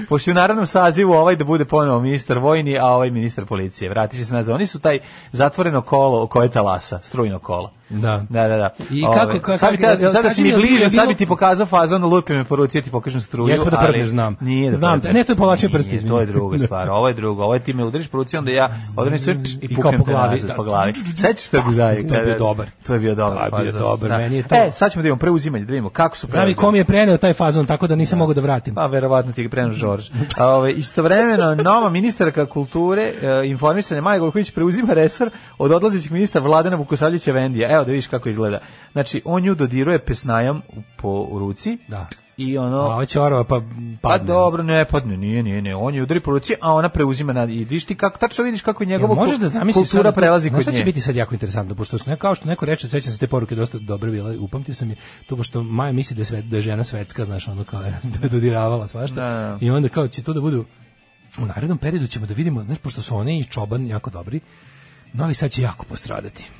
Pošto je u narednom sazivu ovaj da bude ponovo ministar vojni, a ovaj ministar policije. Vrati se nazad. Oni su taj zatvoreno kolo koje je talasa, strujno kolo.
Da.
Da, da, da.
I
Ove,
kako- kako-
sad, bi te-
jel-
sad da
kaži
si
mi,
mi
jel bilo-
bliže, sad bi
bilo-
ti pokazao fazon, lupi me po ruci, ja ti pokažem struju.
Jesmo da
ali
prdneš, znam.
Nije da
Znam,
prdneš.
ne, to je povlačenje prsta,
Nije,
izvini.
To je druga stvar, ovo je drugo. Ovo je ti me udariš po ruci, onda ja odem sve č-
I
i
kao
puknem
po
te
glavi,
nazad
da.
po glavi. Sećaš se da bi zajedno.
To je bio dobar.
To je bio
To je
dobar.
bio
fazon.
dobar,
Da.
meni je to-
E, sad ćemo da imamo preuzimanje, da vidimo kako su
Znam i
preuzimanje.
kom je preneo taj fazon, tako da nisam mogao da vratim.
Pa verovatno ti ga prenu Žorž. A, Ove, istovremeno, nova ministarka kulture, e, informisane Maja Gojković preuzima resor od odlazećih ministra Vladana Vukosavljeća Vendija. Evo da vidiš kako izgleda. Znači, on nju dodiruje pesnajom u- po u ruci
Da.
i ono...
A ova čorova pa
Pa
padne.
dobro, ne padne, nije, nije, ne. On je udari po ruci, a ona preuzima na i vidiš ti kako tačno vidiš kako je
Jel
njegova
možeš
kul-
da zamisliš
kultura
sad-
prelazi
Znaš
kod
šta
nje.
će biti sad jako interesantno, pošto su ne, kao što neko reče, sećam se te poruke dosta dobro bila, upamtio sam je, to pošto Maja misli da je, sve, da je žena svetska, znaš, ono kao je, da je dodiravala svašta,
Da.
i onda kao će to da budu, u narednom periodu ćemo da vidimo, znaš, pošto su oni i Čoban jako dobri, Novi Sad će jako postradati.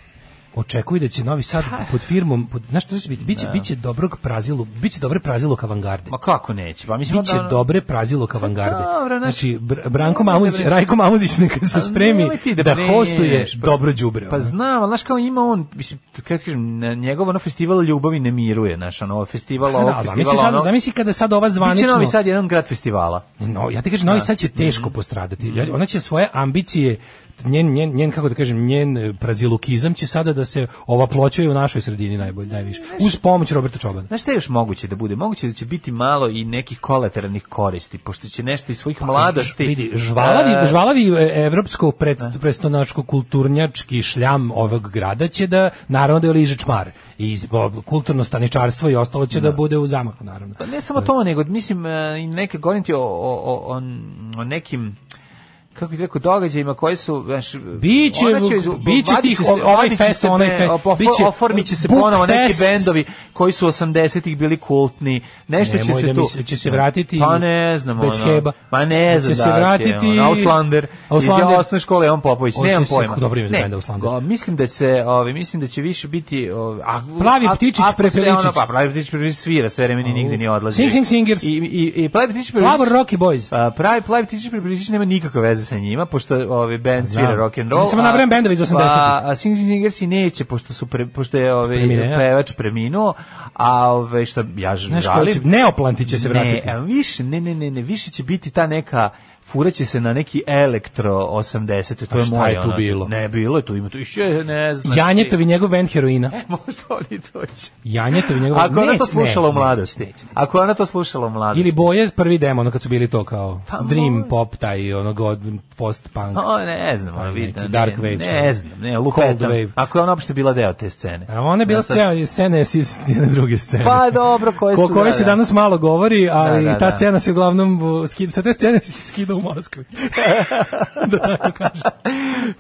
Očekuj da će Novi
Pa-
Sad pod firmom, pod, znaš što će biti, biće, biće dobrog prazilu, biće dobre prazilu avangarde.
Ma kako neće? Pa mislim
Biće
onda ono-
dobre prazilo kavangarde.
Pa dobro, znaš-
znači, Br- Branko Mamuzić, Rajko Mamuzić neka se
Ali
spremi
Pa nemoj ti
da,
da brineš,
hostuje
pa-
dobro đubre.
Pa
ono.
znam, ali znaš kao ima on, mislim, kako ti kažem, na- njegov ono festival ljubavi ne miruje, znaš, ono, festival
Da,
ovog, ono-
ali
festival
zamisli, sad,
onog.
zamisli kada sad ova
Biće
zvanično...
Novi Sad Mhm. jedan grad festivala.
No, ja ti kažem, Novi Sad će teško postradati. Ja- Ona će svoje ambicije, njen, njen, njen, kako da kažem, njen e, prazilukizam će sada da se ova pločuje u našoj sredini najbolje, najviše. Uz pomoć Roberta Čobana.
Znaš šta je još moguće da bude? Moguće da će biti malo i nekih kolateralnih koristi, pošto će nešto iz svojih mladosti...
Pa, Vidi, žvalavi,
e,
žvalavi e, evropsko predstonačko kulturnjački šljam ovog grada će da, naravno da je liže čmar. I iz- o, kulturno staničarstvo i ostalo će da bude u zamahu, naravno.
Pa ne samo to, nego mislim e, i neke govoriti o, o, o, o- o nekim kako bih rekao, događajima koji su... Znaš,
Biće,
ona će- vadiće
biće tih
se-
ovaj
vadiće
fest,
se
onaj
be-
fest,
ofo-
biće
Oformit će se
book
ponovo neki
fest.
bendovi koji su 80-ih bili kultni, nešto će
Nemoj
se
da
tu...
mislim, će se vratiti
Pa ne znam,
bez
ono.
heba.
Ma ne
Hoće
znam
se
da
vratiti-
će, ono, Auslander, iz
Auslander.
osnovne škole, on Popović,
Hoće
nemam
se-
pojma.
dobro ime za
Ne,
benda Auslander.
go- mislim da će, ovi, mislim da će više biti... Ovi, a,
Plavi
a-
ptičić,
ako se
prepeličić.
ono- Pa, plavi ptičić, prepeličić svira, sve vreme ni nigde ni odlazi.
Sing, sing, singers.
I, i, i plavi ptičić,
Flavor
prepeličić-
Rocky Boys.
a, pravi Plavi Ptičić Pripiličić nema nikakve veze sa njima, pošto ovaj band svira
Znam.
rock and roll.
Ja samo
a-
nabrajam bendove iz 80-ih.
Pa, a Sing Sing Singersi neće, pošto, su pre, pošto je ovaj,
Preminuo, ja.
pevač preminuo, a ovaj, što ja žalim...
Znaš ko će, neoplanti će se vratiti.
Ne, e, a više, ne, ne, ne, ne, više će biti ta neka furaće se na neki elektro 80 to
A
je
šta
moje
je tu
ono,
bilo?
ne bilo je tu ima tu je, ne znam
Janjetovi njegov band heroina.
možda oni doći
Janjetovi njegov
E, ako je ona
Neć,
to
ne,
slušala u
ne,
mladosti
neće, neće.
ako je ona to slušala u mladosti
Ili Boje prvi demo, ono kad su bili to kao
Pa
dream
moj.
pop, taj ono god post punk.
O, ne znam,
Pa
ono,
neki
vidim,
dark
ne,
wave,
ne
šta?
znam, ne, lupetam.
Cold wave.
Ako je ona uopšte bila deo te scene.
A ona je bila
Ja sad-
scena, scena je s jedne druge scene.
Pa dobro, koje su...
Koliko ove se danas malo govori, ali
Da, da,
ta
da.
scena se uglavnom uh, skida, sa te scene se skida u Moskvi. da tako kažem.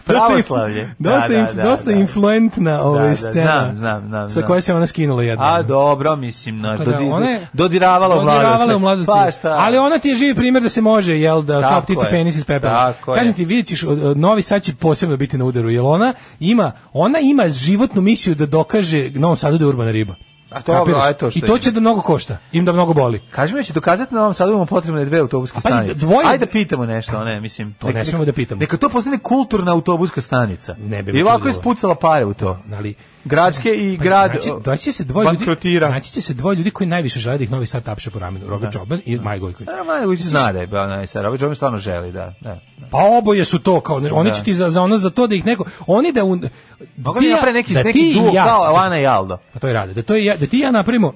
Pravoslavlje.
Dosta,
Da,
im,
da, da,
dosta
da.
influentna ova
da,
scena.
znam, znam, znam,
Sa
znam.
koje se ona skinula jednom.
A dobro, mislim, na,
Tako Pa da,
dodi,
ona je-
dodiravala u mladosti.
Dodiravala u mladosti.
Pa šta?
Ali ona ti je živi primjer da se može, jel, da
Tako
kao ptica
je.
penis iz pepela.
Tako je.
Kažem ti, vidjet ćeš, od- od Novi Sad će posebno biti na udaru, jer ona ima, ona ima životnu misiju da dokaže Novom Sadu da je urbana riba.
A dobro,
Kapiraš?
a eto što
I to
ima.
će da mnogo košta, im da mnogo boli.
Kaži mi, hoće dokazati na ovom sadu imamo potrebne dve autobuske
A pazi,
stanice.
dvoje-
Ajde da pitamo nešto, ne, mislim.
To ne smemo da pitamo.
Neka to postane kulturna autobuska stanica.
Ne bi me
I ovako je
čudilo.
spucala pare u to.
Ali,
Gradske i
Pa,
grad
znači,
o,
doći će se dvoje ljudi, Znači,
bankrotira.
naći će se dvoje ljudi koji najviše žele da ih Novi Sad tapše po ramenu, Roga Čoban i Maj Gojković.
Da, Maja zna da je bila najsara. Ovaj čovjek stvarno želi, da. da.
Pa oboje su to kao, znaš, oni
Da.
će ti za, za ono za to da ih neko, oni da un,
Mogu
ti
mi
ja-
napraviti neki,
da ti
neki
i
duo
ja-
kao Alana i Aldo.
Pa to je rade. Da, to je, ja- da ti i ja napravimo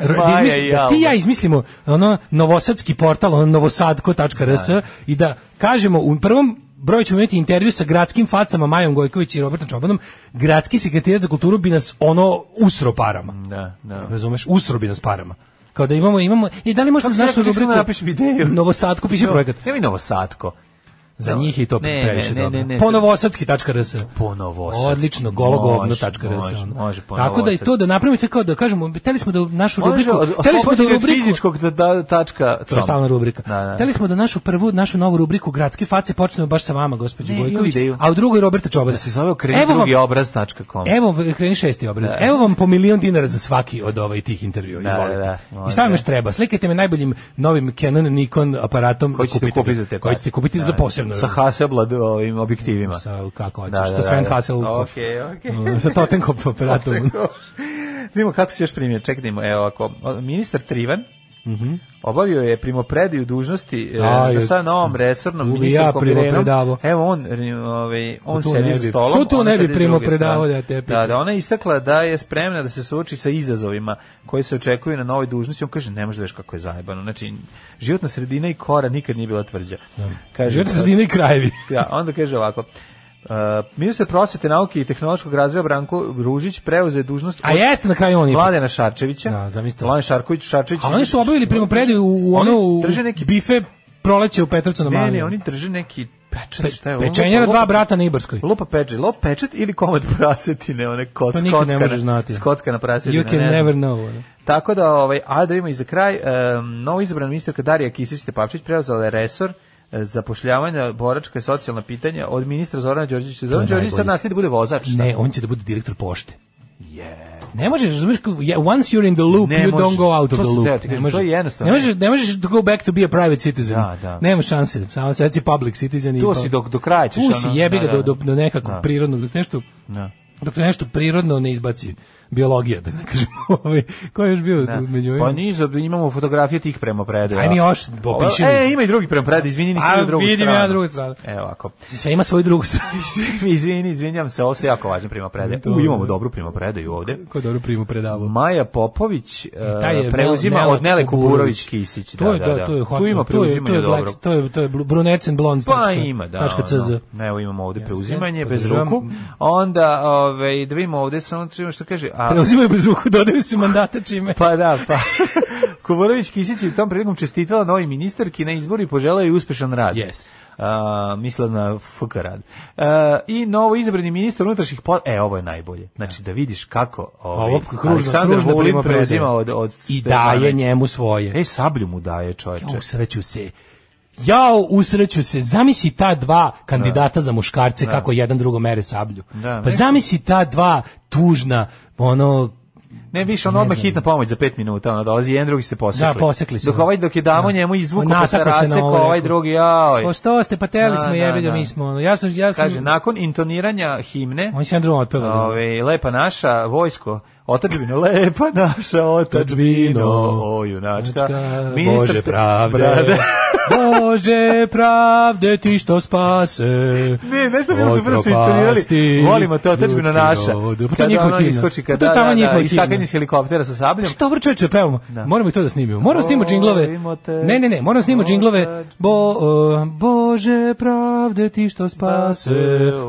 r-
Maja
da, izmisli-
i
da ti i ja
Aldo.
izmislimo ono novosadski portal ono novosadko.rs i da kažemo u prvom broju ćemo imati intervju sa gradskim facama Majom Gojković i Robertom Čobanom gradski sekretarijat za kulturu bi nas ono usro parama
Da, da.
razumeš usro bi nas parama kao da imamo imamo i da li možete
Kako
znaš
se
što
rekao,
rubriku
samo napišem ideju.
novosadku piše
No,
projekat
Ne mi Novosatko.
za
No,
njih je to
ne, ne,
previše
ne,
dobro.
ne, ne.
Ponovosadski.rs.
Ponovosadski.
Odlično,
Može,
gologovno.rs.
može, može,
ono. Tako da i to da napravimo to kao da kažemo, hteli smo da u našu rubriku,
Može,
hteli smo da u
oslobođeni od
rubriku
fizičkog da, da, tačka.
to je stalna rubrika.
Da, da.
Hteli smo da našu prvu, našu novu rubriku Gradski face počnemo baš sa vama, gospođo
Ne,
Gojković,
imam ideju.
a u drugoj Roberta Čobana.
Da se zove okreni drugi obraz.com.
Evo, kreni šesti obraz. Evo vam po milion dinara za svaki od ovaj tih intervjua.
Da,
Izvolite.
da, da.
I šta vam još treba? Slikajte me najboljim novim Canon Nikon aparatom.
Koji
i
ćete
kupite
kupiti
ga.
za te pare.
Koji ćete kupiti za
Da.
posebno.
Sa Hasselblad ovim objektivima.
Sa, kako hoćeš,
Da, da,
sa Sven
da, da.
Hasselhoff.
Okej, okej.
Mm, sa Totenkopf aparatom.
Vidimo kako se još primio. Čekaj da imamo, evo ako ministar Trivan
Mhm.
Obavio je primopredaju dužnosti e,
Aj,
da sa novom resornom
tu bi
ministrom
ja primopredavao.
Evo on, e, ovaj, on
tu
sedi
ne
za
bi-
stolom.
ko tu
ona
ne bi
sedi s druge
primopredavao,
strane.
da te pitam?
Da, da, ona je istakla da je spremna da se suoči sa izazovima koji se očekuju na novoj dužnosti. On kaže, ne možeš da veš kako je zajebano. Znači, životna sredina i kora nikad nije bila tvrđa. Kaže,
Živjeti sa dine i krajevi.
da, onda kaže ovako. Uh, ministar prosvete, nauke i tehnološkog razvoja Branko Ružić preuzeo je dužnost
A jeste na kraju oni.
Mladena Šarčevića.
Da, zamislite.
Mladen Šarković, Šarčević.
A oni su obavili primopredaju u
Oni
ono u
drže neki-
bife proleće u Petrovcu na
Ne,
Mali.
ne, oni drže neki pečat,
Pe,
šta je ovo?
pečenjara
Lupa-
dva brata na Ibarskoj.
Lupa pečat, lupa pečat ili komad prasetine, one kod,
To nikad ne
skocka,
možeš znati.
skocka na prasetine.
You can
ne znam.
never know. ono.
Tako da, ovaj, a da ima i za kraj, um, novo izabrana ministarka Darija Kisić-Tepavčić preuzela je resor e, zapošljavanja, boračka i socijalna pitanja od ministra Zorana Đorđevića. Zoran Đorđević sad
najbolje.
nastavi da bude vozač. šta?
Ne, on će da bude direktor pošte. Ne može, razumeš, kao, yeah, once you're in the loop,
Ne
you
može.
don't go out
To
of the
sam teo
loop.
ti
Ne
kažem,
može.
to je jednostavno.
Ne može, ne možeš to go back to be a private citizen.
Da, da.
Nema šanse, samo sad si public citizen. i
Tu
to.
si do, do kraja ćeš.
Tu si
ono,
jebi
da,
ga
da,
do, do, do nekakvog
Da.
prirodnog, dok nešto,
Da.
dok nešto prirodno ne izbaci biologija, da ne kažem, ovaj, ko je još bio
Da.
tu među ovima?
Pa niz, imamo fotografije tih prema predaja.
Aj mi još, popiši mi.
E, ima i drugi prema predaja, izvini, nisam
A,
vidio drugu
vidim
stranu.
ja drugu stranu.
Evo ovako.
Sve ima svoju drugu stranu.
izvini, izvinjam se, ovo se jako važno prema predaja.
To
U,
je.
imamo dobru prema predaju ovde.
Ko je dobro primu predavao.
Maja Popović
taj
e,
je
preuzima
Mel- Mel-
od Nele Kuburović
Kuburović.
Kisić.
To je,
da, da,
to je,
tu ima
to
preuzimanje
je,
dobro.
black- to je, to je blu- brunecen blond. znači,
Pa ima, da.
Tačka CZ.
Ono. Evo imamo ovde preuzimanje bez
podržavam.
ruku. Onda, ovaj, da vidimo ovde samo treba što kaže. A,
Preuzimaju bez ruku, dodaju se mandata čime.
Pa da, pa. Kuburović Kisić je tom prilikom čestitala novi ministarki na izboru i poželao je uspešan rad.
Yes.
a, mislila na FK rad. E, I novo izabrani ministar unutrašnjih po... E, ovo je najbolje. Znači, da vidiš kako ovaj,
Ovo kružno-
Aleksandar
kružno
Vulin
volima
preuzima
predaje.
od, od
I
Stefanovića.
daje njemu svoje.
E, sablju mu daje, čovječe.
Jao, sreću se. Jao, usreću se. Zamisli ta dva kandidata za muškarce kako jedan drugom mere sablju.
Da,
pa
ne.
zamisli ta dva tužna, ono,
Ne, više on odmah hitna pomoć za 5 minuta, ona dolazi, jedan drugi se posekli.
Da, posekli se.
Dok ovaj dok je damo
Da.
njemu izvuku
Nasako
pa
se
se
na
raseko,
ovo,
ovaj
rekao.
drugi, joj.
po što ste, pa teli
Da,
smo
da,
jebi ga,
da.
mi smo, ono, ja sam, ja sam,
Kaže, nakon intoniranja himne,
on se jedan drugom otpeva. da.
Ove, lepa naša vojsko, otadžbino, lepa naša otadžbino, o junačka, ministar
Bože
ste-
pravde,
Brada.
Bože pravde ti što spase.
Ne, ne znam bilo
od
su brzo
propasti
intonirali, volimo te otadžbino
ljudski
naša.
rod. Pa to je
Kada
njihova
ono
himna.
iskoči,
Pa to
kada,
je
da,
tamo
da,
njihova
da,
himna. Pa
istakanje s helikoptera sa sabljom,
Što vrče čoveče, pevamo. Moramo i to da snimimo. Moramo snimimo džinglove.
Volimo te.
Ne, ne, ne, moramo snimimo džinglove. Bo, uh, Bože pravde ti što spase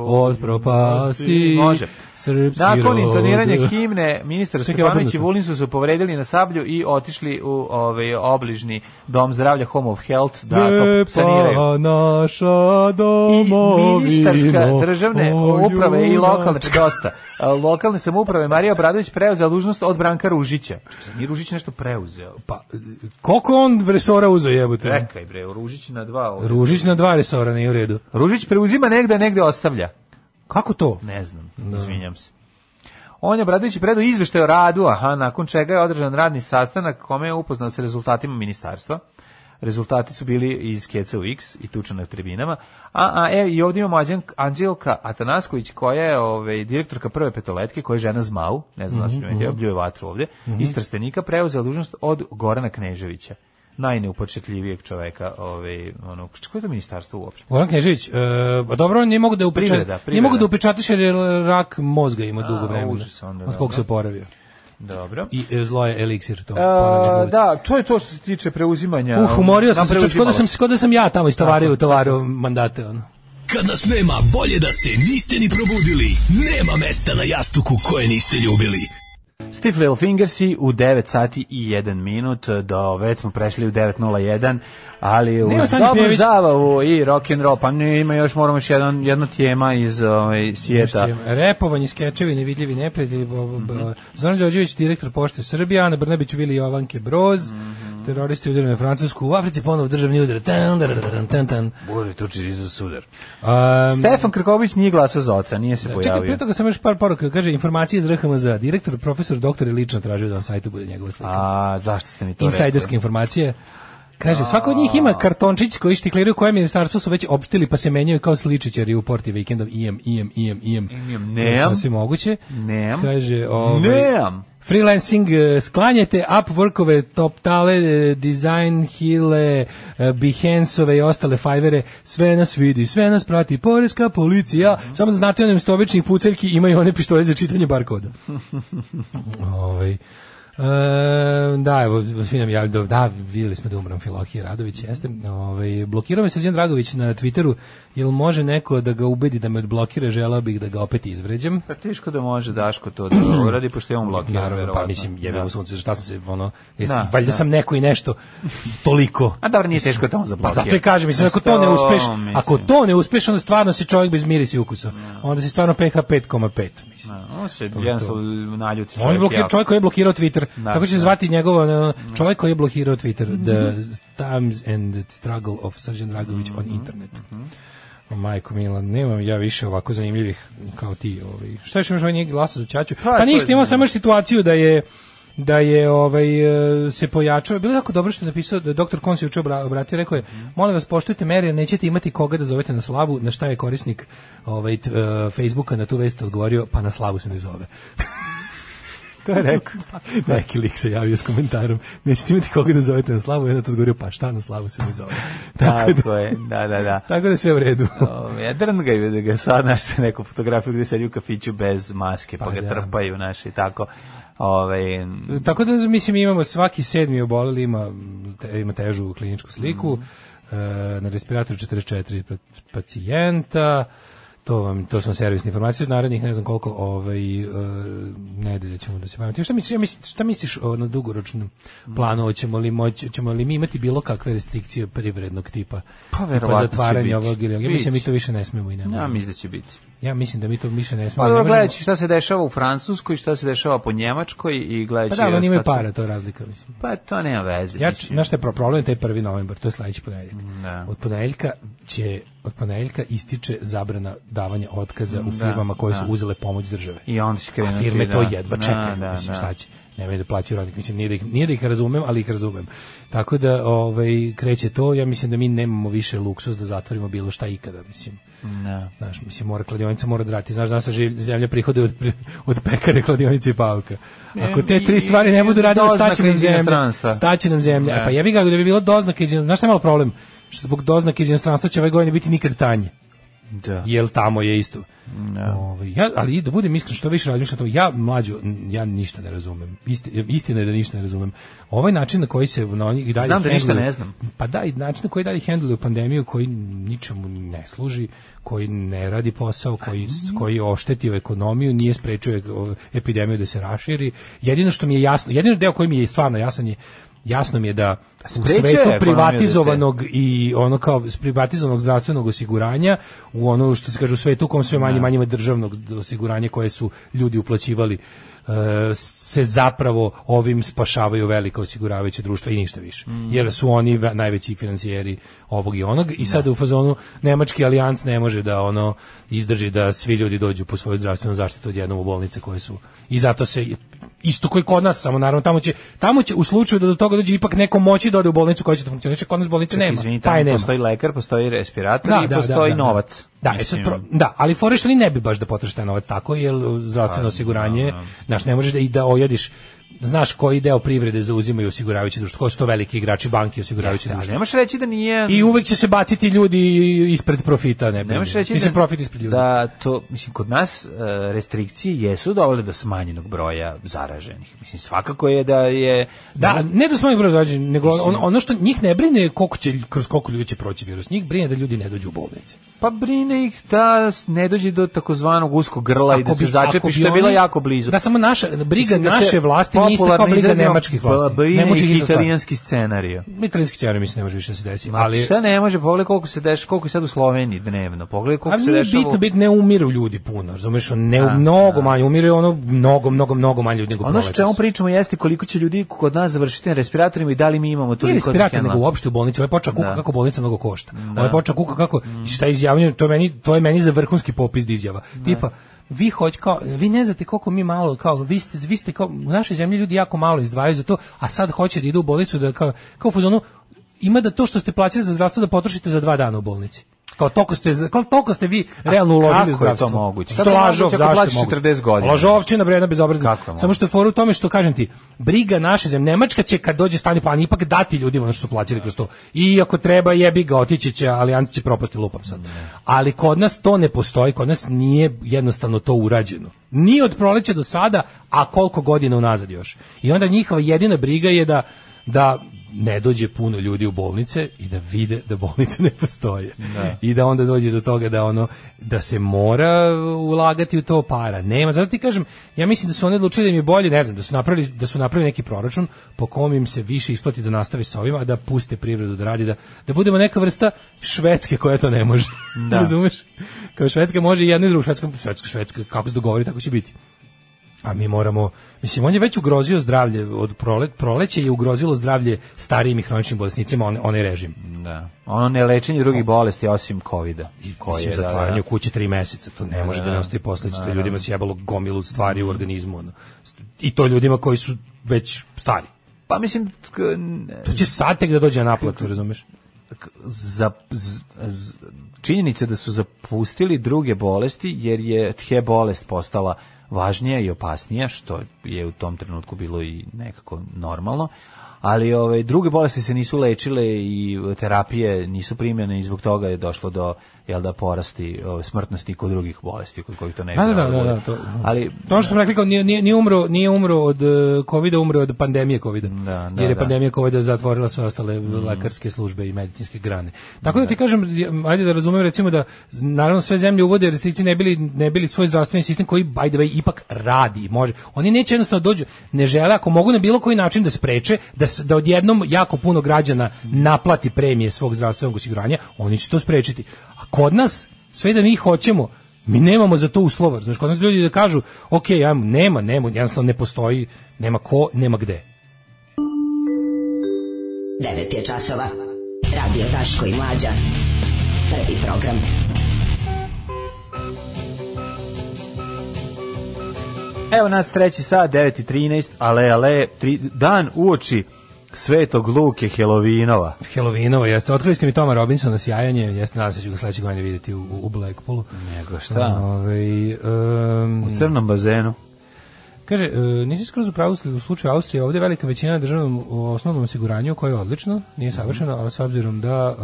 od propasti.
Može.
Srpski
Nakon
rod.
intoniranja himne, ministar
Čekaj,
Stefanović i
obrnuto.
Vulin su se povredili na sablju i otišli u ovaj obližni dom zdravlja Home of Health da to
Lepa
saniraju.
naša
I
domovina.
ministarska državne
o,
uprave i
junak.
lokalne, dosta, A, lokalne samouprave Marija Obradović preuzela dužnost od Branka Ružića. Čekaj, Nije Ružić nešto preuzeo.
Pa, koliko on resora uzo jebote?
Rekaj bre, Ružić na dva. ovdje.
Ružić na dva resora, nije u redu.
Ružić preuzima negde, a negde ostavlja.
Kako to?
Ne znam, izvinjam se. On je Obradović predao izveštaj o radu, aha, nakon čega je održan radni sastanak kome je upoznao sa rezultatima ministarstva. Rezultati su bili iz Keca u X i tuča na tribinama. A, a evo, i ovdje imamo Anđel- Anđelka Atanasković koja je ovaj, direktorka prve petoletke, koja je žena Zmau, ne znam da se primetio, bljuje vatru ovdje, iz Trstenika preuzela dužnost od Gorana Kneževića najneupočetljivijeg čoveka ovaj, onog, koje je to ministarstvo uopšte?
Goran Knežević, e, pa dobro, on nije mogu da upečatiš,
Privreda, privreda.
nije mogu da upečatiš jer je rak mozga ima dugo vremena.
užas onda,
Od kog
dobro.
se oporavio.
Dobro.
I e, zlo je eliksir to.
A,
ponavljam uvek.
da, to je to što se tiče preuzimanja.
Uh, umorio sam se, čak
Napreuzimalo
škoda sam,
se.
škoda sam ja tamo istovario u tovaru mandate. Ono.
Kad nas nema, bolje da se niste ni probudili. Nema mesta na jastuku koje niste ljubili.
Stiff Little Fingersi u 9 sati i 1 minut, do već smo prešli u 9.01, ali uz
Nema Sanje
dobru
Pjević.
zabavu i rock and roll, pa ne, ima još, moramo još jedan, jedno tema iz ovaj, svijeta.
Repovanje, skečevi, nevidljivi neprijatelji. bo- bo- bo- Zoran Đorđević, direktor pošte Srbija, Ana Brnabić, Vili Jovanke Broz, teroristi udarili na Francusku, u Africi ponovo državni udar. Tan, dar, dar, tan, tan.
Bude tuči za sudar.
Um,
Stefan Krković nije glasao za oca, nije se
Čekaj,
pojavio.
prije toga sam još par poruka. Kaže, informacije iz RHMZ. Direktor, profesor, doktor je lično tražio da na sajtu bude njegova slika.
A, zašto ste mi to
Insajderske
rekli?
informacije. Kaže, svako od njih ima kartončić koji štikliraju koje ministarstvo su već opštili pa se menjaju kao sličićari u porti vikendom. IM, IM, IM, IM.
Imam,
To je
Nemam,
Sasvim moguće.
nemam,
Kaže, ovaj,
nemam.
Freelancing eh, sklanjajte, Upworkove, Toptale, eh, Design Hile, eh, Behanceove i ostale fajvere, sve nas vidi, sve nas prati poreska policija, samo da znate onim sto običnih puceljki imaju one pištolje za čitanje barkoda. ovaj. E, da, evo, svi nam javljaju, da, da, vidjeli smo da je umran Filohije Radović, jeste. Ovaj, blokirao me Srđan Dragović na Twitteru, jel može neko da ga ubedi da me odblokira, želao bih da ga opet izvređam.
Pa teško da može Daško to da uradi, pošto je on blokiran.
Naravno, pa
verovatno.
mislim,
Da.
jebemo sunce, šta sam se, ono, jes,
Da,
valjda
da.
sam neko i nešto toliko.
A dobro, nije teško da on
Pa
zablokira.
zato i kažem, mislim, ako to ne
Što,
uspeš,
mislim.
ako to ne uspeš, onda stvarno si čovjek bez mirisa i ukusa. Onda si stvarno PH 5,5. mislim.
Da, On se jednostavno naljuti
On je
čovjek.
blokirao,
jako.
čovjek koji je blokirao Twitter.
Da,
Kako će
da. Mm.
se
Mhm.
zvati njegov ono, čovjek koji je blokirao Twitter? The Times and the Struggle of Srđan Dragović on
Mhm,
internet. O, Majko Milan, nemam ja više ovako zanimljivih kao ti. Ovaj. Šta još imaš ovaj nije glasa za Ćaću?
Pa,
Pa
to
ništa,
je-
imao sam još situaciju da je da je ovaj e, se pojačao. Bilo je jako dobro što je napisao da je doktor Kon se juče obra- obratio, rekao je:
Mhm.
"Molim vas poštujte mere, jer nećete imati koga da zovete na slavu." Na šta je korisnik ovaj t- e, Facebooka na tu vest odgovorio: "Pa na slavu se ne zove."
To je rekao.
Neki lik se javio s komentarom, nećete imati koga da zovete na slavu, jedan je odgovorio, pa šta na slavu se ne zove. tako, da,
Tako je, da, da, da.
tako da je sve u redu.
Ove, Ja drngaju da ga sad našte neku fotografiju gde sedi u kafiću bez maske, pa,
Pa
ga
da.
trpaju naši i tako. Ovaj, Ove,
tako da, mislim, imamo svaki sedmi oboleli, ima, te, ima težu
Mhm.
kliničku sliku, e, na respiratoru 44 pa- pacijenta, To vam to su vam servisne informacije od narednih ne znam koliko ovaj e, nedelja ćemo da se bavimo. tim. Šta misliš, ja mislim- šta misliš o na dugoročnom
Mhm.
planu hoćemo li moći ćemo li mi imati bilo kakve restrikcije privrednog tipa? Tipa
Pa, verovatno će biti.
zatvaranje ovog ili onog. Ja mislim da mi
Biće.
to više ne smemo i ne
Ja
možemo.
mislim da će biti.
Ja mislim da mi to više Pa ne
Pa
smemo.
dobro,
Ne možemo-
gledajući šta se dešava u Francuskoj, šta se dešava po Njemačkoj i
Pa
gledajući...
da, ali oni imaju
ostatak-
para, to je razlika, mislim.
Pa to nema veze.
Ja,
mislim.
znaš šta je pro- problem, taj 1. novembar, to je sledeći ponedeljak.
Da.
Od ponedeljka će, od ponedeljka ističe zabrana davanja otkaza
Da,
u firmama koje su
da.
uzele pomoć države.
I onda će
A
krenuti,
firme
da.
to jedva
Da,
čekaju,
da,
mislim
da.
šta će. Nemaju da plaćaju radnik, mislim nije da ih, nije da ih razumem, ali ih razumem. Tako da ovaj, kreće to, ja mislim da mi nemamo više luksuz da zatvorimo bilo šta ikada, mislim.
Da.
Znaš, mislim, mora kladionica mora da radi. Znaš, danas se živ- zemlja prihode od, pri- od pekare, kladionice i pauka. Ako te tri stvari ne budu radile,
Doznaka
staće nam
iz
zemlja.
inostranstva.
Staće nam zemlja.
Da.
E, Pa jebi ga, da bi bilo doznaka iz inostranstva. Znaš šta je malo problem? Što zbog doznaka iz inostranstva će ove godine biti nikad tanje.
Da. Mm.
Jel tamo je isto.
Da.
Ovaj, ja, ali da budem iskren, što više razmišljam to, ja mlađu, n- ja ništa ne razumem. Isti, istina je da ništa ne razumem. Ovaj način na koji se na oni i dalje
Znam da ništa
handluju-
ne znam.
Pa da, i način na koji dalje handluju pandemiju koji ničemu ne služi, koji ne radi posao, koji, koji je oštetio ekonomiju, nije sprečio ek- o- epidemiju da se raširi. Jedino što mi je jasno, jedino deo koji mi je stvarno jasan je jasno mi je da u
Sprečio je
svetu
ekonomiju da se-
privatizovanog i ono kao privatizovanog zdravstvenog osiguranja u ono što se kaže u svetu u kom sve manje i manje ima državnog osiguranja koje su ljudi uplaćivali e, se zapravo ovim spašavaju velika osiguravajuća društva i ništa više. Jer su oni ve- najveći financijeri ovog i onog i sad u fazonu nemački alijans ne može da ono izdrži da svi ljudi dođu po svoju zdravstvenu zaštitu odjednom u bolnice koje su i zato se isto koji kod nas, samo naravno tamo će tamo će u slučaju da do toga dođe ipak neko moći da ode u bolnicu koja će da funkcioniše, kod nas bolnice nema.
Izvinite,
pa je nema.
postoji lekar, postoji respirator i postoji novac.
Da, e sad
Mislim,
pro- da, ali fore što ni ne bi baš da potrošiš taj novac tako, jer uh,
Pa,
zdravstveno osiguranje, znaš, ne možeš da i da ojediš, znaš koji deo privrede zauzimaju osiguravajući društvo, ko su to veliki igrači, banki, osiguravajući
ali
društvo.
ne možeš reći da nije...
I uvek će se baciti ljudi ispred profita, ne,
Ne možeš reći
Mislim,
da,
profit ispred ljudi.
da to, mislim, kod nas e, restrikcije jesu dovele do smanjenog broja zaraženih. Mislim, svakako je da je...
Da, ne da smo ih brzo zarađeni, nego on, ono što njih ne brine je koliko će, kroz koliko ljudi će proći virus. Njih brine da ljudi ne dođu u bolnice.
Pa brine ih da s- ne dođe do takozvanog uskog grla i da
Ako
se
bi- ako
začepi,
bi
što je bila
oni-
jako blizu.
Da samo naša briga
Mislim da se
naše vlasti nije ista kao
popularno
briga
izrazimo,
nemačkih vlasti.
ba- brine
Ne može
ih
ih
italijanski scenarijo.
Italijanski scenarij mislim ne može više da se desiti.
Ali
Ali
šta ne može, pogledaj koliko se deš, koliko je sad u Sloveniji dnevno. Pogledaj
A
koliko se
nije
dešava.
bitno,
u-
bitno ne umiru ljudi puno, razumeš, ne,
Da,
mnogo manje, umiru ono mnogo, mnogo, mnogo manje ljudi nego
Ono što
proletos.
čemu pričamo jeste koliko će ljudi kod nas završiti na respiratorima i da li mi imamo
Nije
toliko
respirator, nego
zahena.
uopšte u bolnici. Ovo je počeo kuka
Da. Mm.
kako bolnica mnogo košta. Ovo je počeo kuka kako, i šta izjavljuje, to je meni, to je meni za vrhunski popis da izjava. Tipa, vi hoć kao vi ne znate koliko mi malo kao vi ste vi ste kao u našoj zemlji ljudi jako malo izdvajaju za to a sad hoće da idu u bolnicu da kao kao u fazonu ima da to što ste plaćali za zdravstvo da potrošite za dva dana u bolnici kao toliko ste za- kao toliko ste vi realno
kako
uložili
je
u zdravstvo
to moguće?
Što
Kako je
lažov
moguće ako
zašto
plaćaš
je moguće?
40 godina?
lažovčina bre jedna bezobrazna
Kako je moguće?
samo što je fora u tome što kažem ti, briga naše zemlje, Nemačka će kad dođe stani plan ipak dati ljudima ono što su plaćali kroz to. I ako treba jebi ga, otići će, ali Ante će propasti lupam sad. Ali kod nas to ne postoji, kod nas nije jednostavno to urađeno. Ni od proleća do sada, a koliko godina unazad još. I onda njihova jedina briga je da, da ne dođe puno ljudi u bolnice i da vide da bolnice ne postoje. I da onda dođe do toga da ono da se mora ulagati u to para. Nema, zato ti kažem, ja mislim da su oni odlučili da im je bolje, ne znam, da su napravili da su napravili neki proračun po kom im se više isplati da nastave s ovima, a da puste privredu da radi da da budemo neka vrsta švedske koja to ne može.
Da.
Razumeš? Kao švedska može i jedno i drugo, švedska, švedska, švedska, kako se dogovori, tako će biti. A mi moramo, mislim, on je već ugrozio zdravlje od prole, proleće je ugrozilo zdravlje starijim i hroničnim bolesnicima, on, onaj režim.
Da. Ono ne lečenje drugih bolesti osim kovida.
Koje je
da, da.
zatvaranje u kući tri meseca, to ne može da ne ostaje posledice, da ljudima se jebalo gomilu stvari u organizmu. ono. I to ljudima koji su već stari.
Pa mislim, k- n-
To će sad tek da dođe na naplatu, razumeš?
k- za, z, z- činjenica da su zapustili druge bolesti jer je the bolest postala važnija i opasnija što je u tom trenutku bilo i nekako normalno ali ovaj, ove druge bolesti se nisu lečile i terapije nisu primjene i zbog toga je došlo do jel da porasti ovaj, smrtnosti kod drugih bolesti kod kojih to ne bi
Da, da,
trebalo
da, da,
bude.
to.
ali
To ono što sam rekli kao nije, nije, nije umro, nije umro od e, covida, umro je od pandemije covida.
da,
jer je
da. Mhm.
pandemija covida zatvorila sve ostale lekarske službe i medicinske grane. Tako da, ti kažem, ajde da razumem recimo da z- naravno sve zemlje uvode restrikcije ne bili ne bili svoj zdravstveni sistem koji by the way ipak radi, može. Oni neće jednostavno dođu, ne žele ako mogu na bilo koji način da spreče da s- da odjednom jako puno građana naplati premije svog zdravstvenog osiguranja, oni će to sprečiti. A kod nas sve da mi hoćemo mi nemamo za to uslova. Znači, kod nas ljudi da kažu, ok, ajmo, nema, nema, jednostavno ne postoji, nema ko, nema gde.
9 je časova. Radio Daško i Mlađa. Prvi program.
Evo nas treći sat, 9.13, ale, ale, tri, dan uoči Svetog Luke Helovinova.
Helovinova, jeste, otkrili ste mi Toma Robinsona sjajanje, jeste, nadam se da ću ga sledećeg godine vidjeti u, u Blackpoolu.
Nego šta?
Ovaj, em,
U crnom bazenu.
Kaže, e, nisi skroz u pravu u slučaju Austrije, ovdje je velika većina na državnom u osnovnom osiguranju koje je odlično,
Mhm.
nije savršeno, ali s obzirom da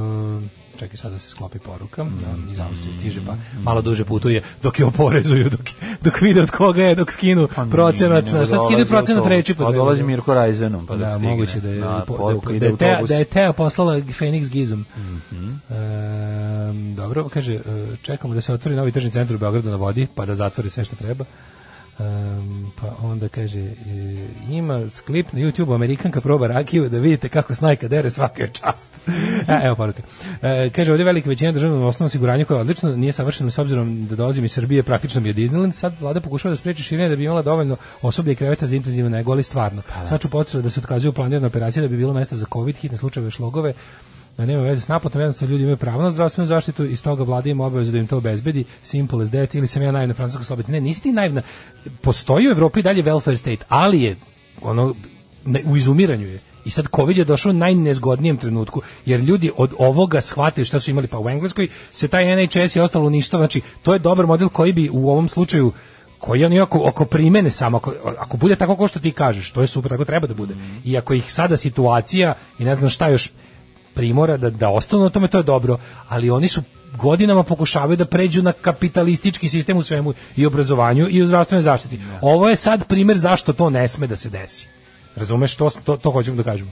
e, čekaj sad da se sklopi poruka,
Mhm.
da iz Austrije stiže pa malo duže putuje dok je oporezuju, dok, dok vide od koga je, dok skinu
Pa
procenat,
Nego
znaš, sad
dolazi
skinu procenat
autobus.
reči.
Pa dolazi Mirko Rajzenom, pa dok
da,
stigne.
moguće da je,
Na,
po-
poruka
da,
ide
da, je Teja-
autobus. Mhm.
da je Teja poslala Phoenix Gizom. Em, dobro, kaže, e, čekamo da se otvori novi tržni centar u Beogradu na vodi, pa da zatvori sve što treba. Em, pa onda kaže, e, ima klip na YouTube Amerikanka proba rakiju da vidite kako snajka dere svaka je čast. E, evo poruka. E, kaže, ovdje je velika većina državnog osnovnog osiguranja koja je odlično, nije savršeno s obzirom da dolazim iz Srbije, praktično mi je Disneyland. Sad vlada pokušava da spreči širenje da bi imala dovoljno osoblje i kreveta za intenzivno nego, ali stvarno. Sad ću potrebu da se otkazuju planirane operacije da bi bilo mesta za COVID, hitne slučajeve, šlogove, da nema veze s naplatom, jednostavno ljudi imaju pravo na zdravstvenu zaštitu i stoga vlada ima obavezu da im to obezbedi, simple as that, ili sam ja naivna francuska slobica. Ne, nisi ti naivna. Postoji u Evropi i dalje welfare state, ali je ono, ne- u izumiranju je. I sad COVID je došao u najnezgodnijem trenutku, jer ljudi od ovoga shvatili šta su imali, pa u Engleskoj se taj NHS je ostalo ništa, znači to je dobar model koji bi u ovom slučaju koji oni ako, ako primene samo, ako, ako bude tako ko što ti kažeš, to je super, tako treba da bude. I ako ih sada situacija i ne znam šta još primora da, da ostanu na tome, to je dobro, ali oni su godinama pokušavaju da pređu na kapitalistički sistem u svemu i obrazovanju i u zdravstvenoj zaštiti. Ovo je sad primjer zašto to ne sme da se desi. Razumeš, to, to, to hoćemo da kažemo.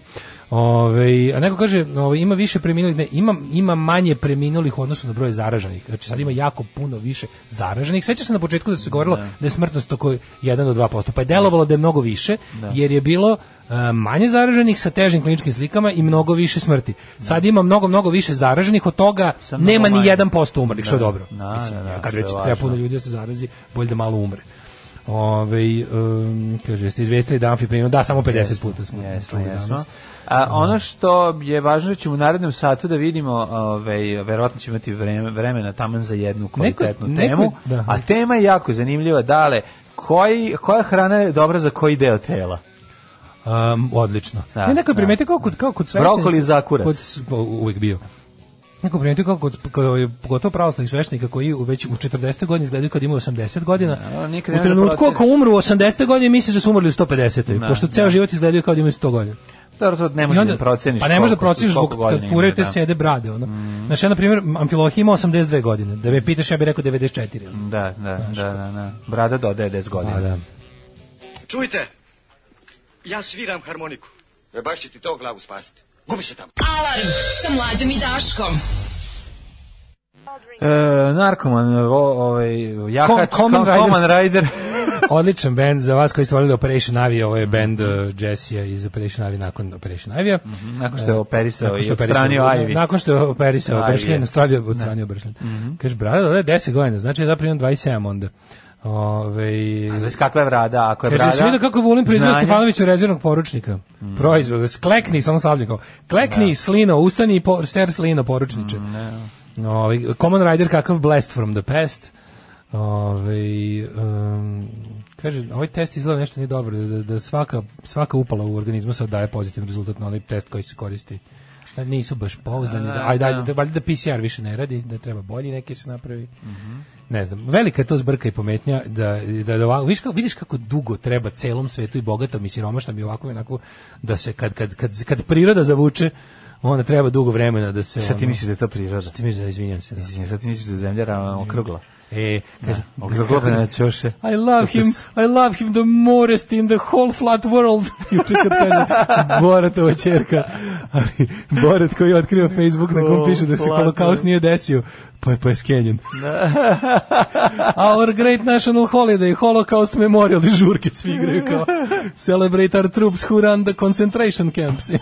Ove, a neko kaže, ove, ima više preminulih, ne, ima, ima manje preminulih u odnosu na broj zaraženih. Znači sad ima jako puno više zaraženih. Sveća se na početku da se govorilo da je smrtnost oko 1 do 2%, pa je delovalo da je mnogo više, jer je bilo e, manje zaraženih sa težim kliničkim slikama i mnogo više smrti. Sad ima mnogo, mnogo više zaraženih, od toga
Sa mnogo
nema ni
manje.
1% umrlih, što je
Da,
dobro.
da,
Mislim,
da, da,
kad
što je
već treba
važno.
puno ljudi da se zarazi, bolje da malo umre. Ove, um, kaže, ste izvestili da amfiprimio? Da, samo 50 puta smo
Jesmo,
čuli
jesmo.
danas.
A ono što je važno da ćemo u narednom satu da vidimo, ovaj verovatno ćemo imati vreme- vremena taman za jednu kvalitetnu
Neko- neko-
temu,
da.
a tema je jako zanimljiva, dale, koji, koja hrana je dobra za koji deo tela?
Um, odlično.
Da,
ne, neko je
da.
primetio kao kod, kao kod sveštenika.
Brokoli i zakurac.
Kod, s- pa, uvijek bio. Neko je primetio kako kod, kod, pogotovo pravoslavnih sveštenika koji u već u 40. godini izgledaju kad imaju 80 godina.
ono nikad ne
u
može
trenutku
proceniti.
ako umru u 80. godini misliš da su umrli u 150.
Da,
pošto ceo
da.
život izgledaju kao da imaju 100 godina.
Dobro, to ne
I
možeš
onda-
da proceniš.
Pa ne možeš da
koliko su-
proceniš zbog
koliko godina
kad furaju
imaju,
te
da. Mm.
sede brade. Ono. Znači, ja, na primjer, Amfilohije ima 82 godine. Da me pitaš, ja bih rekao 94. Ono.
Da, da, da, da, da. Brada dodaje 10 godina.
da.
Čujte, ja sviram harmoniku. E baš će ti to glavu spasiti. Gubi se tamo.
Alarm sa Mlađom i Daškom.
E, narkoman, o, ovaj, jahač,
Com- Common
Com- Common Rider.
Odličan band za vas koji ste volili Operation Avi, ovo je band uh, Jessija iz Operation Avi nakon Operation Avija.
Nakon što Mhm. je operisao
E, Nakon
i
što je operisao-
odstranio Ivy.
Nakon što je operisao
Ivy,
Bršljen,
je. Mhm.
Australija odstranio Bršljen. Kaže, brada, da je 10 godina, znači ja zapravo imam 27 onda. Ove,
A znaš kakva je brada, ako je
Kaže,
brada...
jesi vidio kako Vulin proizveo
znanje-
Stefanoviću rezervnog poručnika? Proizveo, sklekni, samo sabljikao. Klekni, slino, ustani, po, ser slino, poručniče. Ovaj, Common Rider kakav blast from the past. Ovaj, em, kaže, ovaj test izgleda nešto nije dobro, da, da svaka, svaka upala u organizmu sad daje pozitivan rezultat na onaj test koji se koristi. Da Nisu baš pouzdani. Da, ajde, ajde, da, valjda da PCR više ne radi, da treba bolji neki se napravi ne znam, velika je to zbrka i pometnja da da, da ovako- vidiš kako, vidiš kako dugo treba celom svetu i bogatom i siromašnom i ovako i onako da se kad kad kad kad priroda zavuče onda treba dugo vremena da se...
Sad ti
ono-
misliš da je to priroda?
Sad ti misliš da, izvinjam se. Da.
Mislim, sad ti misliš da je zemlja ra- okrugla?
E, kaže,
Da, okrugla pa na ćoše.
I love him, I love him the morest in the whole flat world. Juče kad kaže Boratova čerka, ali Borat koji je otkrio Facebook na kom piše da se
Flat
holokaust
world.
nije desio, pa je, pa je skenjen. Our great national holiday, holocaust memorial, i žurke svi igraju kao celebrate our troops who run the concentration camps.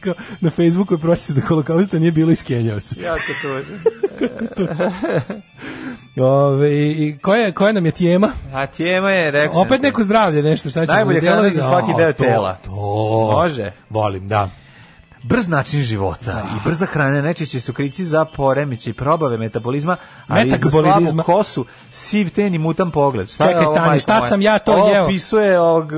Kao, na Facebooku je pročito da holokausta nije bilo i skenjao se.
Ja to to
Ove, i koja, koja nam je tijema?
A tijema je, rekao sam
Opet
ti.
neko zdravlje, nešto, šta ćemo?
Najbolje
delove
hrana za svaki
A,
deo
to,
tela.
To,
Može.
Volim, da.
Brz način života i brza hrana najčešće su krici za poremeće i probave metabolizma, a i za slabu
Metabolizma.
kosu, siv ten i mutan pogled. Šta je
Čekaj,
ovo,
stani,
majko
šta
moja?
sam ja to
ovo
jeo?
opisuje ovog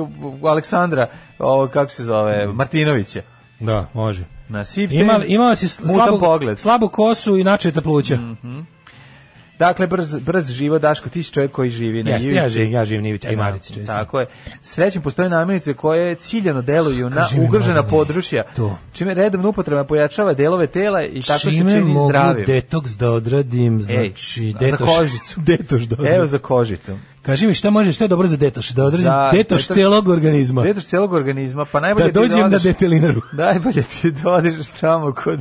Aleksandra, ovog, kako se zove, Martinovića.
Da, može.
Na siv ten,
Ima, imao si
mutan
slabu,
pogled. Mm,
slabu kosu i načeta pluća.
Dakle, brz, brz život, Daško, ti si čovjek koji živi na
Jeste,
ivici.
ja živim, ja živim na ivici, a i
Da,
Marici često.
Tako je. Srećem, postoje namirnice koje ciljano deluju na
Kaži mi,
ugrožena
Mladene,
područja,
to.
čime redovna upotreba pojačava delove tela i tako se
Čime
čini
mogu
zdravim.
detoks da odradim,
Ej,
znači,
za
detoš.
kožicu.
Detoš da odradim.
Pa, Evo za kožicu.
Kaži mi šta može, šta je dobro za detoš? Da odradim
Za
detoš,
detoš-
celog organizma.
Detoš celog organizma, pa najbolje
da
ti
dođem na
odeš-
detelinaru.
Najbolje ti da odeš tamo kod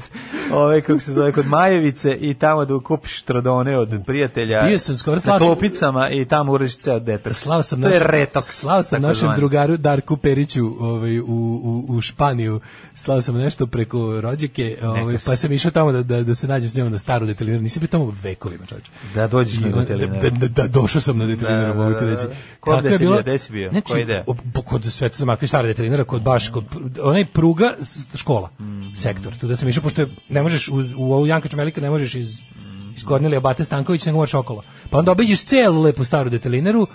ove kako se zove kod Majevice i tamo da kupiš trodone od prijatelja.
Bio sam skoro,
na
slao sam-
topicama i tamo uradiš ceo detoks.
Slao sam
to je
našem-
retoks.
Slao sam našem
takozvani.
drugaru Darku Periću ovaj, u, u, u Španiju. Slao sam nešto preko rođike, ovaj,
si.
pa sam išao tamo da, da, da se nađem s njom na staru detelinaru. Nisam bio tamo vekovima, čovječe.
Da dođeš na
I on-
detelinaru.
Da, da, da, došao sam na detelinaru,
Da, da,
mogu ti
da,
reći.
da. Kod
Kako
gde
je
si
bilo-
bio? Gde si bio?
Znači,
Koji deo?
o- po- kod Sveta Marka stara detelinara, kod baš, kod, pr- onaj pruga, s- škola,
Mhm.
sektor. Tu da sam išao, pošto je- ne možeš, uz, u ovu Janka Čmelika ne možeš iz,
Mhm.
iz Kornelija Bate Stanković, nego moraš okolo. Pa onda obiđeš celu lepu staru detelineru,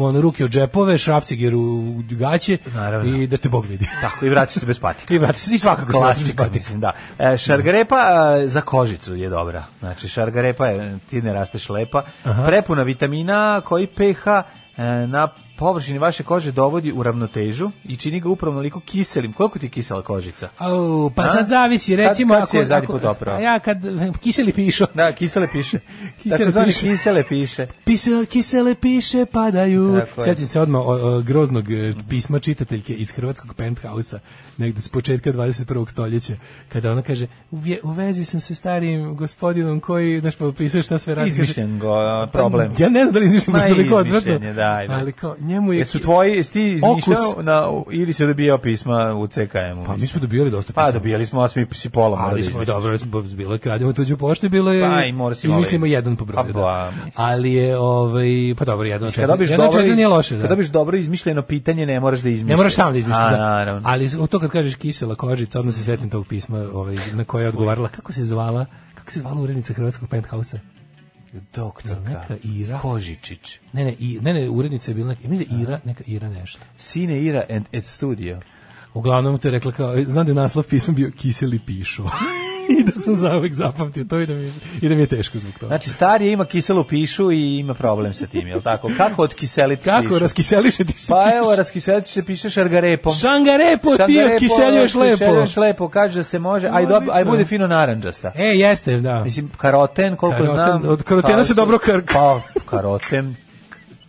ono, ruke od džepove, šrafciger u gaće
Naravno.
i da te Bog vidi.
Tako, i vraćaš se bez patika.
I vrati se, i svakako se vrati bez
Klasika,
patika.
mislim, da. E, šargarepa e, za kožicu je dobra. Znači, šargarepa, je, ti ne rasteš lepa. Prepuna vitamina koji pH e, na površini vaše kože dovodi u ravnotežu i čini ga upravo onoliko kiselim. Koliko ti je kisela kožica?
Au, pa
A?
sad zavisi, recimo,
Kad- kad si je zadnji
ako,
put oprao?
a ja kad kiseli pišo,
Da, kisele piše.
Kisele
Takozvani
piše.
kisele piše.
Pisele, kisele piše padaju.
Tako je.
Sjetim se odmah o, o, groznog e, pisma čitateljke iz hrvatskog penthouse-a, negde s početka 21. stoljeća, kada ona kaže, u, vje- u vezi sam se starim gospodinom koji, znaš, pa opisuje šta sve radi. kaže,
Izmišljen go, a, problem.
Pa, Ja ne znam da li izmišljam,
Ma,
ali toliko odvrtno.
izmišljen je, da, ajde.
Ali kao, njemu je...
Jesu tvoji, jesi ti izmišljao
Okus.
na, ili se dobijao pisma u CKM-u?
Pa mi smo dobijali dosta
Pa
pisama.
dobijali smo, a smo i polom.
Ali smo dobro, smo- bilo je kradimo tuđu poštu, bilo je
Pa, i mora si
izmislimo
malo-
jedan po
A,
broju.
ba,
Da.
mislim.
Ali je ovaj pa dobro, jedan od
Kad
četiri.
dobiš
Jedan od
dobro,
četiri nije loše, da.
Kad dobiš dobro izmišljeno pitanje, ne moraš da izmišljaš.
Ne moraš sam da izmišljaš.
A,
da.
naravno.
Ali u to kad kažeš kisela kožica, odmah se setim tog pisma ovaj, na koje je odgovarala. Kako se zvala? Kako se zvala urednica Hrvatskog penthouse
Doktorka.
Neka Ira.
Kožičić.
Ne, ne, i, ne, ne, urednica je bila neka, mislim da je Ira, neka Ira nešto.
Sine Ira and et studio.
Uglavnom to je rekla kao, e, znam da je naslov pisma bio kiseli pišo. I da sam zauvek zapamtio to i da mi, je- i da mi je teško zbog toga.
Znači, starije ima kiselu pišu i ima problem sa tim, jel tako? Kako odkiseliti
Kako
pišu?
raskiseliše ti se
Pa
piše?
evo, raskiseliti se piše šargarepom.
Šangarepo, ti
Šargarepo,
otkiseljuješ lepo.
Odkiseljuješ lepo, kaže da se može, aj, dob, aj
Odlično.
bude fino naranđasta.
E, jeste, da.
Mislim, karoten, koliko
Karoten,
znam...
od karotena
kao
se
su-
dobro krka.
Pa, karoten,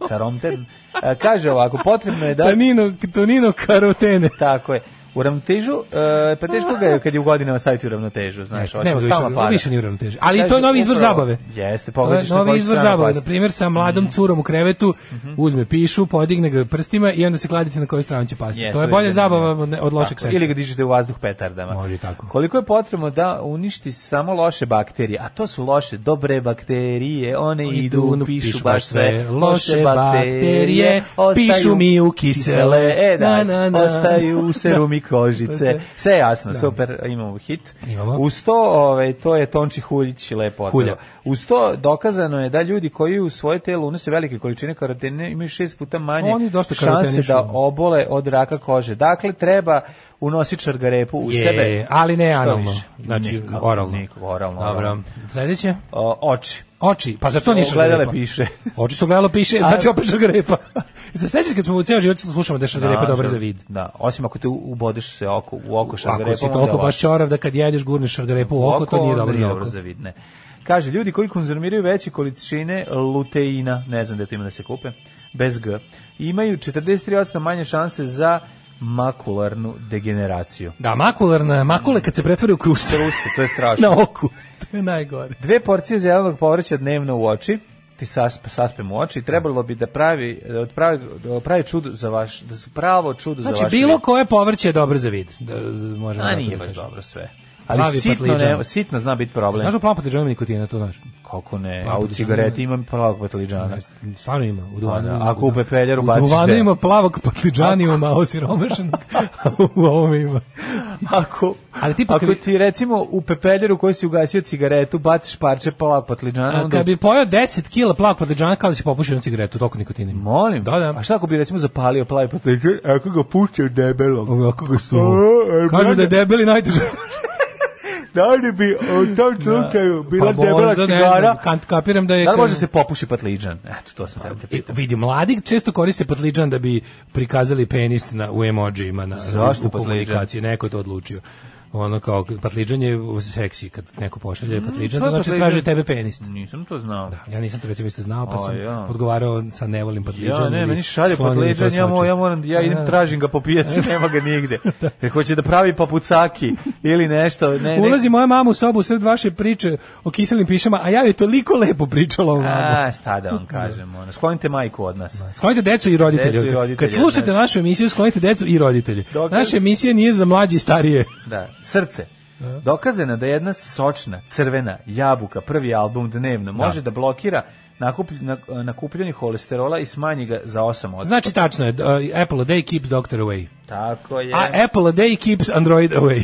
karomten. E, kaže ovako, potrebno je da...
Tonino, Tonino karotene.
Tako je. U ravnotežu, e, pa teško ga je kad je u godinama staviti u ravnotežu, znaš,
Ne,
hoće
nema ga
stalno
više,
pada.
više nije uravnotežen. Ali
Kaže,
to je novi izvor
upravo,
zabave.
Jeste,
To
pogledaš
je
na koju
novi izvor
stranu
zabave. Na
pasti.
primjer, sa mladom
Mhm.
curom u krevetu uzme pišu, podigne ga prstima i onda se kladite na koju stranu će pasti.
Jeste,
to je
to
bolje
je
zabava od ne- od lošeg
Tako,
seksa.
Ili ga dižete u vazduh petardama.
Može tako.
Koliko je potrebno da uništi samo loše bakterije, a to su loše, dobre bakterije, one
Oni
idu,
idu,
pišu baš sve.
Loše bakterije, pišu mi u kisele.
E, da,
Na, na, na.
ostaju u serum i kožice.
Da.
Sve jasno, super, imamo hit.
Imamo.
Uz to, ovaj, to je Tonči Huljić lepo
Hulja.
otpeva. Uz to dokazano je da ljudi koji u svoje telo unose velike količine karotene imaju šest puta manje
Oni dosta
šanse
karotenišu.
da obole od raka kože. Dakle, treba unositi šargarepu u
Je,
sebe.
ali ne
Što
analno.
više?
Znači,
Nikako,
oralno.
nikako, oralno,
Dobro.
oralno.
Sljedeće?
O, oči.
Oči. Pa zar to nije
Ogledale
šargarepa?
piše.
Oči su gledalo piše, znači opet šargarepa. Se sećaš kad smo u ceo život slušamo da je šargarepa
Da,
dobra
da.
za vid?
Da, osim ako te u- ubodeš se oko, u oko šargarepa.
Ako si toliko baš čorav da kad jedeš gurneš šargarepu u oko, to nije dobro za oko.
za vid, ne. Kaže, ljudi koji konzumiraju veće količine luteina, ne znam da to ima da se kupe, bez G, imaju 43% manje šanse za makularnu degeneraciju.
Da, makularna, makule kad se pretvori u kruste.
to je strašno.
Na oku, to je najgore.
Dve porcije zelenog povrća dnevno u oči, ti sasp, saspem u oči, trebalo bi da pravi, da pravi, da pravi čudo za vaš, da su pravo čudo za
Znači,
vaš
bilo koje povrće je dobro za vid. Da, da, možemo
A
tako
nije
da
baš
kažem.
dobro sve. Ali
Plavi
sitno,
patliđan.
ne, sitno zna biti problem.
Znaš ono- u plavom patliđanu ima nikotina, to znaš.
Kako ne?
Plavi
A u
patliđan
cigareti
ima-
imam plavog patliđana.
Stvarno ima, u duvanu.
Pa da,
ima-
ako u pepeljaru
u
baciš
duvanu
deo.
ima plavog patliđanijuma, malo siromašenog, a u ovome ima.
Ako,
Ali tipa
ako
kad bi-
ti recimo u pepeljaru koji si ugasio cigaretu baciš parče plavog patliđana,
A
onda...
kad bi pojao 10 kila plavog patliđana, kao da si popušio na cigaretu, toliko nikotina ima.
Molim,
Da, da.
a šta ako bi recimo zapalio plavi patliđan, ako ga puštio debelog?
Ovo, Kako ga su...
O, e,
Kažu da je debeli najteže.
Da li bi u tom slučaju bila
Pa možda,
debela
ne znam,
cigara?
kant- kapiram da je...
Da li može se popuši patliđan? Eto, to sam da te
I,
pitam.
vidi, mladi često koriste patliđan da bi prikazali penis na, u emojima na,
Zašto
u
patliđan?
komunikaciji. Neko je to odlučio. Ono kao, patliđan je seksi kad neko pošalje patliđan,
Mm, to
to
je
znači
patliđan.
traži tebe penis.
Nisam to znao.
Ja nisam to recimo isto znao, pa
A,
sam
ja.
odgovarao sa ne volim patliđan.
Ja, ne,
ili
meni šalje
sklonili
patliđan,
to
ja, mo,
sa
ja
očima.
moram, ja idem,
Da.
tražim ga po pijaci, nema ga nigde. Jer hoće da pravi papucaki ili nešto. Ne, ne,
Ulazi moja mama u sobu u sred vaše priče o kiselim pišama, a ja joj toliko lepo pričala o vama.
A, šta da vam kažem, ono, sklonite majku od nas.
Sklonite decu i roditelje.
Decu i
Kad-
roditelje,
Kad slušate
znači.
našu emisiju, sklonite decu i roditelje.
Dok-
Naša emisija nije za mlađe i starije.
Da, srce. Dokazano da jedna sočna, crvena jabuka, prvi album dnevno, može da, blokira nakuplj- na- nakupljanje holesterola i smanji ga za 8%.
Znači, tačno je, uh, Apple a day keeps doctor away.
Tako je.
A Apple a day keeps Android away.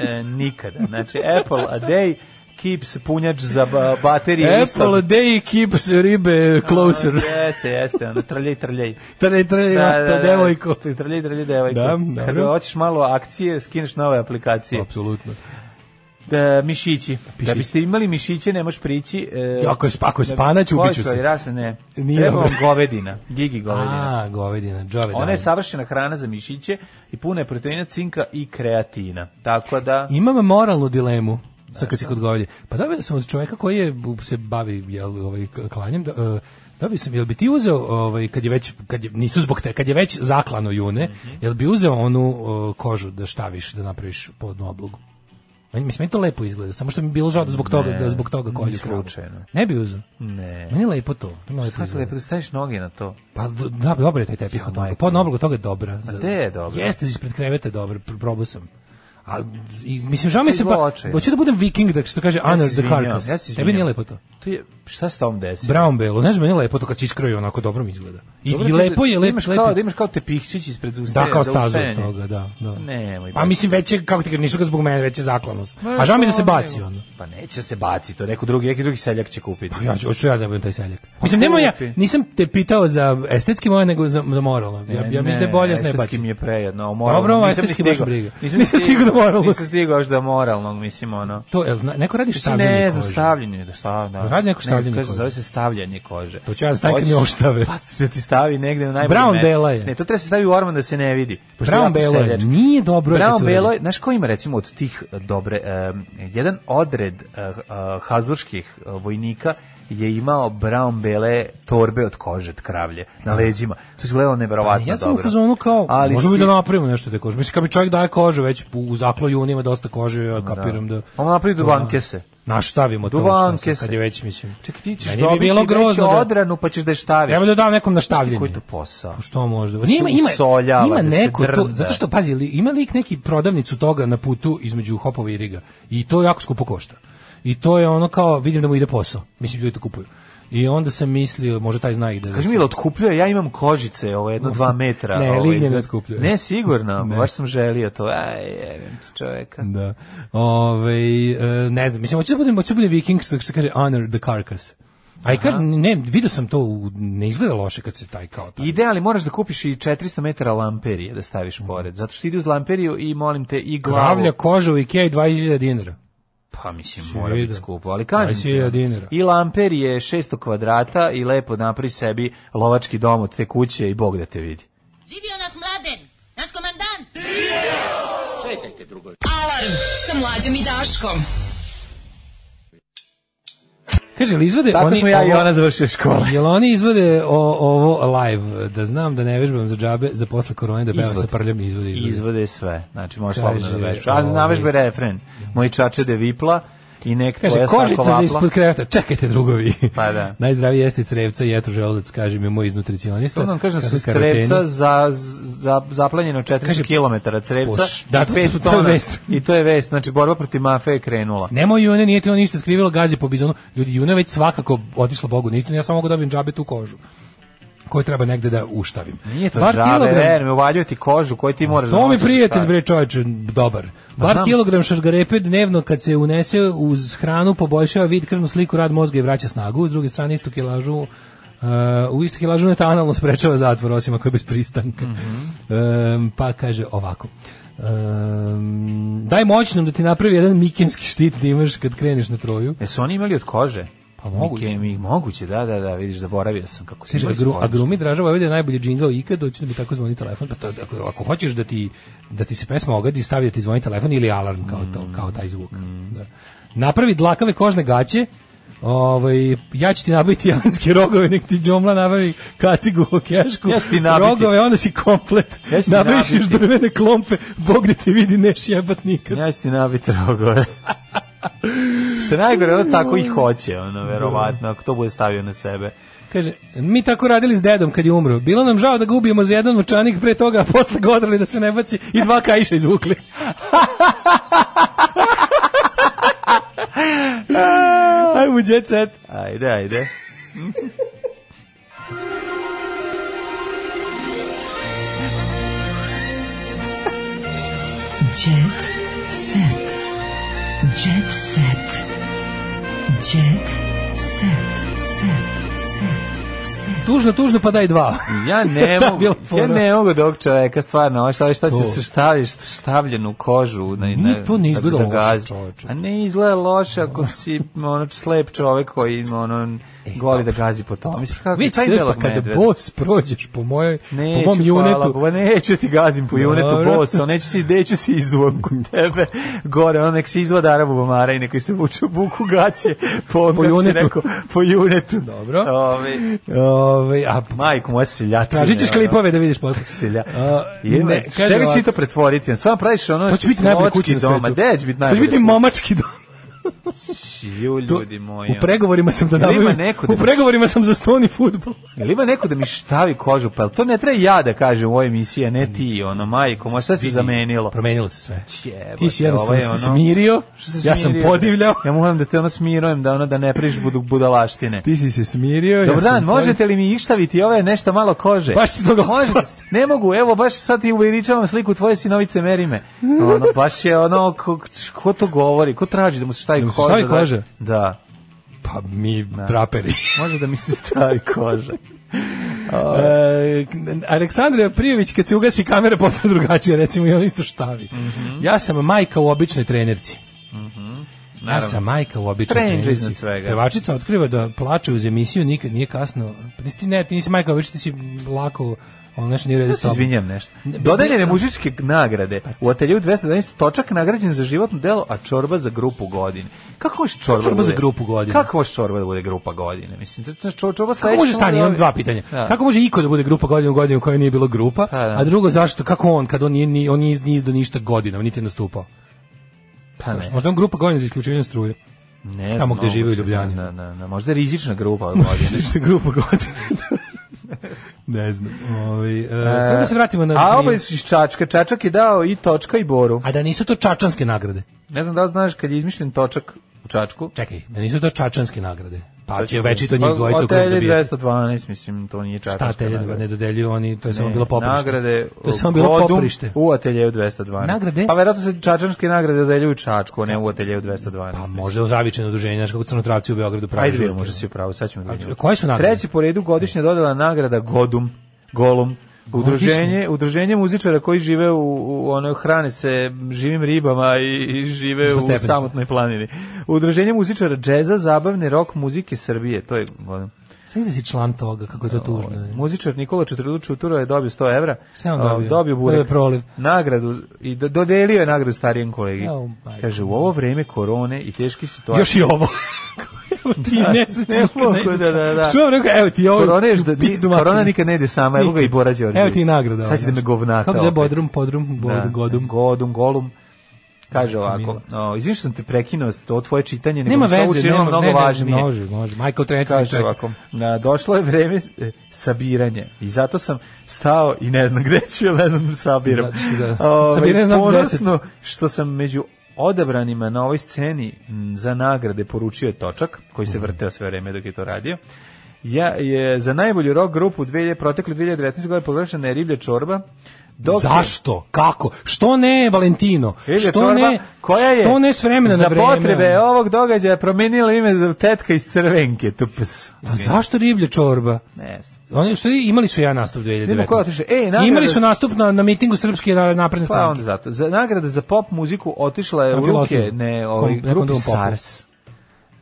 E, nikada. Znači, Apple a day keeps punjač za ba- baterije.
Apple a
istog-
day keeps ribe closer.
Jeste, jeste, ono, trljaj, trljaj.
Trlj, trlj, to devojko.
Ti Trljaj, trljaj, devojko.
Da,
Kad
dobro.
hoćeš malo akcije, skineš nove aplikacije.
Apsolutno.
Da, mišići. Da biste imali mišiće, ne možeš prići. E,
Ako je sp- ako je spanać, ubiću
Košva
se.
i rasne, ne.
Nije
Treba vam
dobro.
govedina, gigi govedina.
A, govedina, džave
Ona
dame.
je savršena hrana za mišiće i puna je proteina, cinka i kreatina. Tako da...
Imam moralnu dilemu. Sad kad si kod govedi. Pa da bi sam od čoveka koji je, bu- se bavi jel, ovaj, k- klanjem, da, e, da bi sam, jel bi ti uzeo, ovaj, kad je već, kad je, nisu zbog te, kad je već zaklano june,
Mhm.
jel bi uzeo onu e, kožu da štaviš, da napraviš podnu oblogu? Meni, mislim, meni to lepo izgleda, samo što mi je bilo žao da zbog toga, da zbog toga kolju
ni
kravu.
slučajno.
Ne bi uzeo.
Ne.
Meni je lepo to. to mi je lepo
Kako
izgleda.
lepo da staviš noge na to?
Pa do- da, dobro je taj tepih od toga.
majko.
Podna obloga toga je dobra. Za-
gde je dobra?
Jeste ispred kreveta je dobra, pr- probao sam. A, i, mislim, žao mi se
Izvlače
pa,
je.
hoću da budem viking, da što kaže
se
honor the
izvinjavam,
carcass.
ja se
Tebi nije
izvinjavam.
lepo to.
To je, šta se tom desi?
Brown belo, ne znam, meni je lepo to kad se iskroji onako dobro mi izgleda. I,
Dobro,
i
ti
lepo je,
da-
lepo,
imaš Kao, da
lepo.
imaš kao tepihčić ispred usta.
Da, kao stazu od toga, da. da.
Nemoj,
pa
baš.
mislim, već je, kako ti kažem, nisu ga zbog mene, već je zaklanost. A žao mi je da se baci ono.
Pa neće se baci, to neko drugi, neki drugi seljak će kupiti.
Pa ja ću, hoću ja da budem taj seljak. Mislim, nema ja,
Pa kupi.
nisam te pitao za estetski moj, nego za, za moralno. Ja, ja mislim da je bolje da se ne
estetski
baci.
mi je prejedno, a moralno.
Dobro, ovo
nisam ni
estetski baš
stigao.
briga.
Nisam,
Nisam stigao do moralnog.
Nisam stigao još do moralnog, mislim, ono.
To, jel, zna- neko radi
Mislim,
štavljenje
ne znam,
kože? Pa
stavljanje, da stavljanje. Da.
Radi neko
Ne,
stavljanje
kaže,
kože.
Zove se stavljanje kože.
To ću ja da stavim kad mi
Hoćeš-
oštave.
Pa da ti stavi negde na najbolje
Brown
mesto.
bela je.
Ne, to treba se stavi u orman da se ne vidi. pošto
Brown
jako
belo je,
seljački.
nije dobro je kad
Brown
se
belo
uradi.
je, znaš ko ima recimo od tih e, dobre, em, jedan odred e, e, hazburških e, vojnika je imao brown bele torbe od kože od kravlje na leđima. To se gledalo neverovatno
Pa Ja sam
dobro.
u fazonu kao,
Ali
možemo
si-
i da napravimo nešto te kože. Mislim, kad mi čovjek daje kože, već u- u zakloju on ima dosta kože, ja kapiram da...
Ono napravi duvanke se.
Na šta stavimo to,
Duvanke
šta sad,
se.
kad je već, mislim.
Čekaj, ti ćeš
Meni bi
dobiti
bilo grozno
već
da-
odranu, pa ćeš da je štaviš.
Treba da Pa dam nekom na
Znaš ti
štavljenje.
Koji je to posao?
Što možda?
Da se
Ima, ima,
usoljava,
ima
da se
neko to,
drnda.
zato što, pazi, li- ima lik neki prodavnicu toga na putu između Hopova i Riga. I to jako skupo košta. I to je ono kao, vidim da mu ide posao. Mislim, ljudi to kupuju. I onda sam mislio, možda taj zna i da...
Kaži mi, jel otkupljuje, ja imam kožice, ovo jedno dva metra.
Ne,
ovaj,
lignje ne
da-
otkupljuje.
Ne, sigurno, baš sam želio to. Aj, jebim ti čoveka.
Da. Ovaj, e, ne znam, mislim, hoću da budem, hoću da budem viking, što se kaže honor the carcass. A i kažem, ne, vidio sam to, u- ne izgleda loše kad se taj kao taj.
Ide, ali moraš da kupiš i 400 metara lamperije da staviš pored, zato što ide uz lamperiju i molim te i glavu.
Glavlja koža u Ikea i 20.000 dinara.
Pa mislim, mora
Svi
biti
da.
skupo, ali
Pa,
kažem
svi
ti, ono,
dinara.
i Lamper je 600 kvadrata i lepo napravi sebi lovački dom od te kuće i Bog da te vidi.
Živio naš mladen, naš komandant.
Čekajte drugo.
Alarm sa mlađom i Daškom.
Kaže, li izvode
Tako
oni
smo ja i
ovo-
ona završili škole.
Jel oni izvode o- ovo live, da znam da ne vežbam za džabe, za posle korone da pevam
Izvod.
sa prljom izvode.
Izvode sve. Znači, možeš
Kaže,
slobodno da vežbaš. Ali navežbe
ovaj-
refren. Moji čače de vipla i nek
Kaže,
tvoja
kožica za
sako vapla.
ispod kreveta, čekajte drugovi.
Pa da.
Najzdraviji jeste crevca, jetru želudac, kaže mi moj iznutricionista.
Što nam kaže da su
Kaže, karoteni.
strepca za, za, zaplanjeno 400
Kaže,
km crepca
poš- da, to-
i 5
to je
tona.
vest.
I to je vest. Znači, borba protiv mafe je krenula.
Nemoj june, nije ti ono ništa skrivilo, gazi po bizonu. Ljudi, june je već svakako otišlo Bogu na istinu, ja samo mogu dobijem džabe tu kožu koju treba negde da uštavim.
Nije to
Bar
džabe, e,
kilogram-
ver, me uvaljuje ti kožu koju ti moraš da
To mi
nosiš,
prijatelj
šta?
bre čoveče, dobar. Bar
znam.
kilogram šargarepe dnevno kad se unese uz hranu poboljšava vid, krvnu sliku, rad mozga i vraća snagu. S druge strane istu kilažu uh, u istu kilažu netanalno sprečava zatvor, osim ako je bez pristanka. Um, pa kaže ovako. Um, daj moćnom da ti napravi jedan mikinski štit da imaš kad kreneš na troju.
Jesu E, oni imali od kože?
Pa moguće.
Mike- mi- moguće, da, da, da, vidiš, zaboravio sam kako se
Kaže,
imali
a, gru, a
kože.
grumi dražava ovdje je najbolji džingao ikad, doći da mi tako zvoni telefon. Pa to, ako, ako hoćeš da ti, da ti se pesma ogadi, stavi da ti zvoni telefon ili alarm kao, to, kao taj zvuk. Da. Napravi dlakave kožne gaće, Ovaj ja ću ti nabiti javanske rogove, nek ti đomla nabavi kacigu u kešku.
Ja ću ti nabiti.
Rogove, onda si komplet.
Ja ću ti
Nabaviš još
nabiti.
drvene klompe, Bog ne te vidi, neš jebat nikad.
Ja ću ti nabiti rogove. Što je najgore, ono tako i hoće, ono, verovatno, ako to bude stavio na sebe.
Kaže, mi tako radili s dedom kad je umro. Bilo nam žao da ga ubijemo za jedan učanik pre toga, a posle ga odrali da se ne baci i dva kajša izvukli. Ajmo, jet set.
Ajde, ajde.
Jet set. Jet set. Jet set. Set. Set.
Tužno, tužno, pa daj dva.
Ja ne
To je
mogu,
bila
ja
fora.
ne mogu dok čoveka, stvarno, ovo šta, šta će
To.
se staviti, stavljenu kožu. Na,
Nije, to ne izgleda loše,
gazi.
čoveče.
A ne izgleda loše ako si ono, slep čovek koji ono, goli da gazi po tome. Mislim, kako,
E, Već
taj
ne, pa
belog
kada
medveda.
bos prođeš po, mojoj,
Neću,
po mom
hvala
junetu,
Bogu, neću ti gazim po junetu
Dobro.
boso, neću si, neću si izvuku tebe gore, ono nek se izvada Arabu Bamara i neko se vuče u buku gaće po, kako
Po
si
junetu.
Rekao, po junetu.
Dobro.
Ove,
Ovaj, a
majko moja seljačina.
Tražit ćeš
ono.
klipove da vidiš posle.
Selja.
A,
Jedno,
ne,
čega
kaže
ćeš ti
ovako.
to pretvoriti? Stvarno praviš ono...
To će biti najbolja kuća na
doma.
svetu.
Gde će biti
To će
najbolja
biti
kuća?
momački dom.
Ju, ljudi moji. ono.
U pregovorima sam da
Jel ima
nabavim,
neko da-
u pregovorima sam za stoni futbol.
Jel ima neko da mi štavi kožu? Pa jel to ne treba ja da kažem u ovoj emisiji, a ne ti, ono, majko, moja, šta si zamenilo?
Pa Promenilo se sve.
Jebote,
Ti si jednostavno
ovo je
se
ono-
smirio,
Što se
ja sam
smirio?
podivljao.
Ja moram da te ono smirujem, da ono da ne priš budu budalaštine.
Ti si se smirio.
Dobar
ja sam
dan,
podivljao.
možete li mi ištaviti ove nešto malo kože?
Baš si toga
Možete?
oprosti.
Ne mogu, evo baš sad ti uveličavam sliku tvoje sinovice Merime. Ono, baš je ono, ko, ko to govori, ko traži da mu se stavi
Da mu
koža?
se stavi
da-
koža?
Da,
Pa mi traperi.
može da mi se stavi koža.
E, Aleksandra Prijević kad se ugasi kamera potpuno drugačije, recimo i on isto štavi.
Mhm.
Ja sam majka u običnoj trenerci. Ja
Naravno.
sam majka u običnoj
Trenđa iznad
trenerci.
svega.
Pevačica otkriva da plače uz emisiju, nikad nije kasno. Pa nisi Ti ne, ti nisi majka, već ti si lako, ono nešto nije u redu
Ja
s
se
tobom.
izvinjam nešto.
Ne,
Dodeljene
ne, Pa ne.
mužičke nagrade. U ateljevu 211 točak nagrađen za životno delo, a čorba za grupu godine. Kako može čorba,
Čorba
da
za
bude-
grupu godine?
Kako može čorba da bude grupa godine? Mislim, to- to čo- čorba
Kako
sledeća
može stani,
mora da-
imam dva pitanja.
Da.
Kako može iko da bude grupa godinu u godinu u kojoj nije bilo grupa?
Pa da.
A drugo zašto kako on kad on nije ni on nije iz- nije izdao ništa godinama, niti je nastupao.
Pa ne,
Možda on grupa godina za isključivanje struje.
ne znam,
tamo gde žive u
moguće,
Ljubljani.
Da, da, da, možda je rizična grupa godine.
Ništa grupa godina. ne znam. Ovaj e, sad da se vratimo na
A ovaj oba su iz Čačka. Čačak je dao i Točka i Boru.
A da nisu to čačanske nagrade.
Ne znam da li znaš kad je izmišljen Točak u Čačku.
Čekaj, da nisu to čačanske nagrade. Pa će večito njih
Pa,
dvojica u krugu
Otelje
dobijati.
212, mislim, to nije Čačak.
Šta telje ne dodeljuju oni, to je samo
Ne,
bilo poprište.
Nagrade
to je samo bilo
Godum
poprište.
U ateljeju 212.
Nagrade?
Pa verovatno se čačanske nagrade deljuju Čačku, a ne u ateljeju 212.
Pa možda u zavičajno udruženje, znaš kako crnotravci u Beogradu pravi
Ajde, vidimo,
žurke.
možda si upravo, sad ćemo da vidimo.
koje su nagrade?
Treći po redu godišnja dodala nagrada Godum, Golum, Udruženje, udruženje muzičara koji žive u, u ono hrane se živim ribama i, i žive
Ispod
u
stepeništa.
samotnoj planini. Udruženje muzičara džeza, zabavne rok muzike Srbije, to je ono.
Sada si član toga, kako je to tužno. je.
Muzičar Nikola Četrlu Čutura je dobio 100 evra.
Šta je on
a,
dobio?
Dobio burek.
Dobio je proliv.
Nagradu, i do- dodelio je nagradu starijem kolegi.
Evo, majko.
Kaže, u ovo vreme korone i teške situacije...
Još i ovo. Evo ti
Da,
nesrećnik.
ne mogu,
ne ide
da,
sam.
da, da.
Što vam rekao, evo ti ovo.
Korona je što-
pizdu materinu.
korona nikad ne ide sama, evo ga i Bora Đorđević.
Evo ti i nagrada. ovaj
Sad će da me govnata
Kako se zove
opet.
bodrum, podrum, bod,
Da,
godum.
Godum, golum. Kaže ovako, o, izvini što sam te prekinuo, to tvoje čitanje, nego
Nema
mi se ovo
veze,
učinilo
nema,
mnogo
ne, ne,
važnije.
može, može. Michael Trenci
Kaže
čeka.
ovako, na, došlo je vreme e, sabiranja i zato sam stao i ne znam gde ću, ja ne znam da sabiram.
Zato što da,
Ovaj,
sabiranje znam
ponosno što sam među odabranima na ovoj sceni m, za nagrade poručio je Točak, koji
Mhm.
se vrteo sve vreme dok je to radio. Ja je za najbolju rock grupu dvije, protekle 2019. godine proglašena je Riblja čorba. dok je-
Zašto? Kako? Što ne Valentino?
Riblja
Što
čorba
ne?
koja je
Što ne s vremena na
za
vreme?
potrebe ovog događaja promenila ime za tetka iz crvenke. Tups.
Pa zašto riblja čorba?
Ne znam.
Oni u stvari imali su jedan nastup 2019.
Nema ko otišao. E, nagrada-
imali su nastup na, na mitingu Srpske napredne
Pa
stranke.
onda zato. Za nagrada za pop muziku otišla je u ruke
Amfilohiju.
ne,
Kom-
ovaj,
nekom
grupi
drugom popu.
SARS.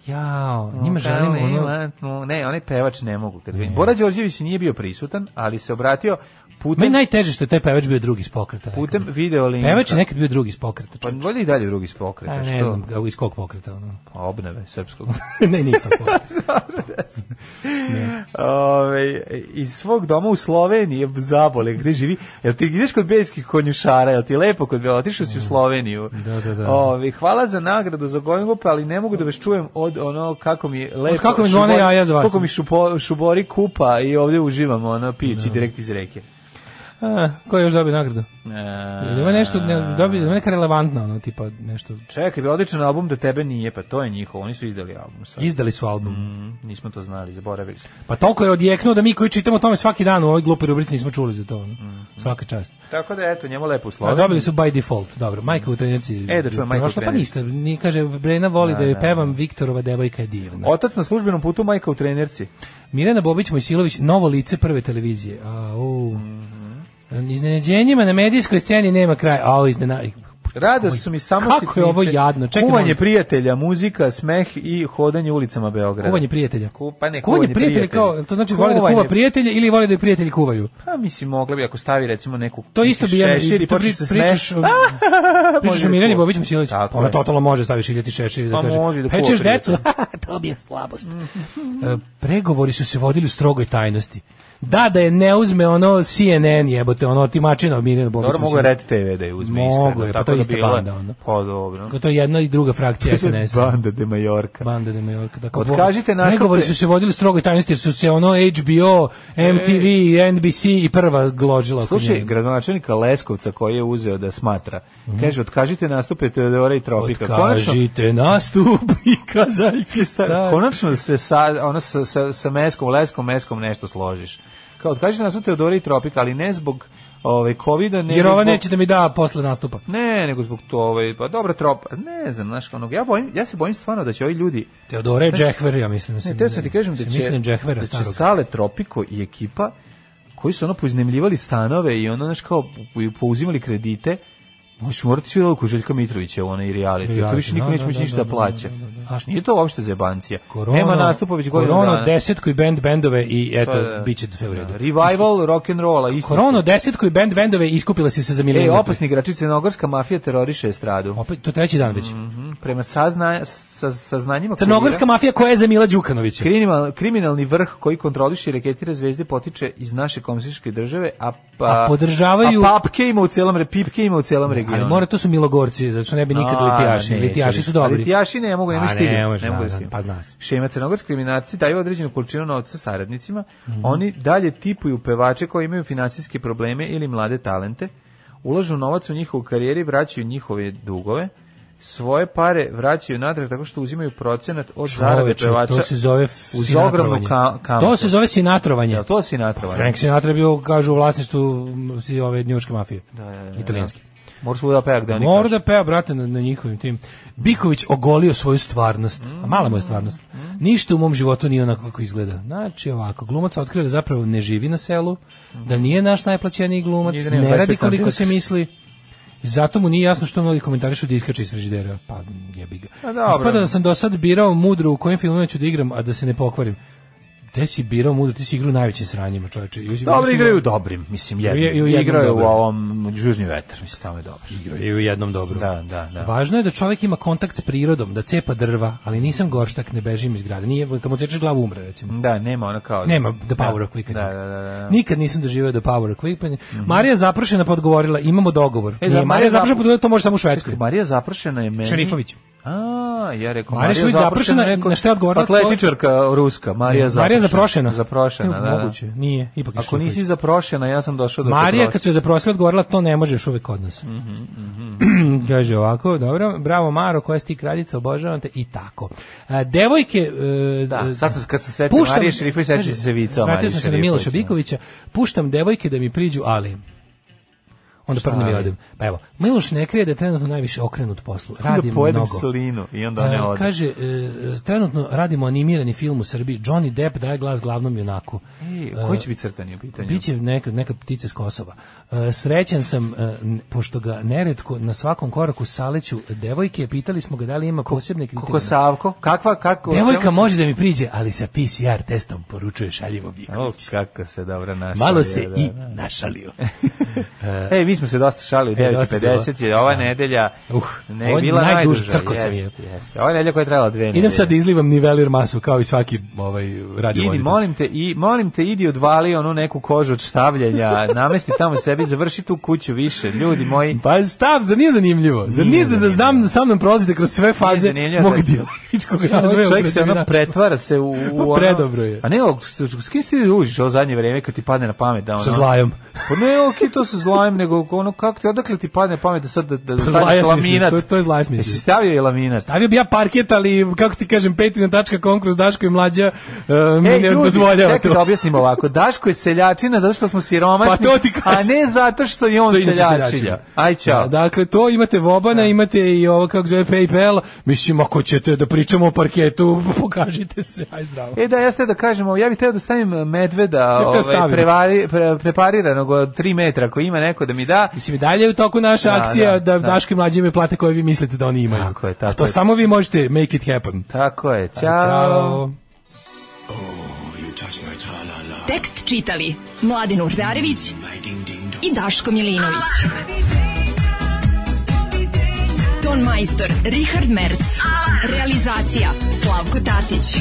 Jao, njima želim ono...
ono... Ne, onaj pevač ne mogu. Kad vidim. Bora Đorđević nije bio prisutan, ali se obratio putem,
Meni je najteže što je taj pevač bio drugi iz pokreta. rekao
putem
bih.
video linka.
Pevač je nekad bio drugi iz pokreta.
Pa
čovječe.
volje i dalje drugi iz pokreta.
A, ne
što?
znam ga, iz kog pokreta. Ono.
Pa, Obnove srpskog.
ne, nije to pokreta.
Ove, iz svog doma u Sloveniji, zabole, gde živi, jel ti ideš kod belgijskih konjušara, jel ti je lepo kod Belgija, otišao si u Sloveniju.
Mm. Da, da, da.
Ove, hvala za nagradu za Gojngope, ali ne mogu da vas čujem od ono kako mi je lepo.
kako mi zvone
šubori-
jaja za vas.
Kako mi šupo, šubori kupa i ovdje uživam, ono, pijući direkt iz reke.
A, ko je još dobio nagradu?
E,
Ili ima nešto, ne, dobio, ima neka relevantna, ono, tipa nešto...
Čekaj, odličan album da tebe nije, pa to je njihovo, oni su izdali album. Sad.
Izdali su album.
Mm, Nismo to znali, zaboravili smo.
Pa toliko je odjeknuo da mi koji čitamo o tome svaki dan u ovoj glupoj rubrici nismo čuli za to. ono.
Mm.
Svaka čast.
Tako da, eto, njemu lepo u
A
Sloveniji.
dobili su by default, dobro. Majka u trenerci.
E, da čujem Majku u
prošla, Pa
trenerci.
ništa, ni kaže, Brena voli da, joj pevam, Viktorova devojka je divna.
Otac na službenom putu, majka u trenerci.
Mirjana Bobić Mojsilović, novo lice prve televizije. A, u. Iznenađenjima na medijskoj sceni nema kraja. A, iznena...
Rada su mi samo
Kako je ovo jadno? Čekaj,
kuvanje
molim.
prijatelja, muzika, smeh i hodanje ulicama Beograda.
Kuvanje prijatelja.
Ku- pa ne,
kuvanje
kuvanje
prijatelja kao,
prijatelja.
jel to znači voli da kuva
Kuvanje-
prijatelje ili voli da je prijatelji kuvaju.
Pa mislim, mogla bi ako stavi recimo neku
To isto bi jedan-
šešir i
to
počne
pri-
se
pričaš
smeš.
o- Pričaš o Mirjani Bobić Mojsilović.
Tako
Ona
je.
totalno može staviš iljati šešir i da
Pa
kaže.
može da kuva
pečeš
prijatelja." Mhm.
decu? to bi je slabost. E, Pregovori su se vodili u strogoj tajnosti. Da, da je ne uzme ono CNN jebote, ono otimačina Mirjana Bobić
Dobro, mogu je
Mojsilović.
Red TV da je uzme
Mogu
iskreno.
je, pa
tako
to je
da
ista
bilo je-
banda, ono.
Pa dobro.
To je jedna i druga frakcija SNS.
Banda de Majorka.
Banda de Mallorca. Dakle,
Otkažite nastupe.
Pregovori su se vodili strogoj tajnosti jer su se ono HBO, MTV, NBC i prva gložila. oko
E. Slušaj,
nje.
gradonačelnika Leskovca koji je uzeo da smatra.
Mhm.
Kaže, otkažite nastupe Teodora i Tropika. Konačno,
Otkažite nastup i kazaljke
Da,
stare.
konačno se sa, ono, sa, sa, sa meskom, leskom, meskom nešto složiš. Kao, odkažite nas u Teodora i Tropika, ali ne zbog ovaj, COVID-a, nego
Jer ova
zbog...
neće da mi da posle nastupa.
Ne, nego zbog to, ovaj, pa dobra tropa, ne znam, znaš, onog, ja, bojim, ja se bojim stvarno da će ovi ljudi,
Teodora je Džehver, ja mislim.
ne,
mislim,
te sam ti kažem da
mislim,
će,
Mislim Džehvera
da će
starog.
Sale Tropiko i ekipa koji su ono poiznemljivali stanove i ono, znaš, kao, po- pouzimali kredite, Možeš morati svi oko Željka Mitrovića u onaj reality. jer To
Reality,
više niko
da,
neće
da,
moći
da,
ništa
da,
da
da,
plaća.
da, da, da.
Znaš, nije to uopšte zebancija.
Korona-
Nema nastupa već godinu dana.
Korona, desetku i band bendove i eto,
Pa, da.
bit će sve u redu.
Da, Revival rock and rolla isto.
Korona, desetku i band bendove i iskupila si se za
E,
milimetar.
opasni igrači crnogorska mafija teroriše estradu.
Opet, to treći dan već.
Mhm, Prema sazna, sa, saznanjima
Crnogorska mafija koja je za Mila Đukanovića.
kriminal, kriminalni vrh koji kontroliše i reketira zvezde potiče iz naše komšićke države, a pa
A podržavaju-
a papke ima u celom re, pipke ima u celom regionu.
Ali mora to su Milogorci, zato što ne bi nikad
A,
litijaši.
neće
Litijaši
biti.
su dobri.
A Litijaši ne mogu,
A
nema
ne,
stignu.
ne može,
mogu
da,
da
da,
stignu.
pa zna se.
Šema crnogorski kriminalci daju određenu količinu novca saradnicima,
Mhm.
oni dalje tipuju pevače koji imaju financijske probleme ili mlade talente, ulažu novac u njihovu karijeri, vraćaju njihove dugove, svoje pare vraćaju natrag tako što uzimaju procenat od zarade
Čoveče,
pevača.
To se zove
uz ogromnu ka,
sinatrovanje.
kamatu.
to se zove sinatrovanje.
Jel to si
Pa Frank Sinatra je bio, kažu, u vlasništvu mm, si ove njuške mafije.
da, da, da.
Italijanske.
Mora svuda da peva gde oni
Mora
kažu.
da peva, brate, na, na njihovim tim. Biković ogolio svoju stvarnost. A mala mu je stvarnost. Ništa u mom životu nije onako kako izgleda. Znači, ovako, glumac otkrio da zapravo ne živi na selu, da nije naš najplaćeniji glumac,
I da nema
ne radi
25
koliko se
centimetara.
misli. Zato mu nije jasno što mnogi komentarišu da iskače iz frižidera. Pa, jebi ga.
A dobro.
Ispada da sam do sad birao mudro u kojim filmima ću da igram, a da se ne pokvarim. Gde si birao mudro? Ti si igrao u najvećim sranjima, čoveče. I u-
Dobro
mislim-
igraju u dobrim, mislim, jedno.
I u- i u jednom
Igrao je u
dobrom.
ovom Žužni vetar, mislim, tamo je dobro. Igraju
i u jednom dobro.
Da, da, da.
Važno je da čovjek ima kontakt s prirodom, da cepa drva, ali nisam gorštak, ne bežim iz grada. Nije, kad mu cečeš glavu umre, recimo.
Da, nema ono kao...
Nema the power of quick
Da, da, da. da. Mhm.
Nikad nisam doživio do power equipanja. Marija Zapršena pa odgovorila, imamo dogovor.
E,
E,
za- Marija
Nije, Marija
Zap-
Zapršena pa to može samo u Švedskoj.
Marija Zapršena je meni...
Šerifović.
A, ja rekao
Marija Šerifović Zapršena, na šta je odgovorila?
Pa Atletičarka ruska, Marija
Ne,
Zapršena.
Marija Zaprošena.
Zaprošena,
Ne,
da, da.
moguće, nije, ipak je
Ako
Šerifović.
nisi zaprošena, ja sam došao do
Marija
Zaprošena.
kad su je zaprosila odgovorila, to ne možeš uvek kod nas.
Mhm,
Kaže ovako, dobro, bravo Maro, koja si ti kraljica, obožavam te i tako. A, devojke... e,
Da, sad sam, kad sam setio Marije Šerifović, sećam
kaže,
se vica o
Vratio
Mariji
sam se na
Šerifović, da.
Miloša Bikovića, puštam devojke da mi priđu, ali... Onda prvo mi
ali?
odem. Pa evo, Miloš ne krije da je trenutno najviše okrenut poslu.
Da
Radim
pojedem
mnogo.
slinu i onda ne
E,
odem.
Kaže, e, trenutno radimo animirani film u Srbiji. Johnny Depp daje glas glavnom junaku.
Ej, koji će
e,
biti crtani u pitanju?
Biće neka, neka ptica s Kosova. E, srećen sam, e, n- pošto ga neretko na svakom koraku saleću devojke, pitali smo ga da li ima posebne kriterije.
Kako Savko? Kakva, kako? čemu
Devojka
se-
može da mi priđe, ali sa PCR testom poručuje šaljivo
O,
Biković.
kako se dobro našalio.
Malo se
da,
i
da.
našalio.
Ej, mi smo se dosta šalili,
E, dosta
9.50 je ova nedelja
Uh,
ne
ovo je
bila
najduž-
najduža.
crko sam
jeste,
je.
jeste. Ova nedelja koja je trajala dve nedelje.
Idem sad da izlivam nivelir masu, kao i svaki ovaj, radio
Idi, molim te, i, molim te, idi odvali onu neku kožu od štavljenja, namesti tamo sebi, završi tu kuću više, ljudi moji.
Pa stav, za nije zanimljivo? Za nije,
Nije
za, za sam, sa mnom prolazite kroz sve faze
zanimljivo,
mog
da-
dijalogičkog
Ovaj
razvoja. u
Čovjek se ono
preterinaštvu.
pretvara se u, u ono...
predobro je.
A ne, o, s, s kim si ti družiš ovo zadnje vreme kad ti padne na pamet? Da, ono,
Sa zlajom.
Pa ne, okej, to sa zlajem, nego ono, kako ti, odakle ti padne na pamet da sad da, da, da
Zlaja
staviš
smisli,
laminat?
To, to je zlaja smisli.
Jesi stavio je laminat?
Stavio bi ja parket, ali kako ti kažem, patreon.com kroz Daško i mlađa uh, mi
Ej,
ne
E, ljudi,
dozvoljava
čekaj da
to.
objasnim ovako. Daško je seljačina zato što smo siromašni,
Pa to ti kažem.
a ne zato što je on
Što inače
seljačina. Aj, čao.
Da, dakle, to imate Vobana, imate i ovo kako zove PayPal. Mislim, ako ćete da pričamo o parketu, pokažite se. Aj, zdravo.
E da, jeste da kažemo, ja bih teo da stavim medveda ovaj,
bih teo stavim.
prevari, pre- prepariranog od 3 metra, ako ima neko da mi da.
Mislim, i dalje je u toku naša
Da,
akcija
da,
da,
da.
Daško i mlađe imaju plate koje vi mislite da oni imaju.
Tako je, tako
A to
je.
samo vi možete make it happen.
Tako je,
Aj,
čao.
Ćao.
Tekst čitali Mladin Urdarević i Daško Milinović. Ton majstor Richard Merc. Realizacija Slavko Tatić.